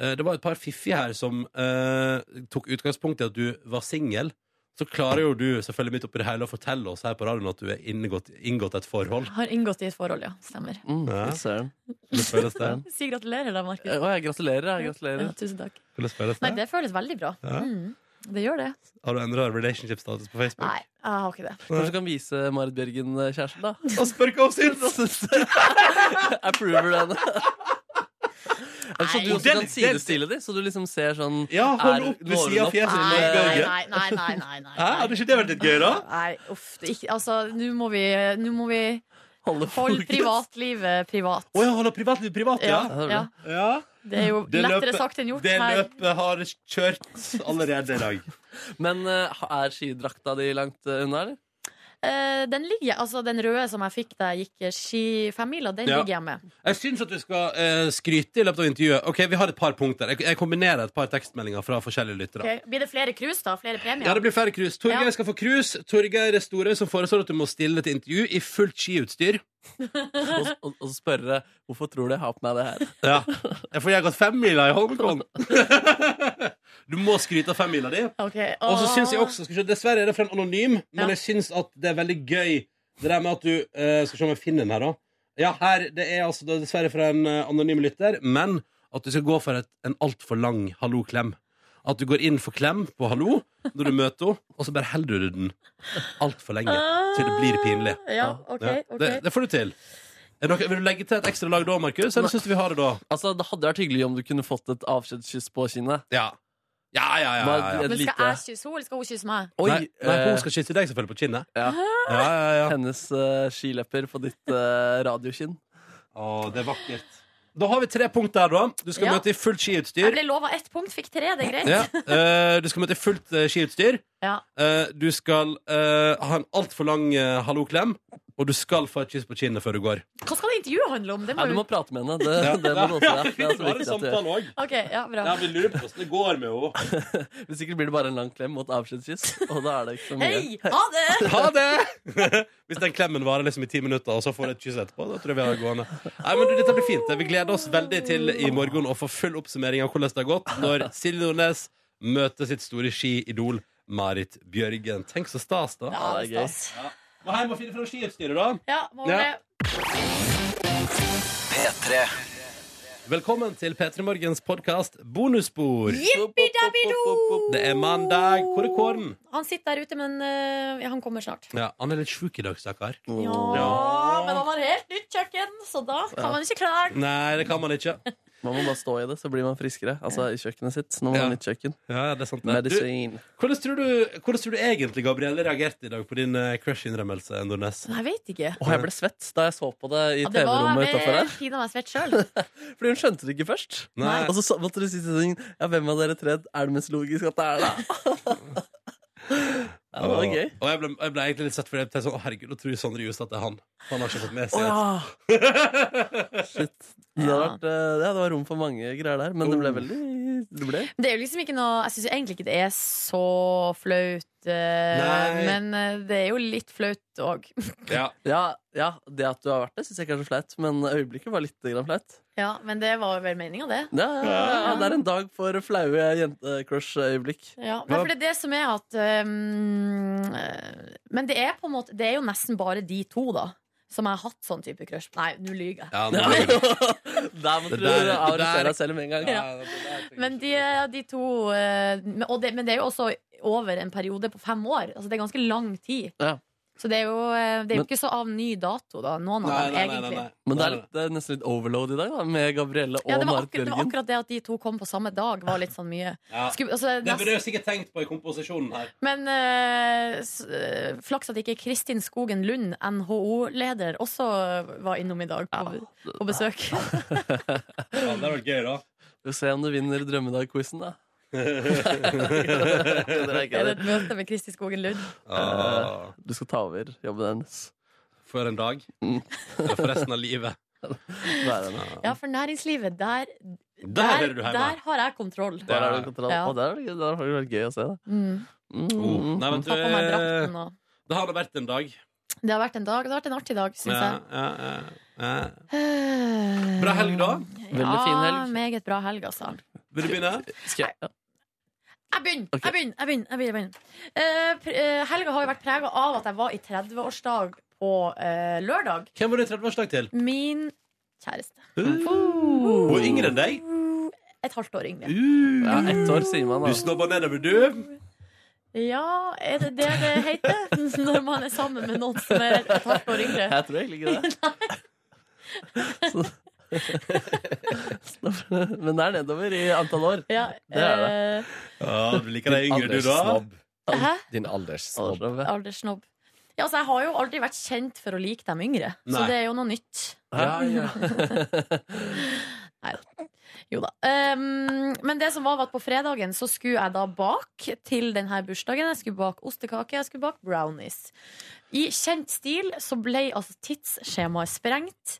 [SPEAKER 1] Eh, Det var et par fiffige her som eh, tok utgangspunkt i at du var singel. Så klarer jo du selvfølgelig midt oppi det hele å fortelle oss her på radioen at du er inngått, inngått et forhold.
[SPEAKER 3] Har inngått i et forhold, ja. Stemmer.
[SPEAKER 1] Ja.
[SPEAKER 2] Søren.
[SPEAKER 1] Hvordan føles det?
[SPEAKER 3] Si gratulerer, da, Markus.
[SPEAKER 2] Eh, Å, jeg gratulerer. Jeg gratulerer.
[SPEAKER 3] Ja, tusen takk.
[SPEAKER 1] Hvordan føles
[SPEAKER 3] Nei,
[SPEAKER 1] det?
[SPEAKER 3] det føles veldig bra.
[SPEAKER 1] Ja.
[SPEAKER 3] Mm, det gjør det.
[SPEAKER 1] Har du endra relationship-status på Facebook?
[SPEAKER 3] Nei, jeg har ikke det.
[SPEAKER 2] Kanskje du kan vise Marit Bjørgen eh, kjæresten, da?
[SPEAKER 1] Og spør hva hun syns!
[SPEAKER 2] Approver du henne? Eller så
[SPEAKER 3] Nei.
[SPEAKER 2] du også
[SPEAKER 3] Den-
[SPEAKER 2] kan sidestille dem, så du liksom ser sånn
[SPEAKER 1] Ja, hold
[SPEAKER 2] er-
[SPEAKER 1] opp ved
[SPEAKER 2] når hun
[SPEAKER 1] siden av
[SPEAKER 2] opp?
[SPEAKER 1] fjeset
[SPEAKER 3] Nei, nei, nei. nei, nei, nei, nei.
[SPEAKER 1] Hæ? Hadde ikke det vært litt gøy, da?
[SPEAKER 3] Nei, uff. Det er ikke, altså, nå må vi, nå må vi
[SPEAKER 2] Holde
[SPEAKER 3] holde
[SPEAKER 1] fokus.
[SPEAKER 3] privatlivet privat.
[SPEAKER 1] Å ja, holde privatliv privat, ja.
[SPEAKER 3] Ja, ja.
[SPEAKER 1] Ja.
[SPEAKER 3] Det er jo lettere sagt enn gjort
[SPEAKER 1] Det
[SPEAKER 3] her.
[SPEAKER 1] løpet har kjørt allerede i dag.
[SPEAKER 2] Men eh, er skidrakta di langt eh, unna, eller?
[SPEAKER 3] Eh, den ligger, altså den røde som jeg fikk da jeg gikk eh, ski femmila, den
[SPEAKER 1] Ja.
[SPEAKER 3] ligger jeg med.
[SPEAKER 1] Jeg syns at du skal eh, skryte i løpet av intervjuet. Ok, Vi har et par punkter. Jeg, jeg kombinerer et par tekstmeldinger fra forskjellige lyttere.
[SPEAKER 3] Ok, Blir det flere krus, da? Flere premier?
[SPEAKER 1] Ja, det blir flere krus. Torgeir
[SPEAKER 3] Ja.
[SPEAKER 1] skal få krus. Torgeir Storøy som foreslår at du må stille til intervju i fullt skiutstyr.
[SPEAKER 2] Og, og, og spørre hvorfor tror du jeg har på meg det her?
[SPEAKER 1] Ja, For jeg har gått femmila i Hongkong. Du må skryte av femmila di.
[SPEAKER 3] Ok,
[SPEAKER 1] Og så
[SPEAKER 3] åh.
[SPEAKER 1] syns jeg også skal vi se, Dessverre er det fra en anonym, men
[SPEAKER 3] Ja.
[SPEAKER 1] jeg syns at det er veldig gøy det der med at du eh, Skal se om jeg finner den her, da. Ja, her, Det er altså det er dessverre fra en eh, anonym lytter, men at du skal gå for et, en altfor lang hallo-klem. At du går inn for klem på hallo når du møter henne, og så bare holder du den altfor lenge til det blir pinlig.
[SPEAKER 2] Ja, ok,
[SPEAKER 3] Ah,
[SPEAKER 2] ok.
[SPEAKER 1] Det, det får du til. Er det noe, vil du legge til et ekstra lag da, Markus? Eller syns du vi har det da?
[SPEAKER 2] Altså, Det hadde vært hyggelig om du kunne fått et avskjedskyss på kinnet.
[SPEAKER 1] Ja. Ja, ja, ja.
[SPEAKER 2] Bare et
[SPEAKER 3] Men skal
[SPEAKER 2] lite-
[SPEAKER 3] jeg kysse henne, eller skal hun kysse meg?
[SPEAKER 2] Oi,
[SPEAKER 1] nei, nei,
[SPEAKER 2] eh,
[SPEAKER 1] hun skal kysse deg selvfølgelig på kinnet.
[SPEAKER 2] Ja.
[SPEAKER 1] Ja, ja, ja.
[SPEAKER 2] Hennes eh, skilepper på ditt eh, radiokinn.
[SPEAKER 1] Å, det er vakkert. Da har vi tre punkt der, da. Du skal
[SPEAKER 3] Ja.
[SPEAKER 1] møte i fullt
[SPEAKER 3] Jeg
[SPEAKER 1] skiutstyr.
[SPEAKER 3] ble lova ett punkt, fikk tre. Det er greit.
[SPEAKER 1] Ja. eh, du skal møte i fullt eh, skiutstyr.
[SPEAKER 3] Ja.
[SPEAKER 1] Eh, du skal eh, ha en altfor lang eh, hallo-klem. Og du skal få et kyss på kinnet før du går.
[SPEAKER 3] Hva skal det intervjuet handle om? Det
[SPEAKER 2] Nei, du må prate med henne. Det, det må du også gjøre. Det er
[SPEAKER 1] Ja,
[SPEAKER 2] så
[SPEAKER 1] det
[SPEAKER 2] viktig
[SPEAKER 1] er
[SPEAKER 2] at du
[SPEAKER 1] samtalen
[SPEAKER 2] gjør.
[SPEAKER 1] også.
[SPEAKER 3] Ok, ja, bra.
[SPEAKER 1] Ja, vi lurer på hvordan det går med henne.
[SPEAKER 2] Men sikkert blir det bare en lang klem og et avskjedskyss, og da er det ikke så mye.
[SPEAKER 3] Hei, ha det!
[SPEAKER 1] Ha det! Hvis den klemmen varer liksom i ti minutter, og så får du et kyss etterpå, da tror jeg vi har det gående. Nei, men du, Dette blir fint. Vi gleder oss veldig til i morgen å få full oppsummering av hvordan det har gått når Silje Nordnes møter sitt store skiidol Marit Bjørgen. Tenk så stas, da.
[SPEAKER 3] Ja, det er stas.
[SPEAKER 1] Ja. Må hjem og finne fram skiutstyret, da.
[SPEAKER 3] Ja, må
[SPEAKER 1] Ja.
[SPEAKER 3] det.
[SPEAKER 1] P3. Velkommen til P3 Morgens podkast Bonusspor.
[SPEAKER 3] Jippidabido!
[SPEAKER 1] Det er mandag. Hvor er kåren?
[SPEAKER 3] Han sitter der ute, men øh, ja, han kommer snart.
[SPEAKER 1] Ja, han er litt sjuk i dag, stakkar.
[SPEAKER 3] Ja, men han har helt nytt kjøkken, så da kan
[SPEAKER 2] Ja.
[SPEAKER 3] man ikke klare
[SPEAKER 1] Nei, det kan man ikke.
[SPEAKER 2] Man må bare stå i det, så blir man friskere. Altså i kjøkkenet sitt. Når man har nytt kjøkken. Medisin.
[SPEAKER 1] Hvordan tror, du, hvordan tror du egentlig Gabrielle reagerte i dag på din eh, crush-innrømmelse, Nordnes?
[SPEAKER 3] Nei, jeg vet ikke.
[SPEAKER 2] Og jeg ble svett da jeg så på det i
[SPEAKER 3] Ja, det var
[SPEAKER 2] TV-rommet utafor
[SPEAKER 3] eh,
[SPEAKER 2] her.
[SPEAKER 3] pinadø meg svett sjøl.
[SPEAKER 2] Fordi hun skjønte det ikke først.
[SPEAKER 1] Nei.
[SPEAKER 2] Og så sa- måtte du si til henne Ja, hvem av dere tre er det mest logisk at det er, da? ja, det var
[SPEAKER 1] og,
[SPEAKER 2] gøy.
[SPEAKER 1] og jeg ble, jeg ble egentlig litt svett, for jeg tenkte sånn, å herregud, nå tror Sondre Justad at det er han. Han har ikke fått med
[SPEAKER 2] Å
[SPEAKER 1] seg et-
[SPEAKER 2] ja! Shit. Det, har vært, eh, ja, det var rom for mange greier der, men det ble veldig det ble.
[SPEAKER 3] Det er jo liksom ikke noe Jeg syns egentlig ikke det er så flaut, øh,
[SPEAKER 2] Nei.
[SPEAKER 3] men øh, det er jo litt flaut òg.
[SPEAKER 1] Ja.
[SPEAKER 2] ja, Det at du har vært det, syns jeg ikke er så flaut, men øyeblikket var litt grann flaut.
[SPEAKER 3] Ja, men det var vel meninga, det.
[SPEAKER 2] Ja, ja, ja, ja, det er en eh, dag for flaue jente-crush-øyeblikk.
[SPEAKER 3] Ja, nei, for det er det som er at øhm, øh, Men det er på en måte Det er jo nesten bare de to, da, som jeg har hatt sånn type crush. Nei, nå lyver jeg.
[SPEAKER 1] Ja,
[SPEAKER 2] nå blir det- Der måtte
[SPEAKER 1] Det
[SPEAKER 2] du
[SPEAKER 1] der- det
[SPEAKER 2] arrestere
[SPEAKER 1] der-
[SPEAKER 2] deg selv med en gang.
[SPEAKER 3] Ja. Men de, de to eh, men- og det, Men det er jo også over en periode på fem år. Altså Det er ganske lang tid.
[SPEAKER 2] Ja.
[SPEAKER 3] Så det er jo, eh, det er
[SPEAKER 2] Men-
[SPEAKER 3] jo ikke så av ny dato, da, noen av
[SPEAKER 2] Nei, nei,
[SPEAKER 3] dem,
[SPEAKER 2] nei,
[SPEAKER 3] egentlig.
[SPEAKER 2] nei, nei. Men det er, litt, det er nesten litt overload i dag, da, med Gabrielle og
[SPEAKER 3] Ja, det, var
[SPEAKER 2] Marit
[SPEAKER 3] akkurat, det var
[SPEAKER 2] Bjørgen.
[SPEAKER 3] akkurat det at de to kom på samme dag, var litt sånn mye.
[SPEAKER 1] Ja.
[SPEAKER 3] Skulle- altså,
[SPEAKER 1] Det burde
[SPEAKER 3] nest-
[SPEAKER 1] jeg sikkert tenkt på i komposisjonen her.
[SPEAKER 3] men eh, s- eh, flaks at ikke Kristin Skogen Lund, NHO-leder, også var innom i dag på, på besøk.
[SPEAKER 1] Ja, det var gøy, da.
[SPEAKER 2] Vi får se om du vinner Drømmedag-quizen, da.
[SPEAKER 3] Er det et møte med Kristin Skogen Lund?
[SPEAKER 2] Eh, Du skal ta over jobben hennes.
[SPEAKER 1] For en dag.
[SPEAKER 2] Mm.
[SPEAKER 1] Eller for resten av livet.
[SPEAKER 2] Der er det.
[SPEAKER 3] Ja, for næringslivet, der Der,
[SPEAKER 2] er du hjemme.
[SPEAKER 3] der har jeg kontroll.
[SPEAKER 2] Der er det kontroll.
[SPEAKER 3] Ja.
[SPEAKER 2] Og der er det, der har det vært gøy å se, da.
[SPEAKER 3] Mm.
[SPEAKER 1] Oh, nei, men
[SPEAKER 3] Ta på meg drakten
[SPEAKER 1] du,
[SPEAKER 3] og
[SPEAKER 1] det har da vært en dag.
[SPEAKER 3] Det har vært en dag, det har vært en artig dag, syns jeg.
[SPEAKER 1] Ja, ja, ja, ja.
[SPEAKER 3] Eh,
[SPEAKER 1] Bra helg, da.
[SPEAKER 2] Veldig fin helg.
[SPEAKER 3] Ja, meget bra helg, altså.
[SPEAKER 1] Vil du begynne?
[SPEAKER 2] Skal jeg?
[SPEAKER 3] Jeg begynner! jeg begynner, jeg begynner, jeg begynner, jeg begynner. Eh, pr- eh, helga har jo vært prega av at jeg var i 30-årsdag på eh, lørdag.
[SPEAKER 1] Hvem var det 30-årsdag til?
[SPEAKER 3] Min kjæreste.
[SPEAKER 1] Hun er yngre enn deg.
[SPEAKER 3] Et halvt år yngre.
[SPEAKER 2] Ja, ett år, sier man da.
[SPEAKER 1] Du snobber nedover, du.
[SPEAKER 3] Ja, er det det det heter? Når man er sammen med noen som er et halvt år yngre?
[SPEAKER 2] Jeg tror egentlig ikke det. Men det er nedover i antall år.
[SPEAKER 3] Ja,
[SPEAKER 2] det er det.
[SPEAKER 1] Ja, du liker deg yngre, du, da.
[SPEAKER 3] eh, Hæ?
[SPEAKER 12] Din alderssnobb.
[SPEAKER 3] Alderssnobb. Ja, altså, jeg har jo aldri vært kjent for å like dem yngre, så
[SPEAKER 12] Nei.
[SPEAKER 3] det er jo noe nytt.
[SPEAKER 12] Ja, ja.
[SPEAKER 3] Nei da. Jo da. Um, men det som var, var at på fredagen så skulle jeg da bake til denne bursdagen. Jeg skulle bake ostekake, jeg skulle bake brownies. I kjent stil så ble altså tidsskjemaet sprengt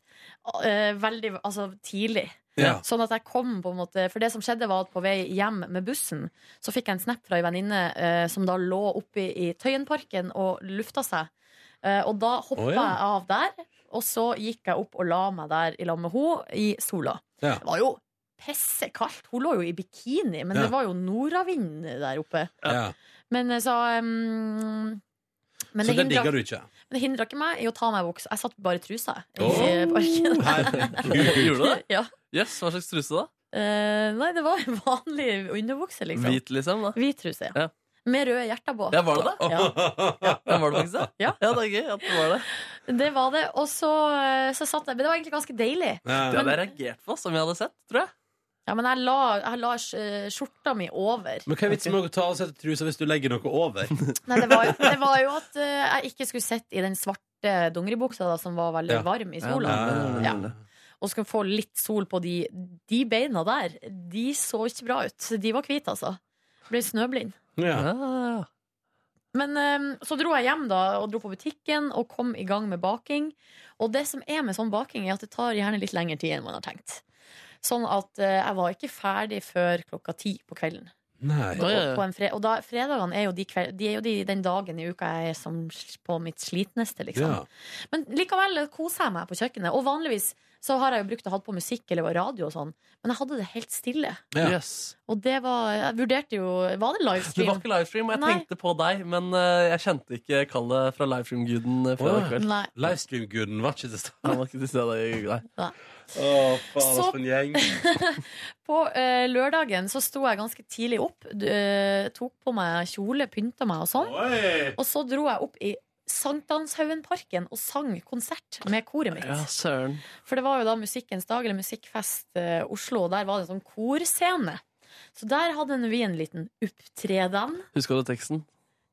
[SPEAKER 3] eh, veldig altså, tidlig.
[SPEAKER 13] Ja.
[SPEAKER 3] Sånn at jeg kom på en måte For det som skjedde var at på vei hjem med bussen Så fikk jeg en snap fra en venninne eh, Som da lå oppe i Tøyenparken Og lufta seg Eh, Og da hoppet
[SPEAKER 13] Å, ja.
[SPEAKER 3] jeg av der Og så gikk jeg opp og la meg der I lag med henne i sola
[SPEAKER 1] Ja.
[SPEAKER 3] Det var jo pessekaldt Hun lå jo i bikini Men
[SPEAKER 1] Ja.
[SPEAKER 3] det var jo nordavind der oppe
[SPEAKER 1] Ja.
[SPEAKER 3] Men eh, så um, men
[SPEAKER 1] Så
[SPEAKER 3] det
[SPEAKER 1] det
[SPEAKER 3] hindra-
[SPEAKER 1] digger du ikke?
[SPEAKER 3] Men det hindra ikke meg i å ta meg buksa. Jeg satt bare i trusa. jeg,
[SPEAKER 2] Åh,
[SPEAKER 3] I parken.
[SPEAKER 2] Gjorde du det?
[SPEAKER 3] Ja.
[SPEAKER 2] Yes, hva slags truse, da?
[SPEAKER 3] Eh, nei, det var en vanlig underbukse, liksom.
[SPEAKER 2] Hvit, liksom? da?
[SPEAKER 3] Hvit truse,
[SPEAKER 2] ja.
[SPEAKER 3] Med røde hjerter på.
[SPEAKER 2] Ja, var det det?
[SPEAKER 3] Ja.
[SPEAKER 2] Ja, var det faktisk det? Ja. det er gøy at det var det.
[SPEAKER 3] Det var det. Og så, eh, så satt jeg Men det var egentlig ganske deilig.
[SPEAKER 2] Det hadde jeg
[SPEAKER 3] Men,
[SPEAKER 2] reagert på, som jeg hadde sett, tror jeg.
[SPEAKER 3] ja, men jeg la, jeg la eh, skjorta mi over.
[SPEAKER 1] Men hva er vitsen med å ta av seg trusa hvis du legger noe over?
[SPEAKER 3] Nei, det var, det var jo at eh, jeg ikke skulle sitte i den svarte dongeribuksa da, som var veldig
[SPEAKER 1] Ja.
[SPEAKER 3] varm i
[SPEAKER 1] Ja,
[SPEAKER 3] sola.
[SPEAKER 1] det-
[SPEAKER 3] Ja. Og skulle få litt sol på de, de beina der. De så ikke bra ut. De var hvite, altså. Ble snøblind.
[SPEAKER 1] Ja.
[SPEAKER 3] Men eh, så dro jeg hjem da og dro på butikken og kom i gang med baking. Og det som er med sånn baking, er at det tar gjerne litt lengre tid enn man har tenkt. Sånn at eh, jeg var ikke ferdig før klokka ti på kvelden.
[SPEAKER 1] Nei.
[SPEAKER 3] Og, på en fre og da, fredagene er jo, de kveld, de er jo de, den dagen i uka jeg er som sl- på mitt slitneste, liksom.
[SPEAKER 1] Ja.
[SPEAKER 3] Men likevel eh, koser jeg meg på kjøkkenet. Og vanligvis så har jeg jo brukt å ha på musikk eller radio og sånn, men jeg hadde det helt stille.
[SPEAKER 1] Ja.
[SPEAKER 3] Og det var Jeg vurderte jo Var det
[SPEAKER 2] Det var
[SPEAKER 3] livestream?
[SPEAKER 2] ikke livestream, og jeg
[SPEAKER 3] Nei.
[SPEAKER 2] tenkte på deg, men eh, jeg kjente ikke kallet fra livestream-guden eh, fredag kveld.
[SPEAKER 3] Nei.
[SPEAKER 1] Livestream-guden var ikke til stede.
[SPEAKER 2] Han var ikke til stede. i- Nei.
[SPEAKER 3] Nei.
[SPEAKER 1] Å, faen,
[SPEAKER 3] Så-
[SPEAKER 1] for en gjeng.
[SPEAKER 3] På eh, lørdagen så sto jeg ganske tidlig opp, d- eh, tok på meg kjole, pynta meg og sånn.
[SPEAKER 1] Oi!
[SPEAKER 3] Og så dro jeg opp i Sankthanshaugenparken og sang konsert med koret mitt.
[SPEAKER 2] Ja, søren.
[SPEAKER 3] For det var jo da Musikkens dag, eller Musikkfest eh, Oslo, og der var det en sånn korscene. Så der hadde vi en liten opptreden.
[SPEAKER 2] Huska du teksten?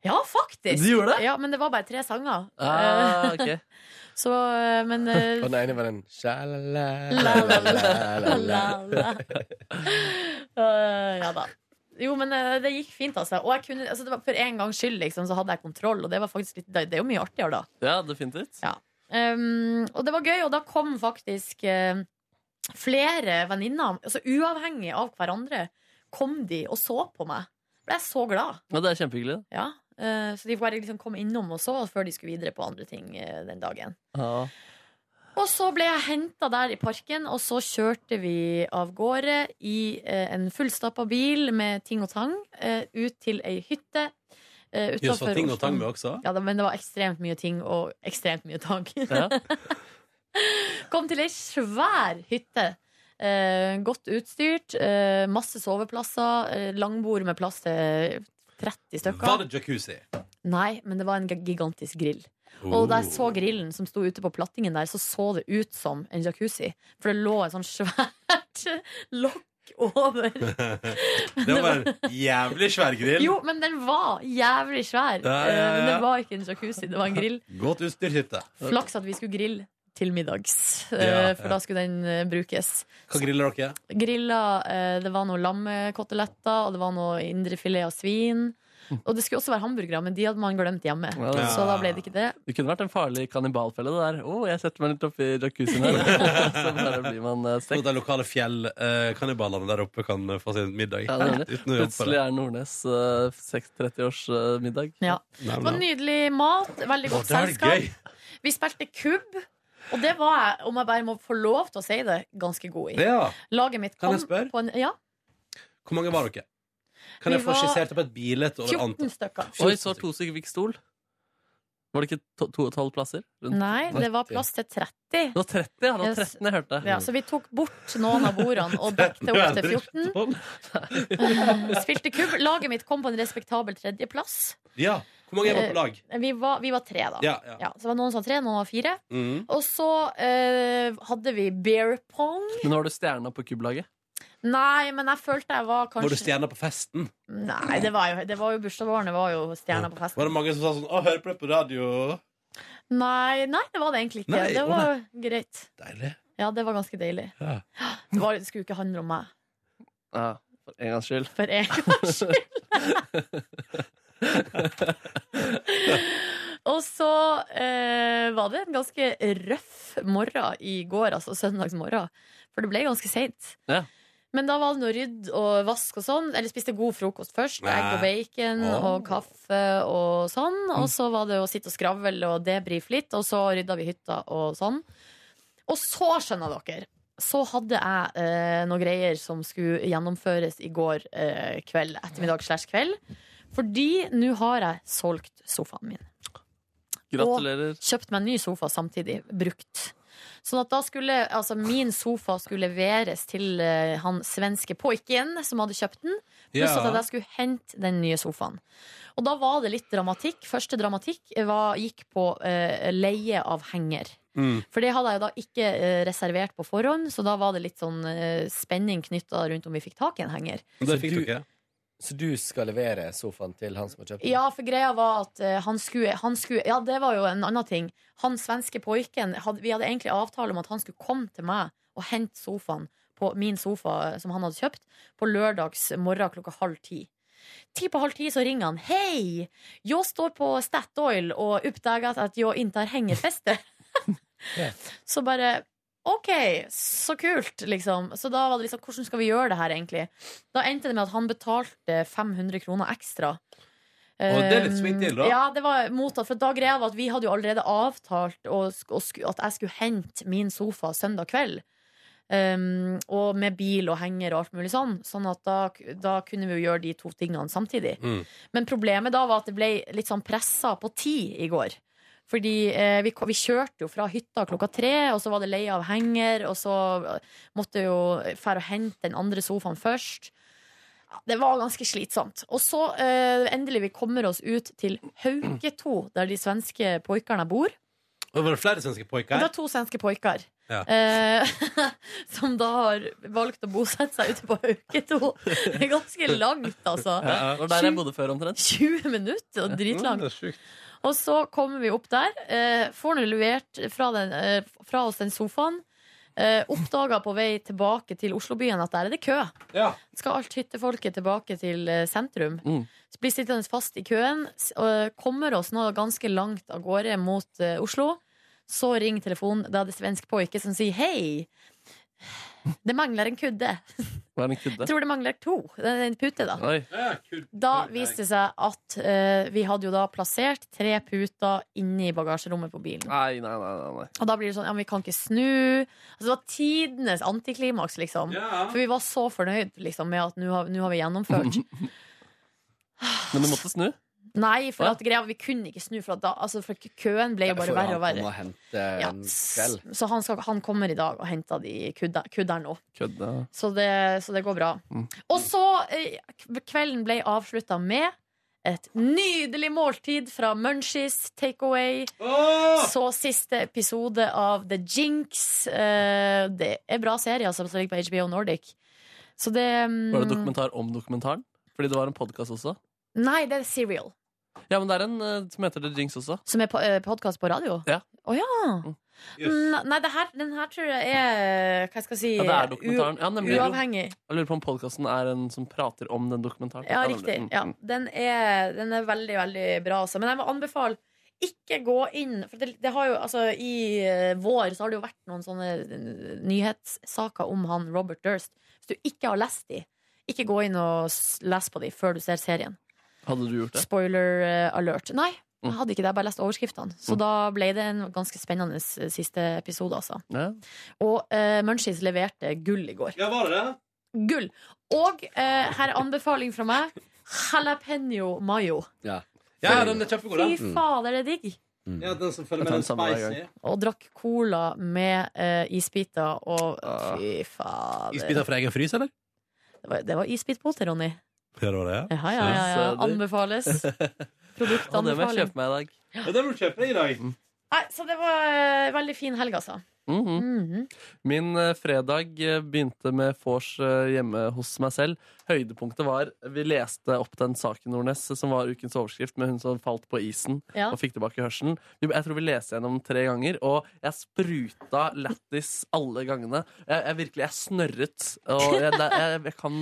[SPEAKER 3] Ja, faktisk!
[SPEAKER 2] Du gjorde det?
[SPEAKER 3] Ja, Men det var bare tre sanger.
[SPEAKER 2] Ah, ok.
[SPEAKER 3] så, eh, men eh,
[SPEAKER 12] Og den ene var den Sjalala
[SPEAKER 3] Øh, ja da. Jo, men eh, det gikk fint, altså. Og jeg kunne, altså det var for en gangs skyld liksom, så hadde jeg kontroll, og det, var faktisk litt, det, det er jo mye artigere da.
[SPEAKER 2] Ja, definitivt.
[SPEAKER 3] Ja. Um, og det var gøy, og da kom faktisk eh, flere venninner, altså uavhengig av hverandre, kom de og så på meg. Ble jeg så glad.
[SPEAKER 2] Ja, det er kjempehyggelig.
[SPEAKER 3] Ja. Eh, så de bare liksom kom innom og så før de skulle videre på andre ting eh, den dagen.
[SPEAKER 2] Ja.
[SPEAKER 3] Og så ble jeg henta der i parken, og så kjørte vi av gårde i eh, en fullstappa bil med ting og tang eh, ut til ei hytte. Uh,
[SPEAKER 1] Jøss, var ting og tang med også?
[SPEAKER 3] Ja, da, men det var ekstremt mye ting og ekstremt mye tang.
[SPEAKER 1] Ja.
[SPEAKER 3] Kom til ei svær hytte. Eh, godt utstyrt, eh, masse soveplasser, eh, langbord med plass til 30 stykker.
[SPEAKER 1] Var det jacuzzi?
[SPEAKER 3] Nei, men det var en gi- gigantisk grill.
[SPEAKER 1] Oh.
[SPEAKER 3] Og da jeg så grillen som sto ute på plattingen der, så så det ut som en jacuzzi. For det lå et sånn svært lokk over.
[SPEAKER 1] det var en jævlig svær grill.
[SPEAKER 3] Jo, men den var jævlig svær.
[SPEAKER 1] Ja, ja, ja.
[SPEAKER 3] Eh, Men det var ikke en jacuzzi, det var en grill.
[SPEAKER 1] Godt utstyrt hytte.
[SPEAKER 3] Flaks at vi skulle grille til middags,
[SPEAKER 1] Ja,
[SPEAKER 3] eh,
[SPEAKER 1] ja.
[SPEAKER 3] for da skulle den eh, brukes.
[SPEAKER 1] Hva griller dere?
[SPEAKER 3] Grilla, eh, det var noe lammekoteletter, og det var noe indrefilet av svin. Og det skulle også være hamburgere, men de hadde man glemt hjemme.
[SPEAKER 2] Ja, det-
[SPEAKER 3] Så da ble det ikke det.
[SPEAKER 2] Det kunne vært en farlig kannibalfelle, det der. Å, jeg setter meg litt oppi jacuzzien her. så bare blir man eh,
[SPEAKER 1] Så
[SPEAKER 2] stekt.
[SPEAKER 1] de lokale fjellkannibalene der oppe kan eh, få sin middag.
[SPEAKER 2] Ja, det er det.
[SPEAKER 1] Uten å jobbe for
[SPEAKER 2] Plutselig
[SPEAKER 1] det.
[SPEAKER 2] er Nordnes eh, 30-års eh, middag.
[SPEAKER 3] Ja.
[SPEAKER 1] Nei,
[SPEAKER 3] Det
[SPEAKER 1] men
[SPEAKER 3] var nydelig mat, veldig
[SPEAKER 2] Å,
[SPEAKER 3] godt
[SPEAKER 2] det er gøy.
[SPEAKER 3] selskap. Vi spilte kubb, og det var jeg, om jeg bare må få lov til å si det, ganske god i.
[SPEAKER 1] Ja.
[SPEAKER 3] Laget mitt
[SPEAKER 1] Kan
[SPEAKER 3] kom
[SPEAKER 1] jeg spørre?
[SPEAKER 3] på en Ja,
[SPEAKER 1] Hvor mange var dere? Kan
[SPEAKER 3] Vi
[SPEAKER 1] jeg få
[SPEAKER 3] var
[SPEAKER 1] skissert opp et bilde?
[SPEAKER 3] 14 stykker.
[SPEAKER 2] Oi, så to stykker fikk stol. Var det ikke to- to og tolv plasser? Rundt
[SPEAKER 3] Nei, det var
[SPEAKER 2] 30.
[SPEAKER 3] plass til 30.
[SPEAKER 2] Det var 30, ja. Det var
[SPEAKER 3] Mm. Yes.
[SPEAKER 2] 13 jeg hørte.
[SPEAKER 3] Ja, så vi tok bort noen av bordene og dekte opp til 14. Spilte kubb. Laget mitt kom på en respektabel tredjeplass.
[SPEAKER 1] Ja. Hvor mange var på lag?
[SPEAKER 3] Eh, Vi var, vi var tre, da.
[SPEAKER 1] Ja, ja.
[SPEAKER 3] så det var noen som var tre, noen var fire.
[SPEAKER 1] Mhm.
[SPEAKER 3] Og så eh, hadde vi beer pong.
[SPEAKER 2] Men var du stjerna på kubblaget?
[SPEAKER 3] Nei, men jeg følte jeg var kanskje
[SPEAKER 1] Var du stjerna på festen?
[SPEAKER 3] Nei, det var jo, det var jo bursdagsbarnet var jo stjerna på festen.
[SPEAKER 1] Var det mange som sa sånn 'Å, hører på det på radio'?
[SPEAKER 3] Nei, nei, det var det egentlig ikke.
[SPEAKER 1] Nei,
[SPEAKER 3] det
[SPEAKER 1] å
[SPEAKER 3] var greit.
[SPEAKER 1] Deilig.
[SPEAKER 3] Ja, det var ganske deilig.
[SPEAKER 1] Ja.
[SPEAKER 3] Det, var, det skulle ikke handle om meg.
[SPEAKER 2] Ja, for en gangs skyld.
[SPEAKER 3] For en gangs Og så eh, var det en ganske røff morgen i går, altså søndagsmorgen. For det ble ganske seint.
[SPEAKER 2] Ja.
[SPEAKER 3] Men da var det noe rydd og vask og sånn. Eller spiste god frokost først.
[SPEAKER 2] Nei.
[SPEAKER 3] Egg og bacon
[SPEAKER 2] Åh.
[SPEAKER 3] og kaffe og sånn. Og så var det å sitte og skravle og debrife litt, og så rydda vi hytta og sånn. Og så, skjønner dere, så hadde jeg eh, noen greier som skulle gjennomføres i går eh, kveld, ettermiddag slash kveld. Fordi nå har jeg solgt sofaen min.
[SPEAKER 2] Gratulerer.
[SPEAKER 3] Og kjøpt meg en ny sofa samtidig, brukt. Sånn at da skulle, altså Min sofa skulle leveres til eh, han svenske poiken som hadde kjøpt den. Pluss
[SPEAKER 13] Ja.
[SPEAKER 3] at jeg da skulle hente den nye sofaen. Og da var det litt dramatikk. Første dramatikk var, gikk på eh, leie av henger.
[SPEAKER 1] Mm.
[SPEAKER 3] For det hadde jeg jo da ikke eh, reservert på forhånd, så da var det litt sånn eh, spenning knytta rundt om vi fikk tak i en henger.
[SPEAKER 1] Der fikk
[SPEAKER 12] du, så du skal levere sofaen til han som har kjøpt den?
[SPEAKER 3] Ja, for greia var at eh, han skulle, han skulle Ja, det var jo en annen ting. Han svenske poiken hadde, Vi hadde egentlig avtale om at han skulle komme til meg og hente sofaen på min sofa eh, som han hadde kjøpt, på lørdags morgen klokka halv ti. Ti på halv ti så ringer han. Hej! Jag står på Statoil och uppdagat att jag inte har hängfäste. så bara OK, så kult, liksom. Så da var det liksom Hvordan skal vi gjøre det her, egentlig? Da endte det med at han betalte 500 kroner ekstra.
[SPEAKER 1] Og det er litt sving til, da.
[SPEAKER 3] Eh, Ja, det var mottatt. For da greia var at vi hadde jo allerede avtalt å sk- å sku- at jeg skulle hente min sofa søndag kveld. Um, og med bil og henger og alt mulig sånn. Sånn at da, da kunne vi jo gjøre de to tingene samtidig.
[SPEAKER 13] Mm.
[SPEAKER 3] Men problemet da var at det ble litt sånn pressa på tid i går. Fordi eh, vi, ko- vi kjørte jo fra hytta klokka tre, og så var det leie av henger, og så eh, måtte jeg jo fære og hente den andre sofaen først. Ja, Det var ganske slitsomt. Og så eh, endelig vi kommer oss ut til Hauketo, der de svenske poikerne bor.
[SPEAKER 1] Og var det flere svenske
[SPEAKER 3] Og
[SPEAKER 1] poiker?
[SPEAKER 3] det er to svenske poiker.
[SPEAKER 1] Ja.
[SPEAKER 3] Eh, som da har valgt å bosette seg ute på Hauketo. Det er ganske langt, altså.
[SPEAKER 2] Ja, det var der jeg bodde før, omtrent.
[SPEAKER 3] 20 minutter, og
[SPEAKER 1] Mm,
[SPEAKER 3] dritlangt. Og så kommer vi opp der, eh, får nå levert fra, den, eh, fra oss den sofaen. Eh, oppdaga på vei tilbake til Oslobyen at der er det kø. Skal alt hyttefolket tilbake til eh, sentrum. Så blir sittende fast i køen. s- og Kommer oss nå ganske langt av gårde mot eh, Oslo. Så ringer telefonen. Da er det svensk pojke som sier hei. Det mangler en kudde.
[SPEAKER 2] Hva er en kudde?
[SPEAKER 3] Jeg tror det mangler to. Det er En pute, da.
[SPEAKER 2] Oi.
[SPEAKER 3] Da viste det seg at eh, vi hadde jo da plassert tre puter inni bagasjerommet på bilen.
[SPEAKER 2] Nei, nei, nei, nei, nei.
[SPEAKER 3] Og da blir det sånn, ja, men vi kan ikke snu. Altså, det var tidenes antiklimaks, liksom. For vi var så fornøyd liksom, med at nå har, nå har vi gjennomført.
[SPEAKER 2] Men du måtte snu?
[SPEAKER 3] Nei, for
[SPEAKER 2] Ja.
[SPEAKER 3] at greia, vi kunne ikke snu, for, at da, altså, for køen ble jo bare verre og verre. Ja, s- Så han, skal, han kommer i dag og henter de kudda- kudderen nå.
[SPEAKER 2] Kødda.
[SPEAKER 3] Så det, så det går bra.
[SPEAKER 2] Mm.
[SPEAKER 3] Og så eh, kvelden ble avslutta med et nydelig måltid fra Munchies Takeaway. Så siste episode av The Jinx. Eh, det er bra serie altså, som ligger på HBO Nordic. Så det mm,
[SPEAKER 2] Var det dokumentar om dokumentaren? Fordi det var en podkast også.
[SPEAKER 3] mm, Nei, det er Serial.
[SPEAKER 2] Ja, men det er en eh, som heter The Jinx også.
[SPEAKER 3] Som er po podkast på radio?
[SPEAKER 2] Ja.
[SPEAKER 3] Å ja. Mm, Nei, det her, den her tror jeg er Hva skal jeg si?
[SPEAKER 2] Ja, det er dokumentaren. Ja, nemlig.
[SPEAKER 3] uavhengig.
[SPEAKER 2] Jeg lurer på om podkasten er en som prater om den dokumentaren.
[SPEAKER 3] Ja,
[SPEAKER 2] nemlig.
[SPEAKER 3] riktig.
[SPEAKER 2] Mm.
[SPEAKER 3] Ja. Den, er, den er veldig, veldig bra. Altså. Men jeg må anbefale ikke gå inn For det, det har jo, altså, i eh, vår så har det jo vært noen sånne eh, nyhetssaker om han Robert Durst. Hvis du ikke har lest de, ikke gå inn og s- lese på de før du ser serien.
[SPEAKER 2] Hadde du gjort det?
[SPEAKER 3] Spoiler eh, alert. Nei, jeg
[SPEAKER 2] Mm.
[SPEAKER 3] hadde ikke det. Jeg bare leste overskriftene. Så
[SPEAKER 2] Mm.
[SPEAKER 3] da ble det en ganske spennende s- siste episode, altså.
[SPEAKER 2] Ja.
[SPEAKER 3] Og uh, Munchies leverte gull i går.
[SPEAKER 1] Ja, var det det?
[SPEAKER 3] Gull. Og eh, her er anbefaling fra meg. Jalapeño mayo.
[SPEAKER 1] Ja. ja, den er kjempegod,
[SPEAKER 3] Fy
[SPEAKER 1] den.
[SPEAKER 3] fader, det er digg.
[SPEAKER 1] Ja, den som
[SPEAKER 2] Jeg
[SPEAKER 1] følger
[SPEAKER 2] tar
[SPEAKER 1] med
[SPEAKER 2] den
[SPEAKER 1] den
[SPEAKER 2] samme hver
[SPEAKER 1] spicy.
[SPEAKER 2] gang.
[SPEAKER 3] Og drakk cola med eh, isbiter og Fy fader.
[SPEAKER 1] Isbiter fra egen frys, eller?
[SPEAKER 3] Det var, det var isbitpoter, Ronny.
[SPEAKER 1] Ja, det var det,
[SPEAKER 3] Ja, ja, ja, ja. Anbefales.
[SPEAKER 2] eh, Ja, det må jeg
[SPEAKER 3] Produktanbefaling.
[SPEAKER 2] kjøpe meg i dag.
[SPEAKER 1] Ja, det må du kjøpe deg i dag.
[SPEAKER 2] Mm.
[SPEAKER 3] Nei, så det var eh, veldig fin helg, altså.
[SPEAKER 2] Mhm.
[SPEAKER 3] Mhm.
[SPEAKER 2] Min eh, fredag eh, begynte med vors eh, hjemme hos meg selv. Høydepunktet var Vi leste opp den saken Nordnes eh, som var ukens overskrift med hun som falt på isen
[SPEAKER 12] Ja.
[SPEAKER 2] og fikk tilbake hørselen. Vi- Jeg tror vi leste gjennom tre ganger, og jeg spruta lættis alle gangene. Jeg, jeg virkelig, jeg snørret. Og jeg, det- jeg, jeg kan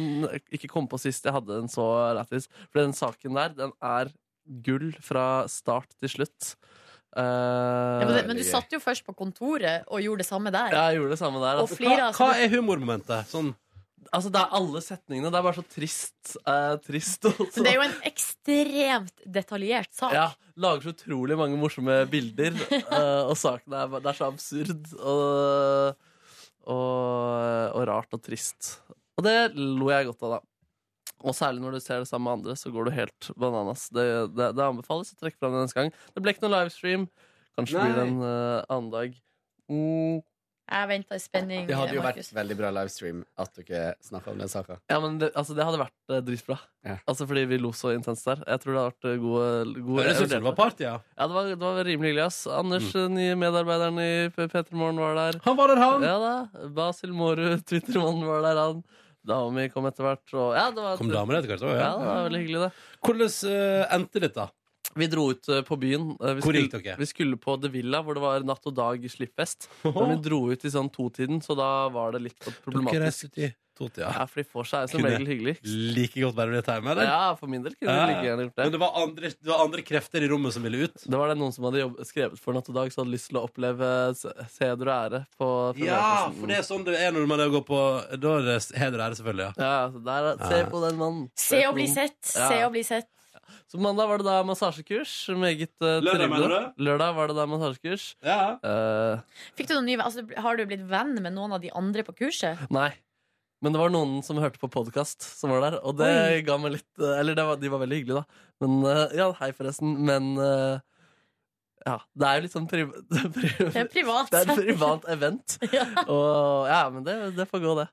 [SPEAKER 2] ikke komme på sist jeg hadde en så lættis. For den saken der, den er gull fra start til slutt. Eh,
[SPEAKER 3] Ja, men, det, men du satt jo først på kontoret og gjorde det samme der.
[SPEAKER 2] Ja, jeg gjorde det samme der.
[SPEAKER 3] Og flira, altså.
[SPEAKER 1] er humormomentet? Sånn
[SPEAKER 2] Altså, det er alle setningene. Det er bare så trist. eh, trist også.
[SPEAKER 3] Men det er jo en ekstremt detaljert sak.
[SPEAKER 2] ja, Lager så utrolig mange morsomme bilder, eh, og saken er, bare- det er så absurd og, og, og rart og trist. Og det lo jeg godt av, da. Og særlig når du ser det sammen med andre, så går du helt bananas. Det, det, det anbefales å trekke fram det neste gang. Det ble ikke noen livestream. Kanskje blir det en eh, annen dag. Mm.
[SPEAKER 3] Jeg venter i spenning.
[SPEAKER 12] Det hadde jo vært
[SPEAKER 3] Markus.
[SPEAKER 12] veldig bra livestream at dere snakka om den saka.
[SPEAKER 2] Ja, men det, altså, det hadde vært eh, dritbra. Altså, fordi vi lo så intenst der. Jeg tror det hadde vært eh, gode, gode
[SPEAKER 1] Høres ut som
[SPEAKER 2] jeg vurderte
[SPEAKER 1] det var party, ja.
[SPEAKER 2] Ja, det var, det var rimelig hyggelig, ass. Anders,
[SPEAKER 1] Mm.
[SPEAKER 2] eh, nye medarbeideren i P- P3 Morgen, var der.
[SPEAKER 1] Han var der, han!
[SPEAKER 2] Ja da. Basil Mårud, Twittermannen, var der, han. Dami kom etter hvert. Og, ja, det var,
[SPEAKER 1] Kom damer etter hvert også,
[SPEAKER 2] ja.
[SPEAKER 1] ja.
[SPEAKER 2] det var veldig hyggelig, det.
[SPEAKER 1] Hvordan eh, endte dette?
[SPEAKER 2] Vi dro ut eh, på byen. Eh, Vi
[SPEAKER 1] Hvor gikk
[SPEAKER 2] skulle-
[SPEAKER 1] dere?
[SPEAKER 2] Vi skulle på The Villa, hvor det var natt og dag i slippfest. Men vi dro ut i sånn totiden, så da var det litt
[SPEAKER 1] Dere
[SPEAKER 2] problematisk.
[SPEAKER 1] reiste til Tot, ja.
[SPEAKER 2] Ja, for de får seg jo som
[SPEAKER 1] Kunne
[SPEAKER 2] regel hyggelig.
[SPEAKER 1] Like godt være med i time, eller?
[SPEAKER 2] Ja, for min del kunne
[SPEAKER 1] Ja,
[SPEAKER 2] vi
[SPEAKER 1] ja.
[SPEAKER 2] like gjerne gjort det.
[SPEAKER 1] Men det var, andre, det var andre krefter i rommet som ville ut.
[SPEAKER 2] Det var det noen som hadde jobb, skrevet for Natt og Dag, som hadde lyst til å oppleve se- seder og ære. på
[SPEAKER 1] Ja,
[SPEAKER 2] mm.
[SPEAKER 1] for det er sånn det er når man går på Da er det heder og ære, selvfølgelig.
[SPEAKER 2] Ja, ja, så der, er- Se
[SPEAKER 1] Ja.
[SPEAKER 2] på den mannen.
[SPEAKER 3] Se og
[SPEAKER 2] på
[SPEAKER 3] bli
[SPEAKER 2] den.
[SPEAKER 3] sett.
[SPEAKER 2] Ja.
[SPEAKER 3] Se og bli sett.
[SPEAKER 2] Så mandag var det da massasjekurs. Meget uh,
[SPEAKER 1] Lørdag, mener
[SPEAKER 2] trivelig. Lørdag var det da massasjekurs. Eh,
[SPEAKER 3] Fikk du noen nye, altså, har du blitt venn med noen av de andre på kurset?
[SPEAKER 2] nei. Men det var noen som hørte på podkast som var der, og det
[SPEAKER 3] Oi.
[SPEAKER 2] ga meg litt eh, Eller det var, de var veldig hyggelige, da. Men eh, Ja, hei, forresten. Men eh, ja, det er jo litt sånn pri pri
[SPEAKER 3] Det er privat.
[SPEAKER 2] Det er et privat event. Og ja, men det, det får gå, det.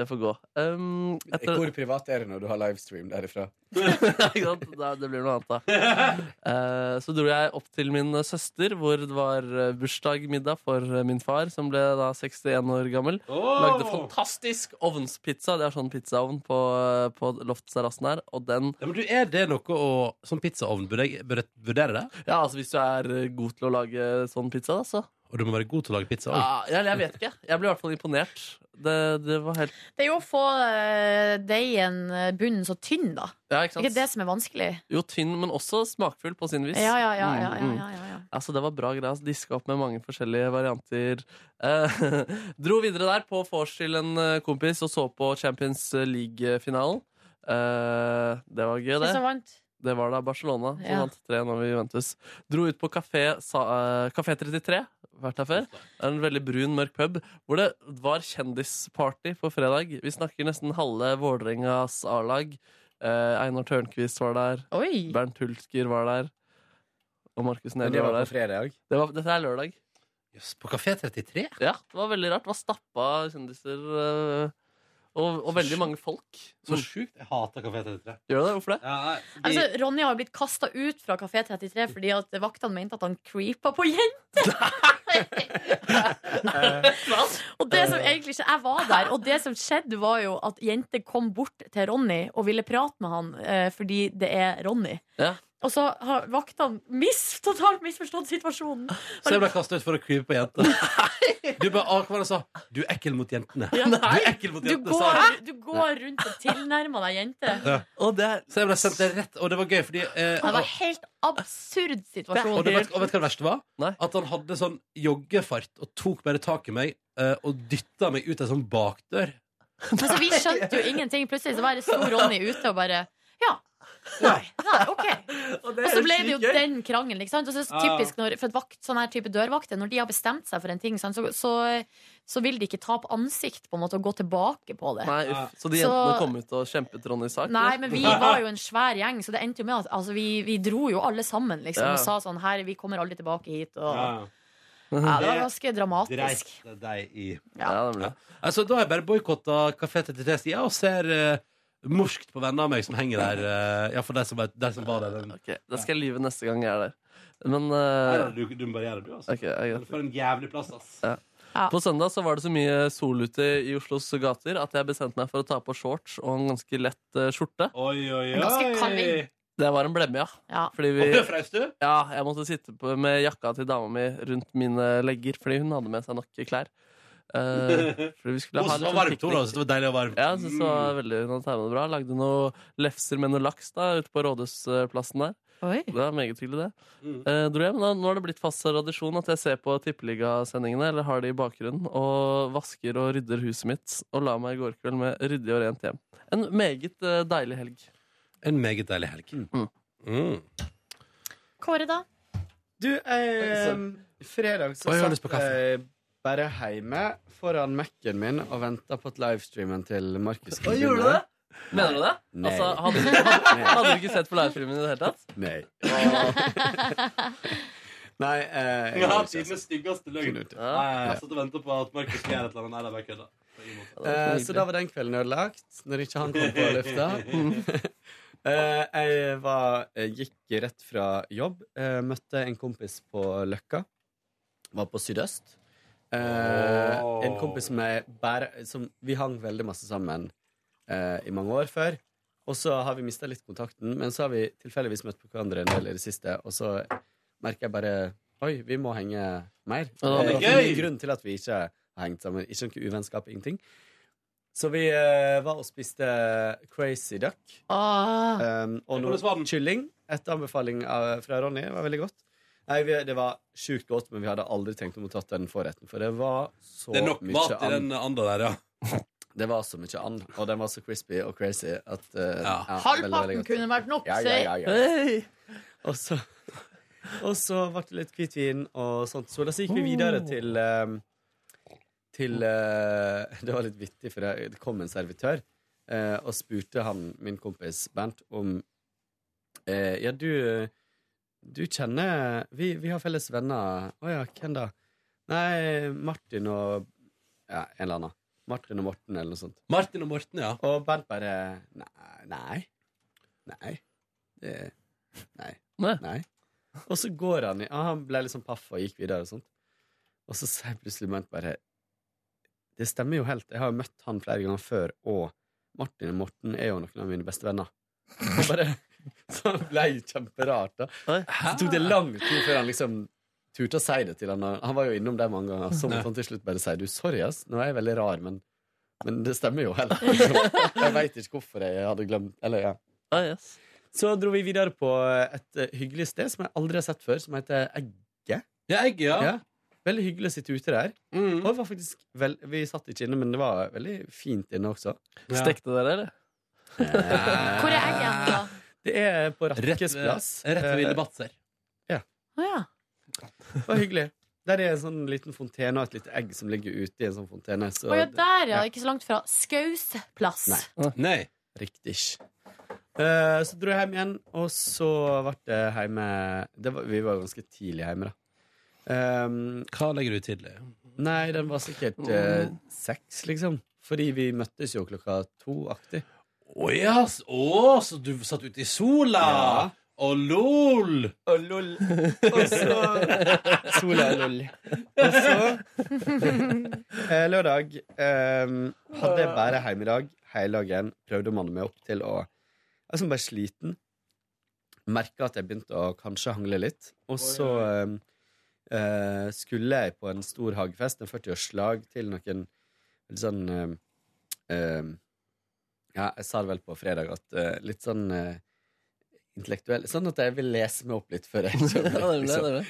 [SPEAKER 2] Det får gå. Um, etter-
[SPEAKER 12] Hvor privat er det når du har livestream derifra?
[SPEAKER 2] Ikke sant? Da- det blir noe annet, da. Eh, så dro jeg opp til min søster, hvor det var eh, bursdagsmiddag for eh, min far, som ble da 61 år gammel.
[SPEAKER 12] Åh!
[SPEAKER 2] Lagde fantastisk ovnspizza. De har sånn pizzaovn på, eh, på loftsterrassen her, og den
[SPEAKER 1] Ja, men du, Er det noe å Som pizzaovn, burde jeg burde jeg vurdere det?
[SPEAKER 2] Ja, altså hvis du er eh, god til å lage sånn pizza, da, så.
[SPEAKER 1] Og du må være god til å lage pizza òg.
[SPEAKER 2] Ja, jeg, jeg vet ikke. Jeg ble i hvert fall imponert. Det, det var helt
[SPEAKER 3] Det er jo å få eh, deigen, eh, bunnen, så tynn, da.
[SPEAKER 2] Ja,
[SPEAKER 3] Det
[SPEAKER 2] ikke
[SPEAKER 3] er ikke det
[SPEAKER 2] sant?
[SPEAKER 3] som er vanskelig.
[SPEAKER 2] Jo, tynn, men også smakfull på sin vis.
[SPEAKER 3] Ja, ja, ja,
[SPEAKER 2] Mm,
[SPEAKER 3] ja, ja,
[SPEAKER 2] mm.
[SPEAKER 3] ja, ja, ja.
[SPEAKER 2] Altså, det var bra greier. Altså, Diska opp med mange forskjellige varianter. Eh, dro videre der på vors til en eh, kompis og så på Champions League-finalen. Eh, det var gøy, det.
[SPEAKER 3] Hvem som vant?
[SPEAKER 2] Det var da Barcelona som
[SPEAKER 3] Ja.
[SPEAKER 2] vant 3-1 over Juventus. Dro ut på Kafé, sa, eh, Café 33. Vært der før. Det er En veldig brun, mørk pub hvor det var kjendisparty på fredag. Vi snakker nesten halve Vålerengas A-lag. Eh, Einar Tørnquist var der.
[SPEAKER 3] Oi.
[SPEAKER 2] Bernt Hulsker var der. Og Markus
[SPEAKER 12] Men
[SPEAKER 2] Neby
[SPEAKER 12] det
[SPEAKER 2] var
[SPEAKER 12] var
[SPEAKER 2] der.
[SPEAKER 12] på fredag?
[SPEAKER 2] Det var, dette er lørdag.
[SPEAKER 1] på Kafé 33?
[SPEAKER 2] Ja, det var veldig rart. Det var stappa kjendiser eh, og, og veldig mange folk. Mm.
[SPEAKER 1] Så
[SPEAKER 12] Mm.
[SPEAKER 1] sjukt. Jeg hater Kafé 33.
[SPEAKER 2] Gjør du det? Hvorfor det?
[SPEAKER 3] Altså, Ronny har jo blitt kasta ut fra Kafé 33 fordi at vaktene mente at han creepa på jenter! og det som egentlig skjedde Jeg var der, og det som skjedde, var jo at jenter kom bort til Ronny og ville prate med han eh, fordi det er Ronny.
[SPEAKER 2] Ja.
[SPEAKER 3] Og så har vaktene mis, totalt misforstått situasjonen.
[SPEAKER 1] Så jeg ble kasta ut for å krype på jenter. Du bare akkurat sa 'du er ekkel mot jentene'.
[SPEAKER 3] Ja,
[SPEAKER 1] du
[SPEAKER 3] nei.
[SPEAKER 1] er ekkel mot
[SPEAKER 3] Du
[SPEAKER 1] jentene, sa
[SPEAKER 3] går,
[SPEAKER 1] jeg.
[SPEAKER 3] du går rundt og tilnærmer deg jenter.
[SPEAKER 1] Ja. Så jeg ble sendt det rett, og det var gøy, fordi eh,
[SPEAKER 3] Det var helt absurd situasjon.
[SPEAKER 1] Og, det, vet, og vet du hva det verste var? At han hadde sånn joggefart og tok bare tak i meg eh, og dytta meg ut ei sånn bakdør.
[SPEAKER 3] Altså, vi skjønte jo ingenting. Plutselig så bare sto Ronny ute og bare Ja. Nei. nei ok. Og,
[SPEAKER 2] det er
[SPEAKER 3] så ble
[SPEAKER 2] helt
[SPEAKER 3] det jo
[SPEAKER 2] sykt gøy.
[SPEAKER 3] den krangelen. Ikke sant? Og så er det så typisk
[SPEAKER 2] Ah.
[SPEAKER 3] når, for et vakt, sånne her type dørvakter, når de har bestemt seg for en ting, sant, så, så, så vil de ikke tape ansikt på en måte og gå tilbake på det.
[SPEAKER 2] Nei, uff. Så de jentene kom ut og kjempet Ronnys sak?
[SPEAKER 3] Nei, men vi var jo en svær gjeng, så det endte jo med at altså, vi, vi dro jo alle sammen liksom,
[SPEAKER 2] Ja.
[SPEAKER 3] og sa sånn her, vi kommer aldri tilbake hit. Og,
[SPEAKER 1] Ja.
[SPEAKER 3] ja, det var ganske dramatisk.
[SPEAKER 1] Dreit det deg i.
[SPEAKER 3] Ja.
[SPEAKER 1] Ja. Altså, da har jeg bare boikotta Kafé 33 sider og ser eh, morskt på venner av meg som henger der. eh, ja, for de som, var- de som var der. Den.
[SPEAKER 2] Da skal jeg lyve neste gang jeg er der. Men eh,
[SPEAKER 1] Nei, du, du må bare gjøre det, du, altså.
[SPEAKER 2] ok, ja, greit.
[SPEAKER 1] For en jævlig plass, ass.
[SPEAKER 2] Ja. På søndag så var det så mye sol ute i Oslos gater at jeg bestemte meg for å ta på shorts og en ganske lett eh, skjorte.
[SPEAKER 1] En ganske kald vind.
[SPEAKER 2] Det var en blemme, ja. Fordi vi,
[SPEAKER 1] Og det frøs du?
[SPEAKER 2] Ja, jeg måtte sitte på, med jakka til dama mi rundt mine legger, fordi hun hadde med seg nok klær. Eh, fordi vi skulle
[SPEAKER 1] Hun
[SPEAKER 2] ha
[SPEAKER 1] syntes det
[SPEAKER 2] litt
[SPEAKER 1] var varmt, Mm. hun, da. Syntes
[SPEAKER 2] sånn piknik.
[SPEAKER 1] det var deilig og varmt.
[SPEAKER 2] Ja, altså, jeg synes det var veldig hun hadde tegnet det bra. Lagde noe lefser med noe laks da, ute på Rådhusplassen der. Det var meget hyggelig, det. Eh, dro hjem, da, nå har det blitt fast tradisjon at jeg ser på tippeligasendingene, eller har de i bakgrunnen, og vasker og rydder huset mitt, og la meg i går kveld med ryddig og rent hjem. En meget eh, deilig helg.
[SPEAKER 1] En meget deilig helg. Mm.
[SPEAKER 3] Kåre, da?
[SPEAKER 12] Du, eh, fredag så
[SPEAKER 1] Oi, jeg har lyst på
[SPEAKER 12] satt jeg bare hjemme foran Mac-en min og venta på at livestreamen til Markus skulle
[SPEAKER 2] Oi, gjorde du
[SPEAKER 12] begynne.
[SPEAKER 2] det? Mener du det?
[SPEAKER 12] Nei.
[SPEAKER 2] Altså, hadde, hadde, hadde du ikke sett på livestreamen i det hele tatt?
[SPEAKER 12] Nei. Nei eh, jeg
[SPEAKER 1] Ja,
[SPEAKER 12] har ikke sett.
[SPEAKER 1] tidenes styggeste løgn.
[SPEAKER 12] Absolutt.
[SPEAKER 1] Nei, Jeg satt og ventet på at Markus skulle gjøre et eller annet. Nei, det er bare kødda. På ingen måte.
[SPEAKER 12] Eh, så da var den kvelden ødelagt, når ikke han kom på lufta. Eh, jeg var, jeg gikk rett fra jobb, eh, møtte en kompis på Løkka. Var på Sydøst. Eh,
[SPEAKER 13] Åh.
[SPEAKER 12] En kompis som, jeg bare, som vi hang veldig masse sammen eh, i mange år før. Og så har vi mista litt kontakten, men så har vi tilfeldigvis møtt på hverandre en del i det siste, og så merker jeg bare Oi, vi må henge mer.
[SPEAKER 2] Ja, det er
[SPEAKER 12] for mye
[SPEAKER 2] gøy!
[SPEAKER 12] grunn til at vi ikke har hengt sammen. Ikke noe uvennskap, ingenting. Så vi eh, var og spiste
[SPEAKER 10] eh,
[SPEAKER 12] Crazy Duck.
[SPEAKER 3] Ah.
[SPEAKER 12] Um, og
[SPEAKER 1] Hvordan var
[SPEAKER 12] noe kylling etter anbefaling av, fra Ronny. Det var veldig godt. Nei, vi, Det var sjukt godt, men vi hadde aldri tenkt om å tatt den forretten. For det var så
[SPEAKER 1] Det er nok
[SPEAKER 12] mye
[SPEAKER 1] mat i
[SPEAKER 12] and.
[SPEAKER 1] den anda der, ja.
[SPEAKER 12] Det var så mye and, og den var så crispy og crazy at eh, ja, veldig, veldig
[SPEAKER 3] Halvparten
[SPEAKER 12] godt.
[SPEAKER 3] kunne vært nok,
[SPEAKER 12] Ja, ja, ja, ja.
[SPEAKER 3] sier-
[SPEAKER 12] Og så, og så ble det litt hvitvin og sånt. Så da så gikk vi videre til ehm, Til eh, Det var litt vittig, for det det kom en servitør eh, og spurte han, min kompis Bernt, om eh, Ja, du Du kjenner Vi, vi har felles venner. Å ja, hvem da? Nei, Martin og Ja, en eller annen. Martin og Morten, eller noe sånt.
[SPEAKER 1] Martin og Morten, ja.
[SPEAKER 12] Og Bernt bare Nei. Nei. Nei. Det, nei. nei. Og så går han i ah, Han ble litt sånn paff og gikk videre og sånt. Og så sier plutselig Bernt bare Det stemmer jo helt. Jeg har jo møtt han flere ganger før, og Martin og Morten er jo noen av mine beste venner. Og bare, så han ble jo kjemperart, da. Så tok det lang tid før han liksom turte å si det til han. Han var jo innom det mange ganger. Så måtte han til slutt bare si du, sorry, ass. Nå er jeg veldig rar, men, men det stemmer jo helt. Jeg veit ikke hvorfor jeg hadde glemt Eller, ja.
[SPEAKER 2] Ah,
[SPEAKER 12] Så dro vi videre på et eh, hyggelig sted som jeg aldri har sett før, som heter Egget.
[SPEAKER 1] Ja, Egget, ja. Mm.
[SPEAKER 12] Veldig hyggelig å sitte ute der. Og det var faktisk vel, Vi satt ikke inne, men det var veldig fint inne også.
[SPEAKER 2] Stekte dere, eller?
[SPEAKER 3] Hvor er eggen, da?
[SPEAKER 12] Det er på Rakkes
[SPEAKER 1] Rett ved-
[SPEAKER 12] plass.
[SPEAKER 1] rett ved Ville
[SPEAKER 12] Batser. Ja.
[SPEAKER 3] Å ja.
[SPEAKER 12] Eh, Det var hyggelig. Der er en sånn liten fontene og et lite egg som ligger ute i en sånn fontene. Så
[SPEAKER 3] Å ja, der, ja. Ikke så langt fra. Skausplass.
[SPEAKER 12] Nei. Riktig. Eh, så dro jeg hjem igjen, og så ble det hjemme det var, Vi var jo ganske tidlig hjemme, da. Ehm,
[SPEAKER 1] Hva legger du tidlig?
[SPEAKER 12] Nei, den var sikkert eh, seks, liksom. Fordi vi møttes jo klokka to-aktig.
[SPEAKER 1] Å ja, s- å, så du satt ute i sola?
[SPEAKER 12] Ja.
[SPEAKER 1] Og lol!
[SPEAKER 12] Og lol. Og så Sola og lol. Og så eh, Lørdag eh, hadde jeg bare hjemmedag hele dagen. Prøvde å manne meg opp til å Jeg var sånn bare sliten. Merka at jeg begynte å kanskje hangle litt. Og så eh, eh, skulle jeg på en stor hagefest, en 40-årslag, til noen litt sånn eh, eh, Ja, jeg sa det vel på fredag at eh, litt sånn eh, intellektuell. Sånn at jeg vil lese meg opp litt før jeg kjøper.
[SPEAKER 2] Ja, det er bra, det er bra.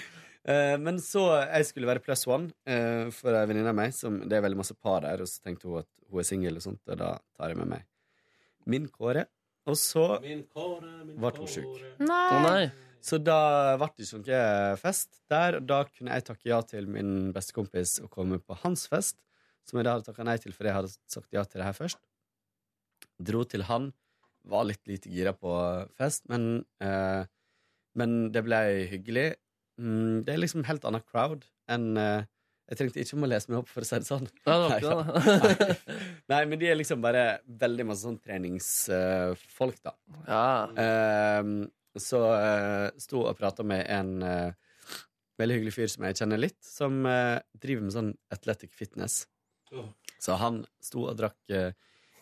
[SPEAKER 12] men så jeg skulle være plus one eh, for ei venninne av meg. Som, det er veldig masse par der, og så tenkte hun at hun er singel, og sånt, og da tar jeg med meg min Kåre. Og så ble hun sjuk.
[SPEAKER 3] Nei.
[SPEAKER 12] Så da ble det ikke noe fest der. Og da kunne jeg takke ja til min beste kompis og komme på hans fest, som jeg da hadde takka nei til, for jeg hadde sagt ja til det her først. Dro til han. Var litt lite gira på fest, men, eh, men det ble hyggelig. Mm, det er liksom helt annen crowd enn eh, Jeg trengte ikke om å lese meg opp, for å si det sånn.
[SPEAKER 2] Nei, det var ikke
[SPEAKER 12] Nei, da. Nei. Nei, men de er liksom bare veldig masse sånn treningsfolk, da. Eh, så eh, sto og prata med en eh, veldig hyggelig fyr som jeg kjenner litt, som eh, driver med sånn athletic fitness. Så han sto og drakk eh,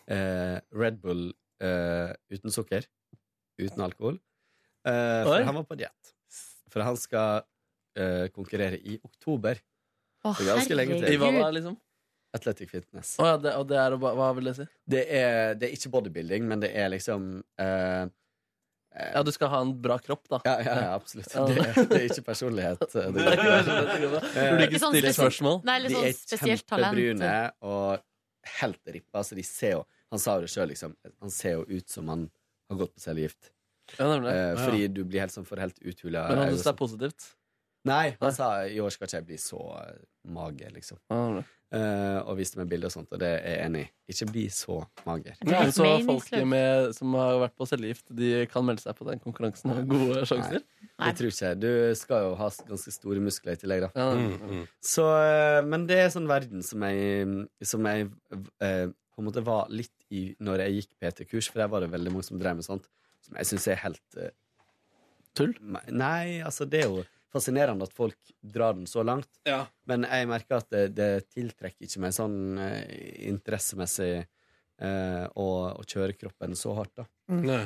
[SPEAKER 12] eh, Red Bull eh, uten sukker, uten alkohol. Eh,
[SPEAKER 2] Oi.
[SPEAKER 12] for han var på diett. For han skal eh, konkurrere i oktober.
[SPEAKER 2] Å,
[SPEAKER 12] Det er ganske lenge til.
[SPEAKER 2] herregud. I hva da, liksom?
[SPEAKER 12] Athletic fitness.
[SPEAKER 2] Å ja, det, og det er å ba- Hva vil det si?
[SPEAKER 12] Det er, det er ikke bodybuilding, men det er liksom Ja,
[SPEAKER 2] du skal ha en bra kropp, da.
[SPEAKER 12] Eh. Ja, ja, ja absolutt.
[SPEAKER 2] Ja.
[SPEAKER 12] Det, er- det er ikke personlighet. Det er
[SPEAKER 2] Nei, personlighet.
[SPEAKER 12] Eh,
[SPEAKER 2] Du blir ikke Ikke sånn stilt spesielt- spørsmål. Nei, litt
[SPEAKER 12] De er
[SPEAKER 2] sånn spesielt talent.
[SPEAKER 12] kjempebrune og helt rippa, så de ser jo Han sa jo det sjøl, liksom. Han ser jo ut som han har gått på cellegift. Eh, fordi du blir helt sånn for helt uthula.
[SPEAKER 2] Men han
[SPEAKER 12] øyne og
[SPEAKER 2] syns det
[SPEAKER 12] sånt.
[SPEAKER 2] er positivt?
[SPEAKER 12] Nei, han sa i år skal ikke jeg bli så eh, mage, liksom. Eh, og viste meg bilder og sånt, og det er jeg enig i. Ikke bli så mager.
[SPEAKER 2] Ja, så folk med, som har vært på cellegift, de kan melde seg på den konkurransen og ha gode sjanser?
[SPEAKER 12] Nei, jeg tror ikke. Du skal jo ha s- ganske store muskler i tillegg, da.
[SPEAKER 2] Ja, Mm, mm.
[SPEAKER 12] Så, eh, men det er sånn verden som jeg, som jeg eh, på en måte var litt i når jeg gikk PT-kurs, for der var det veldig mange som drev med sånt, som jeg syns er helt eh,
[SPEAKER 2] Tull?
[SPEAKER 12] Nei, altså, det er jo fascinerende at folk drar den så langt,
[SPEAKER 1] Ja.
[SPEAKER 12] men jeg merker at det, det tiltrekker ikke meg sånn eh, interessemessig eh, å, å kjøre kroppen så hardt, da.
[SPEAKER 1] Mm. Nei.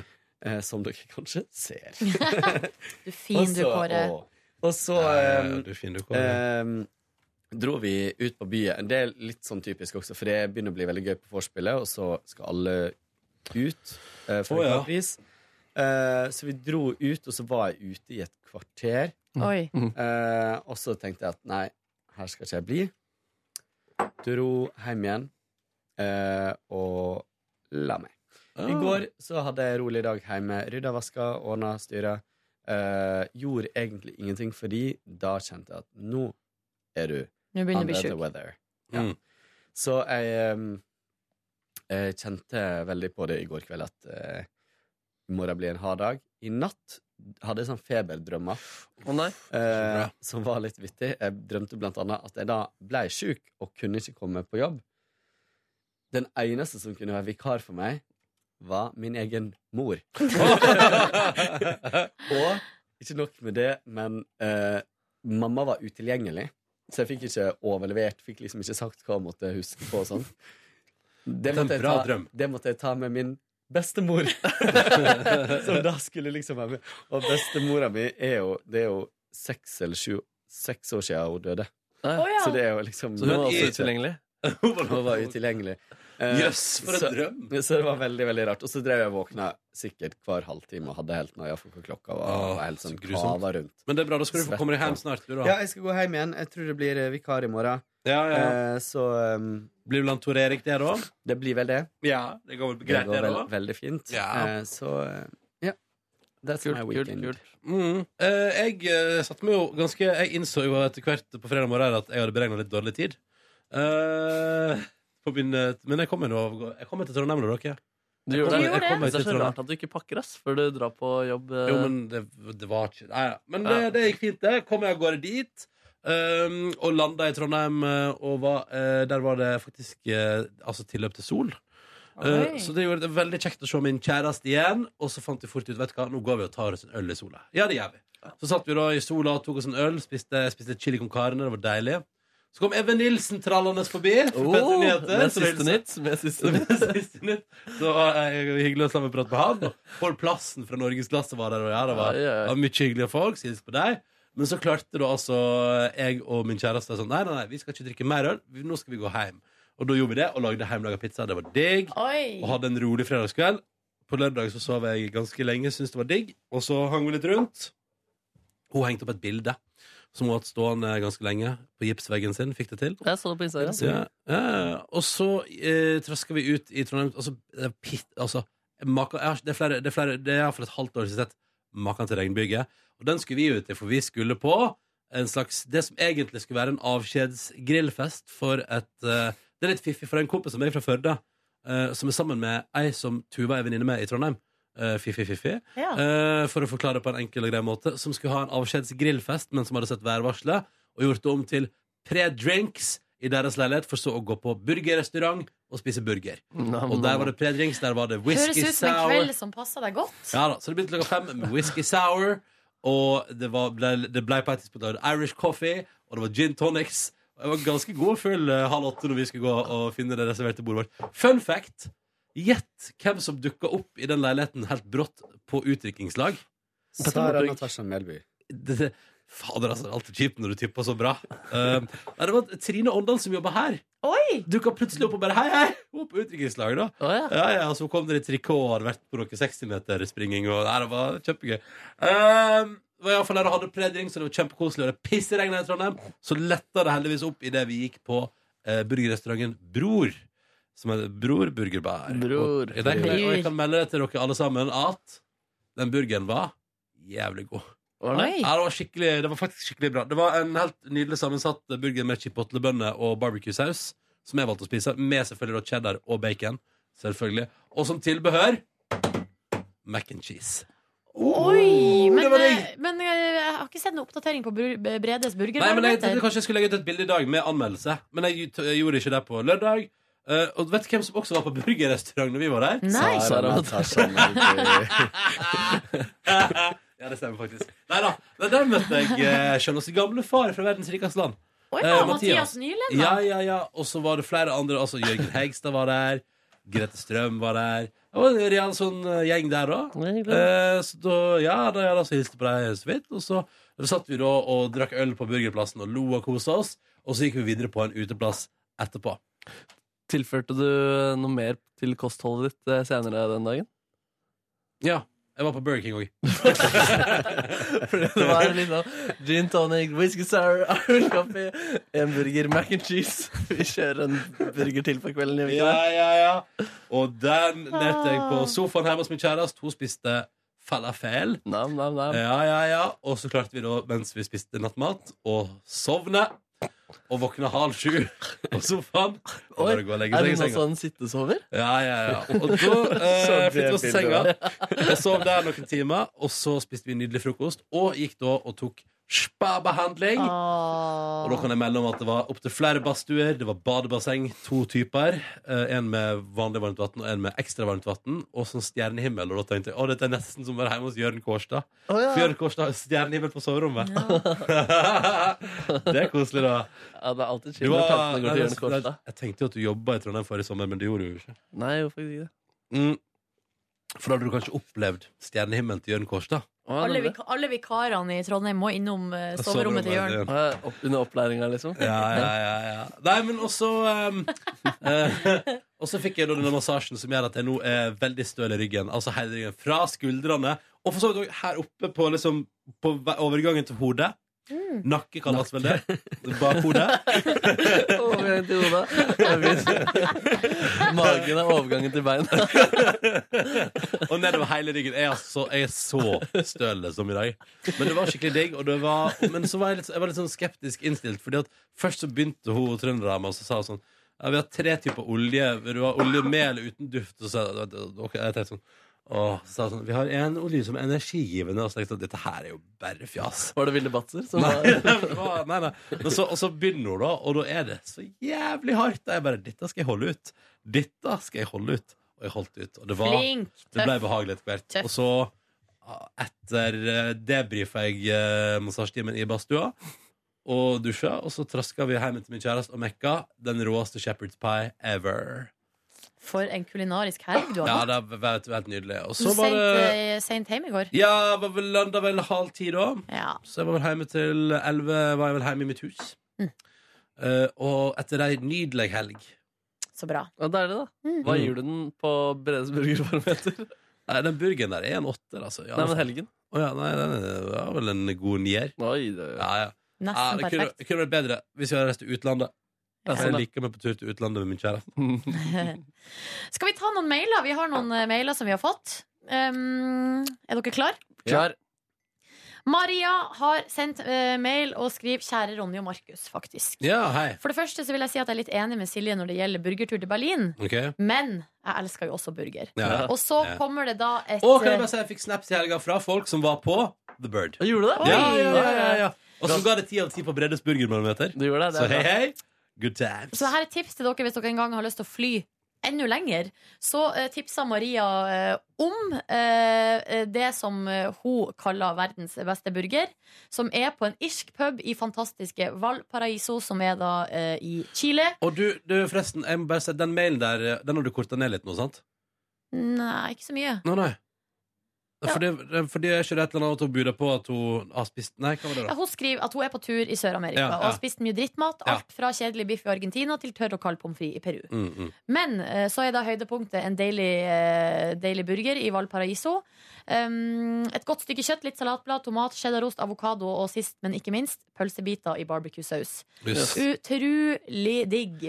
[SPEAKER 12] Eh, som dere kanskje ser.
[SPEAKER 3] Du er fin, du,
[SPEAKER 12] Og så-
[SPEAKER 3] Kåre.
[SPEAKER 12] å. Og så
[SPEAKER 1] Ja, ja,
[SPEAKER 12] ehm,
[SPEAKER 1] du er fin, du, Kåre.
[SPEAKER 12] ehm, dro vi ut på byen. Det er litt sånn typisk også, for det begynner å bli veldig gøy på vorspielet, og så skal alle ut eh, for
[SPEAKER 13] Å,
[SPEAKER 12] en
[SPEAKER 13] ja.
[SPEAKER 12] klar pris. Eh, så vi dro ut, og så var jeg ute i et kvarter.
[SPEAKER 3] Oi.
[SPEAKER 12] Eh, og så tenkte jeg at nei, her skal ikke jeg bli. Dro hjem igjen eh, og la meg. I
[SPEAKER 13] Ah.
[SPEAKER 12] går så hadde jeg en rolig dag hjemme. Rydda, vaska, ordna, styra. Eh, gjorde egentlig ingenting, fordi da kjente jeg at nå er du
[SPEAKER 3] Nå begynner du å bli
[SPEAKER 12] under the
[SPEAKER 3] sjuk.
[SPEAKER 12] weather. Ja.
[SPEAKER 1] Mm.
[SPEAKER 12] Så jeg, eh, jeg kjente veldig på det i går kveld at eh, i morgen blir en hard dag. I natt hadde jeg sånn feberdrømmer eh, som var litt vittig. Jeg drømte blant annet at jeg da ble syk og kunne ikke komme på jobb. Den eneste som kunne være vikar for meg, var min egen mor. og ikke nok med det, men eh, mamma var utilgjengelig. Så jeg fikk ikke overlevert, fikk liksom ikke sagt hva jeg måtte huske på og sånn. Det
[SPEAKER 1] Det er en
[SPEAKER 12] måtte, jeg
[SPEAKER 1] bra
[SPEAKER 12] ta,
[SPEAKER 1] drøm.
[SPEAKER 12] det måtte jeg ta med min bestemor. Som da skulle liksom være med. Og bestemora mi er jo Det er jo seks eller sju Seks år siden hun døde.
[SPEAKER 13] Å, ja.
[SPEAKER 12] Så det er jo liksom
[SPEAKER 13] Så hun
[SPEAKER 12] nå
[SPEAKER 13] er
[SPEAKER 12] altså ikke-
[SPEAKER 13] utilgjengelig?
[SPEAKER 12] Hun var utilgjengelig. Eh,
[SPEAKER 13] Jøss, for en
[SPEAKER 12] så-
[SPEAKER 13] drøm.
[SPEAKER 12] Så det var veldig veldig rart. Og så drev jeg og våkna sikkert hver halvtime og hadde helt noia for hva klokka var.
[SPEAKER 1] Åh,
[SPEAKER 12] og var helt sånn
[SPEAKER 1] så grusomt.
[SPEAKER 12] kava rundt.
[SPEAKER 1] Men det er bra, da skal du få
[SPEAKER 12] Svett
[SPEAKER 1] komme deg hjem
[SPEAKER 12] og-
[SPEAKER 1] snart, du da.
[SPEAKER 12] Ja, jeg skal gå hjem igjen. Jeg tror det blir eh, vikar i morgen.
[SPEAKER 1] Ja, ja, ja.
[SPEAKER 12] Eh, så um,
[SPEAKER 1] Blir det blant Tor Erik, det, da?
[SPEAKER 12] Det blir vel det.
[SPEAKER 1] Ja, det går vel
[SPEAKER 12] Det
[SPEAKER 1] greit,
[SPEAKER 12] går
[SPEAKER 1] det,
[SPEAKER 12] vel,
[SPEAKER 1] da?
[SPEAKER 12] veldig fint.
[SPEAKER 1] Ja.
[SPEAKER 12] Eh, så eh, ja. That's my weekend.
[SPEAKER 1] Mm. Eh, jeg eh, satte meg jo ganske Jeg innså jo etter hvert på fredag morgen at jeg hadde beregna litt dårlig tid. Eh, på min, eh, men jeg kommer nå Jeg kommer til Trondheim, da, dere.
[SPEAKER 2] Du
[SPEAKER 1] Jeg
[SPEAKER 2] gjør det.
[SPEAKER 1] kommer- jeg kommer
[SPEAKER 2] det
[SPEAKER 1] til
[SPEAKER 2] er så
[SPEAKER 1] Trondheim.
[SPEAKER 2] rart at du ikke pakker ass før du drar på jobb. eh.
[SPEAKER 1] Jo, men det, det var ikke Nei, ja. Men det, det gikk fint, det. Kom jeg av gårde dit. Um, og landa i Trondheim, eh, og var, eh, der var det faktisk eh, altså tilløp til sol. Eh,
[SPEAKER 13] Oi.
[SPEAKER 1] så det gjorde det veldig kjekt å se min kjæreste igjen. Og så fant vi fort ut vet du hva, nå går vi og tar oss en øl i sola. Ja, det gjør vi. Så satt vi da i sola og tok oss en øl, spiste, spiste chili con carne. Det var deilig. Så kom Even Nilsen trallende forbi. for
[SPEAKER 13] Oh,
[SPEAKER 1] Petter Nyheter,
[SPEAKER 13] med
[SPEAKER 1] så
[SPEAKER 13] siste
[SPEAKER 1] hilsa-
[SPEAKER 13] nytt, med siste nytt.
[SPEAKER 1] så eh, hyggelig å sammenprate med han. Pål Plassen fra Norgesklasse var der, og ja, det var,
[SPEAKER 13] Ja, ja, ja.
[SPEAKER 1] det var mye hyggelige folk. så Hils på deg. Men så klarte da altså jeg og min kjæreste sånn Nei, nei, nei, vi skal ikke drikke mer øl. Vi- Nå skal vi gå hjem. Og da gjorde vi det, og lagde hjemmelaga pizza. Det var digg.
[SPEAKER 3] Oi.
[SPEAKER 1] Og hadde en rolig fredagskveld. På lørdag så sov jeg ganske lenge, syntes det var digg. Og så hang vi litt rundt. Hun hengte opp et bilde som hun har hatt stående ganske lenge på gipsveggen sin. Fikk det til.
[SPEAKER 2] Jeg så det på Instagram.
[SPEAKER 1] Ja, ja, ja. Og så eh, trasker vi ut i Trondheim altså, det, er pitt, altså, maka, jeg har, det, er flere, det er flere Det er for et halvt år siden sett Maken til regnbyge Og den skulle vi ut til, for vi skulle på En slags, det som egentlig skulle være en avskjedsgrillfest For et eh, Det er litt fiffig for en kompis som er fra Førde eh, Som er sammen med ei som Tuva er venninne med i Trondheim Eh, Fiffi, fiffi
[SPEAKER 13] Ja.
[SPEAKER 1] Eh, For å forklare det på en enkel og grei måte Som skulle ha en avskjedsgrillfest Men som hadde sett værvarselet Og gjort det om til pre-drinks i deres leilighet for så å gå på burgerrestaurant og spise burger.
[SPEAKER 13] Nam,
[SPEAKER 1] og der
[SPEAKER 13] nam.
[SPEAKER 1] var det pre-drinks, der var det
[SPEAKER 3] Høres
[SPEAKER 1] whisky
[SPEAKER 3] ut som en
[SPEAKER 1] sour.
[SPEAKER 3] kveld som passer deg godt.
[SPEAKER 1] Ja da, Så det begynte klokka fem med whisky sour, og det, var, ble, det ble på et tidspunkt da var det Irish coffee, og det var gin tonics. Og Jeg var ganske god og full eh, halv åtte når vi skulle gå og finne det reserverte bordet vårt. Fun fact! Gjett hvem som dukka opp i den leiligheten helt brått på utdrikningslag.
[SPEAKER 12] Sara Natasha Melby.
[SPEAKER 1] det, det, Fader, altså, det er alltid kjipt når du tipper så bra. Um, nei, det var Trine Åndal som jobba her.
[SPEAKER 3] Oi!
[SPEAKER 1] Dukka plutselig opp og bare Hei, hei! Hun var på utdrikningslaget, da. ja. Ja, og så kom dere i trikot og hadde vært på noe 60-meterspringing. Og nei, det var kjempegøy. Um, det var iallfall der og hadde predring, så det var kjempekoselig. Og det pissregna i Trondheim. Så letta det heldigvis opp idet vi gikk på eh, burgerrestauranten Bror. Som er Bror Burgerbar.
[SPEAKER 2] Bror.
[SPEAKER 1] Og, der kan jeg, og jeg kan melde det til dere alle sammen at den burgeren var jævlig god.
[SPEAKER 2] Var det?
[SPEAKER 1] Ja, det var, skikkelig, det var faktisk skikkelig bra. Det var en helt nydelig sammensatt burger med chipotlebønner og barbecue-saus, som jeg valgte å spise, med selvfølgelig da cheddar og bacon. Selvfølgelig. Og som tilbehør mac and cheese.
[SPEAKER 3] Oi!
[SPEAKER 1] Oh, det
[SPEAKER 3] Men,
[SPEAKER 1] var
[SPEAKER 3] eh, men eh, jeg har ikke sett noen oppdatering på Bru-
[SPEAKER 1] Nei,
[SPEAKER 3] Bredes
[SPEAKER 1] men jeg tenkte
[SPEAKER 3] burgerbarometer.
[SPEAKER 1] kanskje jeg skulle legge ut et bilde i dag med anmeldelse, men jeg, t- jeg gjorde ikke det på lørdag. Eh, og vet du hvem som også var på burgerrestaurant når vi var der?
[SPEAKER 13] Nei. Sara Natasha
[SPEAKER 1] ja, det stemmer faktisk. Nei da. Men der møtte jeg eh, selveste gamle far fra verdens rikeste land.
[SPEAKER 3] Å ja, Mathias Nyland, da.
[SPEAKER 1] Eh, Ja, ja, ja. Og så var det flere andre. Altså Jørgen Hegstad var der. Grete Strøm var der. Det var en real sånn eh, gjeng der òg.
[SPEAKER 2] Nei,
[SPEAKER 1] Eh, så da, ja, da jeg da så hilste på deg så vidt. Og så Da satt vi da og drakk øl på burgerplassen og lo og kosa oss, og så gikk vi videre på en uteplass etterpå.
[SPEAKER 2] Tilførte du eh, noe mer til kostholdet ditt eh, senere den dagen?
[SPEAKER 1] Ja. Jeg var på Burger King òg.
[SPEAKER 2] det var litt sånn gin tonic, whisky sour, Irish coffee, en burger, mac and cheese. Vi kjører en burger til på kvelden. gjør vi ikke
[SPEAKER 1] Ja,
[SPEAKER 2] det?
[SPEAKER 1] ja, ja. Og den nøt jeg på sofaen hjemme hos min kjæreste. Hun spiste falafel.
[SPEAKER 2] Nam, nam, nam.
[SPEAKER 1] Ja, ja, ja. Og så klarte vi da, mens vi spiste nattmat, å sovne. Og våkne halv sju på sofaen. Og bare gå og legge
[SPEAKER 2] Er
[SPEAKER 1] seg i
[SPEAKER 2] det noe
[SPEAKER 1] senga.
[SPEAKER 2] sånn sittesover?
[SPEAKER 1] Ja, ja, ja. Og da eh,
[SPEAKER 2] Så det
[SPEAKER 1] flyttet vi oss til senga.
[SPEAKER 2] bildet
[SPEAKER 1] Jeg sov der noen timer, og så spiste vi nydelig frokost. Og gikk da og tok spa-behandling. Og da kan jeg melde om at det var opptil flere badstuer. Det var badebasseng, to typer. Eh, en med vanlig varmt vann og en med ekstra varmt vann. Og sånn stjernehimmel. Og da tenkte jeg å, dette er nesten som å være hjemme hos Jørn Kårstad.
[SPEAKER 2] Å, ja.
[SPEAKER 1] For Jørn Kårstad har stjernehimmel på soverommet. det er koselig, da.
[SPEAKER 2] Ja, det er alltid
[SPEAKER 1] Du
[SPEAKER 2] chill når
[SPEAKER 1] var-
[SPEAKER 2] tankene går til Jørn
[SPEAKER 1] nei,
[SPEAKER 2] Kårstad.
[SPEAKER 1] jeg, jeg tenkte jo at du jobba i Trondheim forrige sommer, men det gjorde du jo ikke.
[SPEAKER 2] Nei, hvorfor ikke det?
[SPEAKER 1] Mm. For da hadde du kanskje opplevd stjernehimmelen til Jørn Kårstad.
[SPEAKER 3] Alle, vik alle vikarene i Trondheim må innom eh, soverommet til Jørn.
[SPEAKER 2] Ah, opp- Under opplæringa, liksom?
[SPEAKER 1] Ja, ja, ja, ja. Nei, men også ehm, eh, Og så fikk jeg da denne massasjen som gjør at jeg nå er veldig støl i ryggen. Altså hele ryggen Fra skuldrene og for så vidt også her oppe på, liksom, på ve- overgangen til hodet.
[SPEAKER 3] Mm.
[SPEAKER 1] Nakke kalles vel det. Bakhodet.
[SPEAKER 2] Overgang til hodet. Det er fint. Magen er overgangen til beina.
[SPEAKER 1] Og nedover hele ryggen. Jeg er så, jeg er så støl som i dag. Men det var skikkelig digg. Og det var, men så var jeg, litt, jeg var litt sånn skeptisk innstilt. Fordi at først så begynte hun trønderdama og så sa hun sånn ja, Vi har tre typer olje. Vil du ha olje med eller uten duft? Og så sa jeg, ok, jeg tenkte sånn Åh, så sa hun sånn, Vi har en olje som er energigivende. Og så tenkte jeg at dette her er jo bare fjas.
[SPEAKER 2] Var det Vilde Batzer? som
[SPEAKER 1] Nei,
[SPEAKER 2] var-
[SPEAKER 1] det var- nei, nei. Men så, og så begynner hun, da, og da er det så jævlig hardt. Og jeg bare Dette skal jeg holde ut. Dette skal jeg holde ut. Og jeg holdt ut. Og det, var,
[SPEAKER 3] Flink,
[SPEAKER 1] det ble
[SPEAKER 3] tøff.
[SPEAKER 1] behagelig etter hvert.
[SPEAKER 3] Tøff.
[SPEAKER 1] Og så, ah, etter eh, det brifa jeg eh, massasjetimen i badstua og dusja, og så traska vi hjem til min kjæreste og mekka den råeste shepherd's pie ever.
[SPEAKER 3] For en kulinarisk helg du har
[SPEAKER 1] Ja,
[SPEAKER 3] hatt.
[SPEAKER 1] det var det var helt nydelig. Og
[SPEAKER 3] Du
[SPEAKER 1] så var det
[SPEAKER 3] sendte sent hjem i går.
[SPEAKER 1] Ja, var vel landa vel halv ti da.
[SPEAKER 3] Ja.
[SPEAKER 1] Så jeg var vel hjemme til elleve, var jeg vel hjemme i mitt hus. Eh, og etter ei nydelig helg.
[SPEAKER 3] Så bra.
[SPEAKER 2] Ja, det er det, da.
[SPEAKER 3] Mm.
[SPEAKER 2] Hva gir du den på Bredes burgerbarometer?
[SPEAKER 1] Nei, den burgeren der er en åtter, altså. Ja,
[SPEAKER 2] Nei, men helgen.
[SPEAKER 1] Å ja, nei, den er- det var vel en god nier. Ja, ja.
[SPEAKER 2] Nesten
[SPEAKER 1] ja, det kunne,
[SPEAKER 2] perfekt.
[SPEAKER 1] det kunne vært bedre hvis vi hadde reist til utlandet.
[SPEAKER 2] Ja,
[SPEAKER 1] For jeg
[SPEAKER 2] sånn,
[SPEAKER 1] liker meg på tur til utlandet med min kjære.
[SPEAKER 3] Skal vi ta noen mailer? Vi har noen eh, mailer som vi har fått. Um, er dere klar?
[SPEAKER 2] Klar.
[SPEAKER 3] Maria har sendt eh, mail og skriver 'Kjære Ronny og Markus', faktisk.
[SPEAKER 1] Ja, hei.
[SPEAKER 3] For det første så vil jeg si at jeg er litt enig med Silje når det gjelder burgertur til Berlin.
[SPEAKER 1] Ok.
[SPEAKER 3] Men jeg elsker jo også burger.
[SPEAKER 1] Ja.
[SPEAKER 3] Og så
[SPEAKER 1] Ja.
[SPEAKER 3] kommer det da et
[SPEAKER 1] Og kan jeg bare si jeg fikk snaps i helga fra folk som var på The Bird.
[SPEAKER 2] Gjorde
[SPEAKER 3] det?
[SPEAKER 1] Ja,
[SPEAKER 3] Oi.
[SPEAKER 1] ja, ja, ja, ja. Og så ga det ti av ti på Bredes burgerbarometer.
[SPEAKER 2] det er
[SPEAKER 1] Så hei,
[SPEAKER 2] bra.
[SPEAKER 1] hei. Good times.
[SPEAKER 3] Så her er tips til dere hvis dere en gang har lyst til å fly enda lenger. Så eh, tipsa Maria eh, om eh, det som eh, hun kaller verdens beste burger, som er på en irsk pub i fantastiske Valparaiso, som er da eh, i Chile.
[SPEAKER 1] Og du, du, forresten, jeg må bare si, den mailen der eh, Den har du korta ned litt nå, sant?
[SPEAKER 3] Nei, ikke så mye.
[SPEAKER 1] Nei, nei. Fordi, fordi jeg ikke det et eller annet at hun buder på at hun har spist Nei, hva var det,
[SPEAKER 3] Ja,
[SPEAKER 1] da?
[SPEAKER 3] hun skriver at hun er på tur i Sør-Amerika
[SPEAKER 1] Ja, ja.
[SPEAKER 3] og har spist mye drittmat.
[SPEAKER 1] Ja.
[SPEAKER 3] Alt fra kjedelig biff i Argentina til tørr og kald pommes frites i Peru.
[SPEAKER 1] Mm, mm.
[SPEAKER 3] Men eh, så er da høydepunktet en deilig, eh, deilig burger i Valparaiso. Um, et godt stykke kjøtt, litt salatblad, tomat, cheddarost, avokado og sist, men ikke minst, pølsebiter i barbecue-saus.
[SPEAKER 1] Yes.
[SPEAKER 3] Utrolig digg.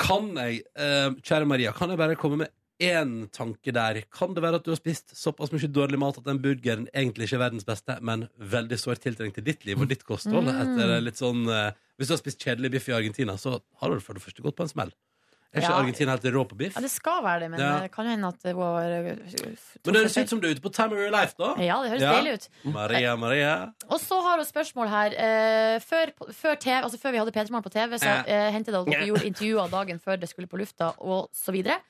[SPEAKER 1] Kan jeg, eh, kjære Maria, kan jeg bare komme med én tanke der? Kan det være at du har spist såpass mye dårlig mat at den burgeren egentlig ikke er verdens beste, men veldig sårt tiltrengt til ditt liv og ditt kosthold?
[SPEAKER 3] Mm.
[SPEAKER 1] Etter litt sånn eh, Hvis du har spist kjedelig biff i Argentina, så har du for det første gått på en smell. Er ikke
[SPEAKER 3] Ja.
[SPEAKER 1] Argentina helt rå på biff?
[SPEAKER 3] Ja, det skal være det, men
[SPEAKER 1] Ja.
[SPEAKER 3] eh, det kan jo hende at det var eh,
[SPEAKER 1] Men det høres ut som du er ute på Time of Your Life, da.
[SPEAKER 3] Ja, det høres deilig ut.
[SPEAKER 1] Maria, Maria.
[SPEAKER 3] Og så har hun spørsmål her. Eh, før, før, TV, altså før vi hadde Petermann på TV, så eh, hendte det at dere gjorde intervjuer dagen før det skulle på lufta, og så videre.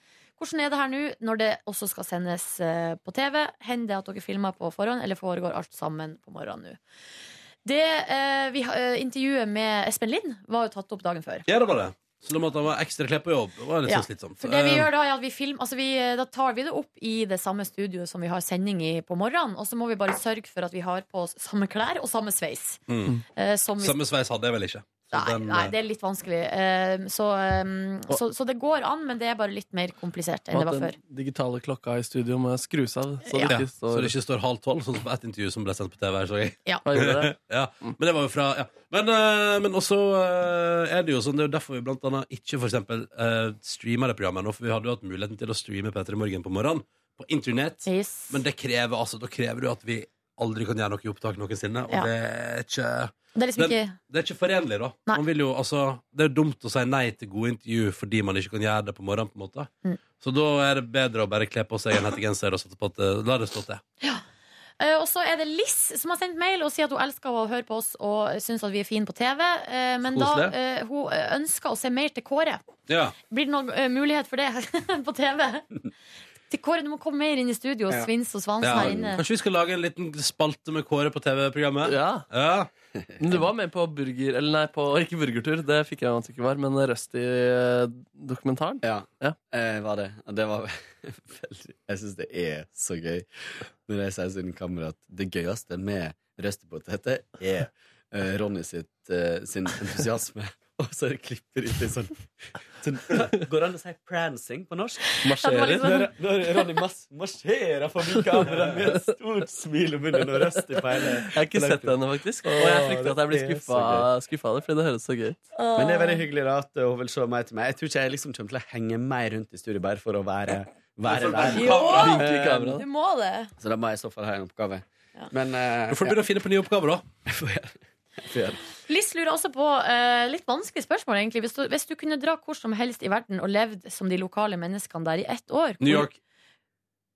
[SPEAKER 3] Hvordan er det her nå når det også skal sendes eh, på TV? Hender det at dere filmer på forhånd, eller foregår alt sammen på morgenen nå? Det eh, vi, har- eh, Intervjuet med Espen Lind var jo tatt opp dagen før.
[SPEAKER 1] Ja, det var det. Så da måtte han være ekstra kledd på jobb. Det var litt
[SPEAKER 3] Ja,
[SPEAKER 1] sånn slitsomt.
[SPEAKER 3] For det vi
[SPEAKER 1] Eh,
[SPEAKER 3] gjør Da er at vi film, altså vi, da tar vi det opp i det samme studioet som vi har sending i på morgenen. Og så må vi bare sørge for at vi har på oss samme klær og samme sveis.
[SPEAKER 1] Mm.
[SPEAKER 3] Eh, som vi-
[SPEAKER 1] Samme sveis hadde jeg vel ikke. Så
[SPEAKER 3] Nei,
[SPEAKER 1] den,
[SPEAKER 3] nei,
[SPEAKER 1] eh,
[SPEAKER 3] det er litt vanskelig. Eh, Så, eh, så, så det går an, men det er bare litt mer komplisert enn det
[SPEAKER 2] Og
[SPEAKER 3] var
[SPEAKER 2] at
[SPEAKER 3] før.
[SPEAKER 2] den digitale klokka i studio må skrus av. Så det
[SPEAKER 1] Ja.
[SPEAKER 2] ikke
[SPEAKER 1] Så
[SPEAKER 2] står
[SPEAKER 1] det ikke står halv tolv, sånn som på ett intervju som ble sendt på TV. her, Så jeg.
[SPEAKER 3] Ja.
[SPEAKER 2] Ja, gjorde det.
[SPEAKER 1] ja. Men det var jo fra ja. Men, eh, men også eh, er det jo sånn, det er jo derfor vi blant annet ikke for eksempel eh, streamer det programmet nå, for vi hadde jo hatt muligheten til å streame P3 Morgen på morgenen på internett, men det krever altså, da krever du at vi aldri kan gjøre noe i opptak noensinne, og
[SPEAKER 3] Ja.
[SPEAKER 1] det er ikke
[SPEAKER 3] Det er liksom
[SPEAKER 1] Den-
[SPEAKER 3] ikke-
[SPEAKER 1] det er ikke forenlig, da. Man vil jo, altså, det er jo dumt å si nei til gode intervju fordi man ikke kan gjøre det på morgenen. på en måte.
[SPEAKER 3] Mm.
[SPEAKER 1] Så da er det bedre å bare kle på seg en hettegenser og satse på at eh, la det stå til.
[SPEAKER 3] Eh, Og så er det Liss som har sendt mail og sier at hun elsker å høre på oss og syns at vi er fine på TV. eh, Men da
[SPEAKER 1] Koselig.
[SPEAKER 3] eh, hun ønsker å se mer til Kåre.
[SPEAKER 1] Ja.
[SPEAKER 3] Blir det noen eh, mulighet for det på TV? Til Kåre, du må komme mer inn i studio og
[SPEAKER 1] Ja.
[SPEAKER 3] svinse og svanse
[SPEAKER 1] Ja,
[SPEAKER 3] her inne.
[SPEAKER 1] Kanskje vi skal lage en liten spalte med Kåre på TV-programmet?
[SPEAKER 2] Ja.
[SPEAKER 1] ja.
[SPEAKER 2] Men du var med på burger, eller nei, på, ikke burgertur, det fikk jeg at du ikke var, men eh, Rusty-dokumentaren.
[SPEAKER 12] Ja, eh, var det. Og Det var veldig Jeg syns det er så gøy når jeg sier sin kamera at det gøyeste med røstepoteter er eh, Ronny sitt, eh, sin entusiasme. Og så er det klipper ut litt sånn, sånn Går det an å si 'prancing' på norsk?
[SPEAKER 13] Marsjerer. Ja, det var
[SPEAKER 12] Når,
[SPEAKER 13] liksom-
[SPEAKER 12] når Ronny mas marsjerer forbi kameraet med et stort smil om munnen og røst i peile.
[SPEAKER 2] Jeg har ikke sett henne, faktisk. Og jeg frykter at jeg blir skuffa skuffa av det, fordi det høres så gøy ut.
[SPEAKER 12] Men det er veldig hyggelig da at hun vil se mer til meg. Jeg tror ikke jeg liksom kommer til å henge mer rundt i studio bare for å være, være der.
[SPEAKER 3] Jo!
[SPEAKER 12] Eh,
[SPEAKER 3] Du må det.
[SPEAKER 12] Så da må jeg i så fall ha en oppgave. Men eh,
[SPEAKER 1] Du får begynne å finne på nye oppgaver, da.
[SPEAKER 12] ja.
[SPEAKER 3] Liss lurer også på eh, litt vanskelig spørsmål, egentlig. Hvis du, hvis du kunne dra hvor som helst i verden og levd som de lokale menneskene der i ett år hvor-
[SPEAKER 1] New York.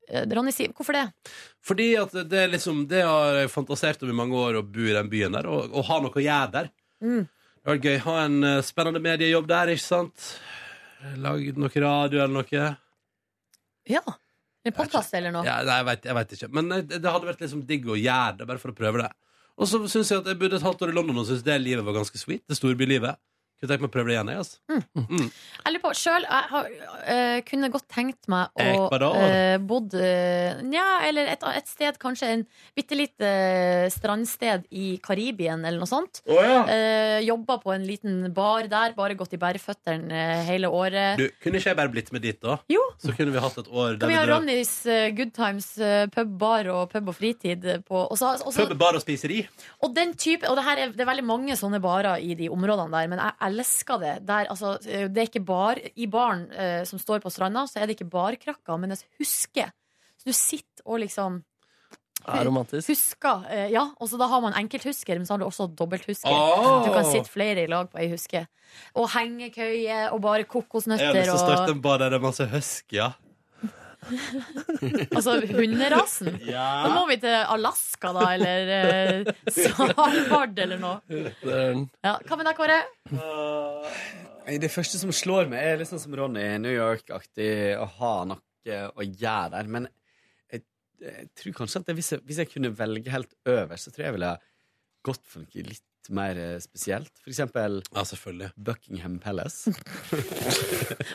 [SPEAKER 3] Eh, Ronny sier Hvorfor det?
[SPEAKER 1] Fordi at det er liksom Det har jeg fantasert om i mange år, å bo i den byen der, og, og ha noe å gjøre der.
[SPEAKER 3] Mm.
[SPEAKER 1] Det var gøy. Ha en eh, spennende mediejobb der, ikke sant? Lag noe radio eller noe.
[SPEAKER 3] Ja. En podkast eller noe?
[SPEAKER 1] Ja, nei, jeg, vet, jeg vet ikke. Men eh, det det hadde vært liksom digg å gjøre det, bare for å prøve det. Og så syns jeg at jeg bodde et halvt år i London og synes det livet var ganske sweet. Det storbylivet. Kunne tenkt meg å prøve det igjen, jeg, altså. Mm.
[SPEAKER 3] Jeg lurer på, sjøl jeg har, eh, kunne godt tenkt meg å
[SPEAKER 1] Ecuador?
[SPEAKER 3] eh, bodd eh, Nja, eller et, et sted, kanskje en bitte lite eh, strandsted i Karibien eller noe sånt.
[SPEAKER 1] Å, ja.
[SPEAKER 3] Eh, jobba på en liten bar der, bare gått i bæreføttene eh, hele året.
[SPEAKER 1] Du, kunne ikke jeg bare blitt med dit, da? Så kunne vi hatt et år
[SPEAKER 3] Kan
[SPEAKER 1] der vi
[SPEAKER 3] vi ha
[SPEAKER 1] drev
[SPEAKER 3] Ronnys eh, Good Times eh, pub, bar og pub og fritid eh, på og, så, og, så,
[SPEAKER 1] pub, bar og spiseri.
[SPEAKER 3] og den type Og det, her er, det er veldig mange sånne barer i de områdene der, men jeg elsker det. Der, altså, eh, det er ikke bar I baren eh, som står på stranda, så er det ikke barkrakker, men jeg husker. Så du sitter og liksom
[SPEAKER 1] Eh,
[SPEAKER 2] Det er romantisk.
[SPEAKER 3] husker. eh, ja, og så da har man enkelthusker, men så har du også dobbelthusker.
[SPEAKER 1] Åh!
[SPEAKER 3] Du kan sitte flere i lag på ei huske. Og hengekøye og bare
[SPEAKER 1] Jeg har lyst
[SPEAKER 3] kokosnøtter
[SPEAKER 1] til å starte
[SPEAKER 3] og
[SPEAKER 1] en bar der det er masse huskyer.
[SPEAKER 3] Altså hunderasen. Da må vi til Alaska, da, eller eh, Svalbard eller noe. Ja, Hva med deg, Kåre?
[SPEAKER 12] Nei, Det første som slår meg, er litt sånn som Ronny, New York-aktig, å ha noe å gjøre der. Men jeg, jeg tror kanskje at det, hvis, jeg, hvis jeg kunne velge helt øverst, så tror jeg jeg ville gått for noe litt mer eh, spesielt. For eksempel Buckingham Palace.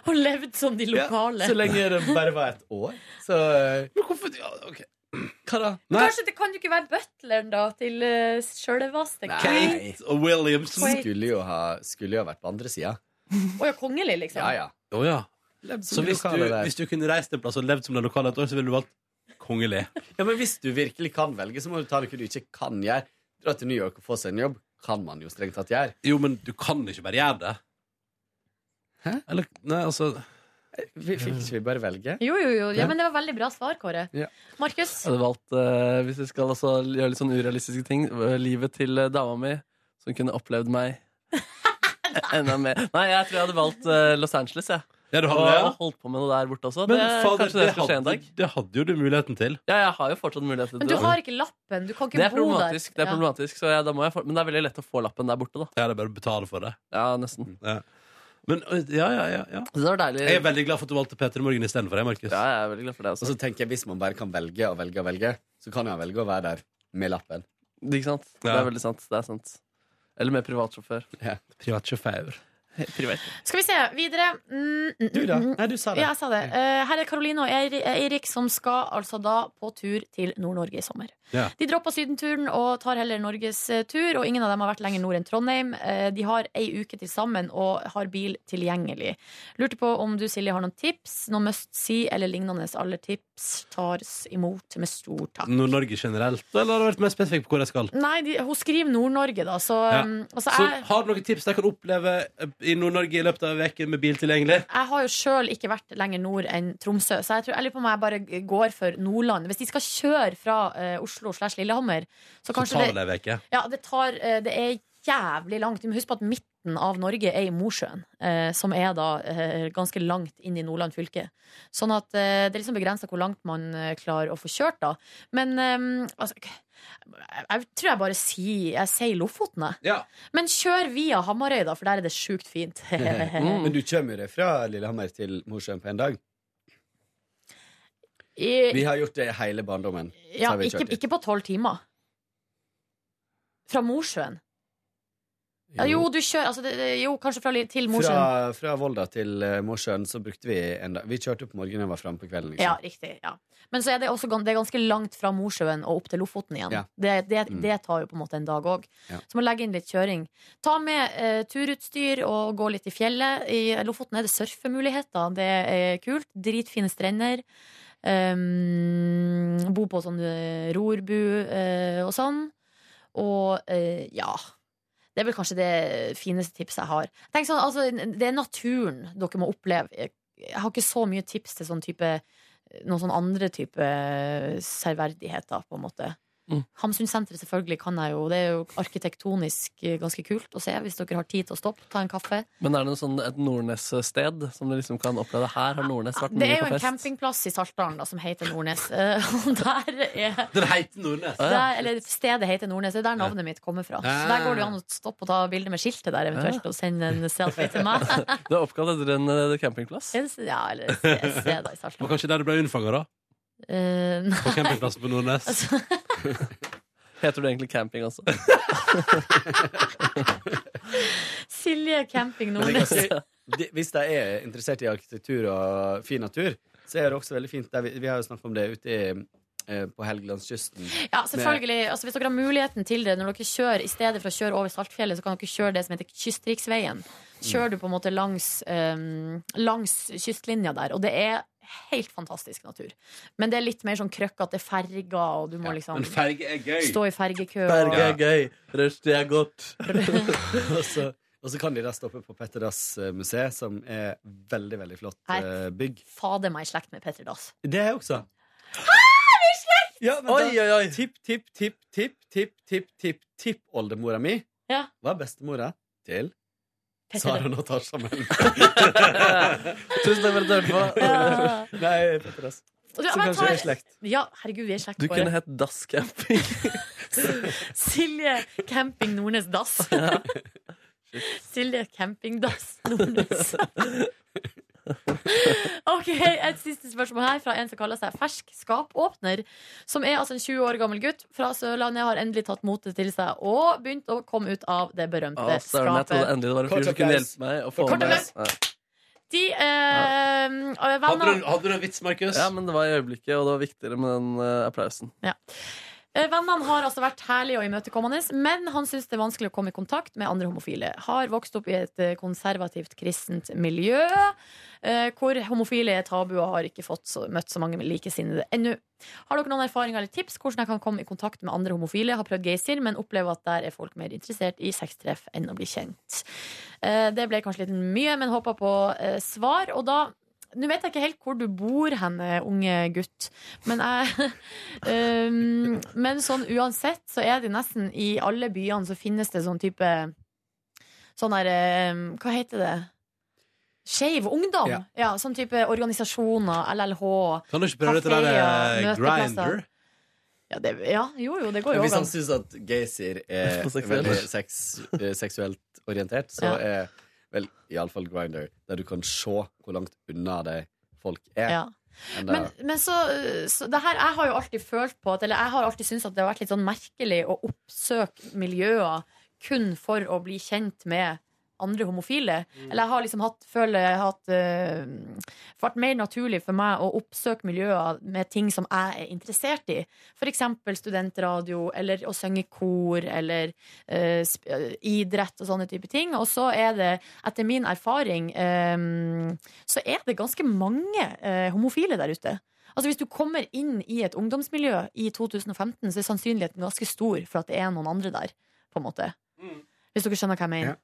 [SPEAKER 3] Og levd som de lokale.
[SPEAKER 12] så lenge det bare var et år. Så eh, Men
[SPEAKER 1] hvorfor
[SPEAKER 12] Hva da?
[SPEAKER 3] Men Kanskje det kan du ikke være butleren, da, til uh, sjølveste Kate?
[SPEAKER 1] og Williamson.
[SPEAKER 3] Wait.
[SPEAKER 12] Skulle jo ha, skulle jo ha vært på andre sida.
[SPEAKER 3] Å ja, kongelig, liksom?
[SPEAKER 12] Ja, ja.
[SPEAKER 1] Å ja.
[SPEAKER 12] Levd som
[SPEAKER 1] Så
[SPEAKER 12] de
[SPEAKER 1] hvis du,
[SPEAKER 12] lokale der.
[SPEAKER 1] hvis du kunne reist en plass og levd som den lokale et år, så ville du valgt kongelig.
[SPEAKER 12] Ja, men hvis du virkelig kan velge, så må du ta noe du ikke kan gjøre. Dra til New York og få seg en jobb kan man jo strengt tatt gjøre.
[SPEAKER 1] Jo, men du kan ikke bare gjøre det.
[SPEAKER 12] Hæ?
[SPEAKER 1] Eller, nei, altså
[SPEAKER 12] Fikk ikke vi bare velge?
[SPEAKER 3] Jo, jo, jo. Ja, men det var veldig bra svar, Kåre.
[SPEAKER 12] Ja.
[SPEAKER 3] Markus?
[SPEAKER 2] Jeg hadde valgt, eh, hvis vi skal altså gjøre litt sånn urealistiske ting, eh, livet til eh, dama mi, som kunne opplevd meg enda mer. Nei, jeg tror jeg hadde valgt eh, Los Angeles, jeg.
[SPEAKER 1] Ja, du hadde
[SPEAKER 2] og
[SPEAKER 1] det, ja.
[SPEAKER 2] og holdt på med noe der borte også.
[SPEAKER 1] Men
[SPEAKER 2] det,
[SPEAKER 1] fader,
[SPEAKER 2] kanskje det,
[SPEAKER 1] det
[SPEAKER 2] skal skje en
[SPEAKER 1] hadde-
[SPEAKER 2] dag.
[SPEAKER 1] Det hadde jo du muligheten til.
[SPEAKER 2] Ja, jeg har jo fortsatt mulighet til
[SPEAKER 3] Men du har ikke lappen. Du kan ikke
[SPEAKER 2] det er
[SPEAKER 3] bo der.
[SPEAKER 2] problematisk, det er
[SPEAKER 3] Ja.
[SPEAKER 2] problematisk så jeg, da må jeg få, men det er veldig lett å få lappen der borte. Da.
[SPEAKER 1] Ja, det er bare å betale for det.
[SPEAKER 2] Ja, nesten.
[SPEAKER 12] Mm.
[SPEAKER 1] Men ø, ja, ja, ja. ja.
[SPEAKER 2] Det var deilig.
[SPEAKER 1] Jeg er veldig glad for at du valgte Peter Morgen istedenfor deg, Markus.
[SPEAKER 2] Ja, jeg er veldig glad for det altså.
[SPEAKER 12] Og så tenker jeg, hvis man bare kan velge og velge og velge, så kan jeg velge å være der med lappen.
[SPEAKER 2] Ikke sant? Det
[SPEAKER 1] Ja.
[SPEAKER 2] er veldig sant. Det er sant. Eller med privatsjåfør.
[SPEAKER 12] Ja.
[SPEAKER 1] Privatsjåfør.
[SPEAKER 12] Privat.
[SPEAKER 3] Skal vi se videre. Mm, mm,
[SPEAKER 12] Du da?
[SPEAKER 3] mm, mm.
[SPEAKER 12] Nei, du sa det.
[SPEAKER 3] Ja, jeg sa det. Eh, her er Karoline og Eir- Eirik som skal altså da på tur til Nord-Norge i sommer.
[SPEAKER 14] Ja.
[SPEAKER 3] De dropper sydenturen og tar heller Norges eh, tur, og ingen av dem har vært lenger nord enn Trondheim. Eh, De har ei uke til sammen og har bil tilgjengelig. Lurte på om du, Silje, har noen tips? Noe must see eller lignende? Alle tips tas imot med stor takk.
[SPEAKER 1] Nord-Norge generelt, eller har du vært mer spesifikk på hvor jeg skal?
[SPEAKER 3] Nei, de, hun skriver Nord-Norge, da, så,
[SPEAKER 1] Ja.
[SPEAKER 3] um, og så
[SPEAKER 1] Så
[SPEAKER 3] jeg,
[SPEAKER 1] har du noen tips jeg kan oppleve eh, i Nord-Norge i løpet av en uke med bil tilgjengelig?
[SPEAKER 3] jeg har jo sjøl ikke vært lenger nord enn Tromsø, så jeg, tror, jeg lurer på om jeg bare går for Nordland. Hvis de skal kjøre fra eh, Oslo slash Lillehammer, så
[SPEAKER 1] Så
[SPEAKER 3] kanskje
[SPEAKER 1] tar det ei uke.
[SPEAKER 3] Ja, det, tar, eh, det er jævlig langt. Du må huske på at midten av Norge er i Mosjøen, eh, som er da eh, ganske langt inn i Nordland fylke. Sånn at eh, det er liksom begrensa hvor langt man eh, klarer å få kjørt, da. Men eh, altså k- jeg, jeg tror jeg bare sier Jeg sier Lofoten, jeg.
[SPEAKER 1] Ja.
[SPEAKER 3] Men kjør via Hamarøy, da, for der er det sjukt fint.
[SPEAKER 1] Mm.
[SPEAKER 2] Mm.
[SPEAKER 12] Men du kommer jo deg fra Lillehammer til Mosjøen på en dag.
[SPEAKER 3] I-
[SPEAKER 12] Vi har gjort det hele barndommen. så
[SPEAKER 3] Ja,
[SPEAKER 12] har vi
[SPEAKER 3] ikke,
[SPEAKER 12] kjørt dit.
[SPEAKER 3] ikke på tolv timer. Fra Mosjøen. Ja, jo, du kjører altså, det, det- Jo, kanskje fra, li- til Mosjøen.
[SPEAKER 12] Fra, fra Volda til eh, Mosjøen så brukte vi en dag. Vi kjørte på morgenen og var framme på kvelden.
[SPEAKER 3] Ja,
[SPEAKER 12] Liksom.
[SPEAKER 3] riktig. Ja. Men så er det, også, gan- det er ganske langt fra Mosjøen og opp til Lofoten igjen.
[SPEAKER 12] Ja.
[SPEAKER 3] Det, det,
[SPEAKER 12] Mm.
[SPEAKER 3] det tar jo på en måte en dag òg.
[SPEAKER 12] Ja.
[SPEAKER 3] Så må legge inn litt kjøring. Ta med eh, turutstyr og gå litt i fjellet. I Lofoten er det surfemuligheter. Det er kult. Dritfine strender. Um, bo på sånn eh, rorbu eh, og sånn. Og eh, ja. Det er vel kanskje det fineste tipset jeg har. Tenk sånn, altså, Det er naturen dere må oppleve. Jeg- Jeg har ikke så mye tips til sånn type noen sånn andre type eh, serverdigheter, på en måte. Hamsunsenteret selvfølgelig kan jeg jo. Det er jo arkitektonisk eh, ganske kult å se, hvis dere har tid til å stoppe, ta en kaffe.
[SPEAKER 2] Men er det noe sånn et Nordnes-sted som du liksom kan oppleve? Her har Nordnes vært
[SPEAKER 3] Det
[SPEAKER 2] mye
[SPEAKER 3] er jo
[SPEAKER 2] på
[SPEAKER 3] en
[SPEAKER 2] fest.
[SPEAKER 3] campingplass i Saltdalen da, som heter Nordnes. Eh, Og der er
[SPEAKER 1] Den heter Nordnes.
[SPEAKER 3] der, Eller stedet heter Nordnes. Det er der navnet mitt kommer fra. Så der går det jo an å stoppe og ta bilde med skiltet der eventuelt, og sende en selfie til meg.
[SPEAKER 2] Det er oppkalt etter en eh, campingplass?
[SPEAKER 3] Ja, eller et sted da i Saltdalen.
[SPEAKER 1] Og kanskje der du ble unnfanga, da?
[SPEAKER 3] Eh, nei.
[SPEAKER 1] På campingplassen på Nordnes.
[SPEAKER 3] Altså-
[SPEAKER 2] Heter det egentlig camping også?
[SPEAKER 3] Silje camping
[SPEAKER 12] Men det er
[SPEAKER 3] Nordnes.
[SPEAKER 12] ganske- de- Hvis de er interessert i arkitektur og fin natur, så er det også veldig fint. Der vi, vi har jo snakket om det ute i, eh, på Helgelandskysten.
[SPEAKER 3] Ja, selvfølgelig. Altså, hvis dere har muligheten til det når dere kjører, i stedet for å kjøre over Saltfjellet, så kan dere kjøre det som heter Kystriksveien. Kjører du på en måte langs, eh, langs kystlinja der, og det er helt fantastisk natur. Men det er litt mer sånn krøkkete, det er ferger, og du må liksom
[SPEAKER 2] men ferge er gøy.
[SPEAKER 3] stå i fergekø. og-
[SPEAKER 12] Berge er gøy, røst er godt. og, så, og så kan de da stoppe på Petter Dass eh, museet, som er veldig, veldig flott
[SPEAKER 3] Nei.
[SPEAKER 12] eh, bygg.
[SPEAKER 3] Fader meg i slekt med Petter Dass.
[SPEAKER 12] Det er jeg også. Ja, men
[SPEAKER 3] Oi,
[SPEAKER 12] da, Tipp, tipp, tipp, tipp, tipp, tipp, tipp, tipp, oldemora mi
[SPEAKER 3] Ja.
[SPEAKER 12] var bestemora til
[SPEAKER 3] Petter.
[SPEAKER 12] Sara Natasha Møll. Tusen takk for at du hørte på.
[SPEAKER 3] Ja.
[SPEAKER 12] Nei, Petter Dass.
[SPEAKER 3] Og du-
[SPEAKER 12] Som
[SPEAKER 3] men
[SPEAKER 12] kanskje
[SPEAKER 3] ta-
[SPEAKER 12] er i slekt.
[SPEAKER 3] Ja, herregud, vi er i slekt.
[SPEAKER 2] Du
[SPEAKER 3] bare.
[SPEAKER 2] kunne hett Dass Camping.
[SPEAKER 3] Silje Camping Nordnes Dass. Silje Camping Dass Nordnes. Ok, Et siste spørsmål her fra en som kaller seg Fersk skapåpner. Som er altså en 20 år gammel gutt fra Sørlandet. Har endelig tatt motet til seg og begynt å komme ut av det berømte
[SPEAKER 2] Å, søren, jeg trodde
[SPEAKER 3] skapet.
[SPEAKER 2] endelig det var en fyr som kunne hjelpe meg å få
[SPEAKER 3] Kort
[SPEAKER 2] med
[SPEAKER 3] applaus. De eh, venner,
[SPEAKER 1] en vits, Markus?
[SPEAKER 2] Ja, men det var i øyeblikket, og det var viktigere med den eh, applausen.
[SPEAKER 3] Eh, Vennene har altså vært herlige og imøtekommende, men han syns det er vanskelig å komme i kontakt med andre homofile. Har vokst opp i et eh, konservativt kristent miljø, eh, hvor homofile er tabu og har ikke fått så, møtt så mange likesinnede ennå. Har dere noen erfaringer eller tips hvordan jeg kan komme i kontakt med andre homofile? Har prøvd Geysir, men opplever at der er folk mer interessert i sextreff enn å bli kjent. Eh, Det ble kanskje litt mye, men håper på eh, svar. Og da nå vet jeg ikke helt hvor du bor hen, eh, unge gutt, men jeg um, Men sånn uansett, så er det nesten i alle byene så finnes det sånn type Sånn der um, Hva heter det? Skeiv ungdom. Ja.
[SPEAKER 1] Ja.
[SPEAKER 3] sånn type organisasjoner, LLH,
[SPEAKER 1] Kan du ikke prøve dette der eh, Grindr?
[SPEAKER 3] Ja, det, ja, jo, jo, det går
[SPEAKER 12] Men
[SPEAKER 3] jo
[SPEAKER 12] Hvis han
[SPEAKER 3] an.
[SPEAKER 12] syns at geysir er
[SPEAKER 2] For seksuelt.
[SPEAKER 12] veldig seks, eh, seksuelt orientert, så
[SPEAKER 3] Ja.
[SPEAKER 12] er vel iallfall Grinder der du kan se hvor langt unna de folk er.
[SPEAKER 3] Ja.
[SPEAKER 12] Enn
[SPEAKER 3] Men,
[SPEAKER 12] det-
[SPEAKER 3] men så, så det her, Jeg har jo alltid følt på at, Eller jeg har alltid syntes at det har vært litt sånn merkelig å oppsøke miljøer kun for å bli kjent med andre homofile. Eller jeg har liksom hatt, føler jeg har hatt eh, vært mer naturlig for meg å oppsøke miljøer med ting som jeg er interessert i. F.eks. studentradio, eller å synge i kor, eller eh, sp- eh, idrett og sånne type ting. Og så er det, etter min erfaring, eh, så er det ganske mange eh, homofile der ute. Altså Hvis du kommer inn i et ungdomsmiljø i 2015, så er sannsynligheten ganske stor for at det er noen andre der. på en måte. Hvis dere skjønner hva jeg mener.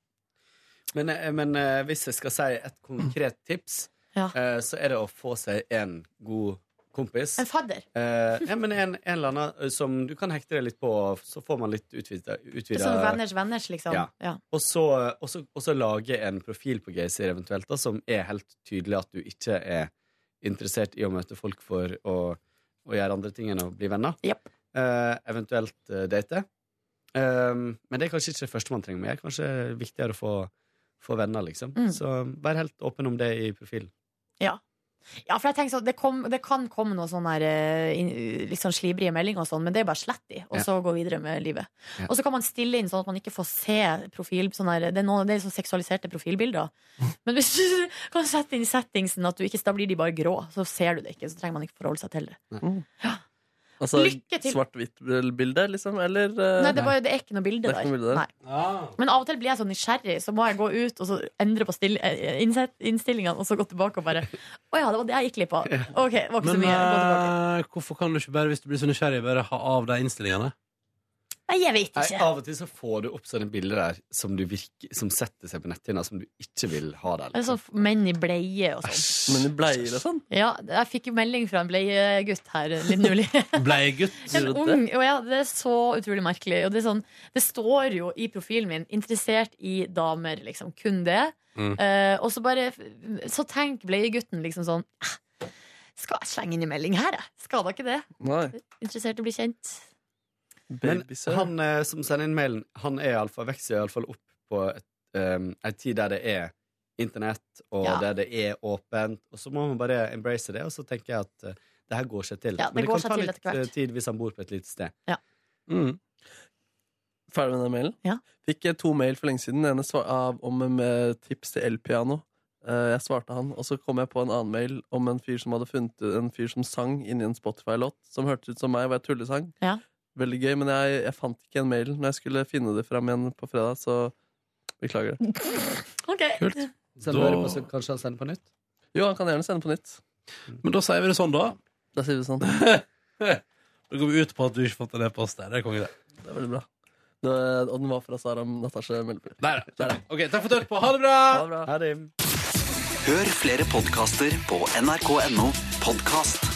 [SPEAKER 12] Men, eh, men eh, hvis jeg skal si et konkret tips, eh, så er det å få seg en god kompis.
[SPEAKER 3] En fadder.
[SPEAKER 12] Eh, ja, men en, en eller annen eh, som du kan hekte deg litt på, så får man litt utvida
[SPEAKER 3] Det er sånn venners venners, liksom.
[SPEAKER 12] Ja.
[SPEAKER 3] Ja.
[SPEAKER 12] Og så, og så, og så lage en profil på Geysir eventuelt, da, som er helt tydelig at du ikke er interessert i å møte folk for å, å gjøre andre ting enn å bli venner. Eh, eventuelt eh, date. Um, men det er kanskje ikke det første man trenger med. Det er kanskje viktigere å få, få venner, liksom.
[SPEAKER 3] Mm.
[SPEAKER 12] Så vær helt åpen om det i profilen.
[SPEAKER 3] Ja. Ja, for jeg tenker sånn, det, kom, det kan komme noen sånne her, eh, inn- litt sånn slibrige meldinger, og sånn, men det er bare slett de, og
[SPEAKER 12] Ja.
[SPEAKER 3] så gå videre med livet.
[SPEAKER 12] Ja.
[SPEAKER 3] Og så kan man stille inn sånn at man ikke får se profil, sånn her, det, er noen, det er sånn seksualiserte profilbilder. Men hvis du kan sette inn settingsen at du ikke, da blir de bare grå, så ser du det ikke. Så trenger man ikke forholde seg til det.
[SPEAKER 2] Altså
[SPEAKER 3] Lykke til.
[SPEAKER 2] svart-hvitt-bilde, liksom? Eller eh,
[SPEAKER 3] Nei, det, er bare, det er ikke noe bilde
[SPEAKER 2] Det er ikke noe
[SPEAKER 3] der.
[SPEAKER 2] bilde der.
[SPEAKER 3] Nei. Men av og til blir jeg så nysgjerrig, så må jeg gå ut og så endre på still- eh, innsett- innstillingene, og så gå tilbake og bare Å ja, det var det jeg gikk glipp av. Ok, det var ikke
[SPEAKER 1] Men
[SPEAKER 3] så mye. Gå tilbake.
[SPEAKER 1] eh, hvorfor kan du ikke bare, hvis du blir så nysgjerrig, bare ha av de innstillingene?
[SPEAKER 3] Nei, jeg vet
[SPEAKER 12] Nei,
[SPEAKER 3] ikke.
[SPEAKER 12] av og til så får du opp sånne bilder der som, du virker, som setter seg på netthinna, som du ikke vil ha der. liksom.
[SPEAKER 3] Eller sånn menn i bleie og sånn.
[SPEAKER 12] Men i bleier og sånn?
[SPEAKER 3] Ja, jeg fikk jo melding fra en bleiegutt her eh, litt nylig.
[SPEAKER 1] Bleiegutt.
[SPEAKER 3] En ung, og ja, Det er så utrolig merkelig. Og det, er sånn, det står jo i profilen min 'interessert i damer', liksom. Kun det.
[SPEAKER 1] Mm.
[SPEAKER 3] Eh, og så bare Så tenk bleiegutten liksom sånn «Eh, Skal jeg slenge inn en melding her, jeg? Skal da ikke det?
[SPEAKER 12] Nei.
[SPEAKER 3] Interessert i å bli kjent.
[SPEAKER 12] Men han eh, som sender inn mailen, han er iallfall vokser iallfall opp på et, um, ei tid der det er internett, og
[SPEAKER 3] Ja.
[SPEAKER 12] der det er åpent, og så må man bare embrace det, og så tenker jeg at eh, det her går seg til.
[SPEAKER 3] Ja, det
[SPEAKER 12] Men det
[SPEAKER 3] går
[SPEAKER 12] kan
[SPEAKER 3] seg
[SPEAKER 12] ta
[SPEAKER 3] til
[SPEAKER 12] litt
[SPEAKER 3] etter hvert.
[SPEAKER 12] eh, tid hvis han bor på et lite sted.
[SPEAKER 2] Mm. Ferdig med den mailen? Fikk eh, to mail for lenge siden. Den ene svar- av, om eh, tips til elpiano. Eh, Jeg svarte han, og så kom jeg på en annen mail om en fyr som hadde funnet en fyr som sang inni en Spotify-låt som hørtes ut som meg, og jeg tullesang.
[SPEAKER 3] Ja.
[SPEAKER 2] Veldig gøy, men jeg, jeg fant ikke igjen mailen. Når jeg skulle finne det fram igjen på fredag, så beklager det.
[SPEAKER 3] Kult.
[SPEAKER 12] Send
[SPEAKER 2] Da-
[SPEAKER 12] bare på, så kanskje han sender på nytt?
[SPEAKER 2] Jo, han kan gjerne sende på nytt.
[SPEAKER 1] Men da sier vi det sånn, da.
[SPEAKER 2] Da sier vi sånn.
[SPEAKER 1] Da går vi ut på at du ikke fant en e-post der. Det er konge, det.
[SPEAKER 2] Det er veldig bra. Det, og den var fra Saram Natasha Melby.
[SPEAKER 1] Der, der. Ok, takk for at du hørte på. Ha det bra!
[SPEAKER 2] Ha det bra.
[SPEAKER 5] Hør flere podkaster på nrk.no podkast.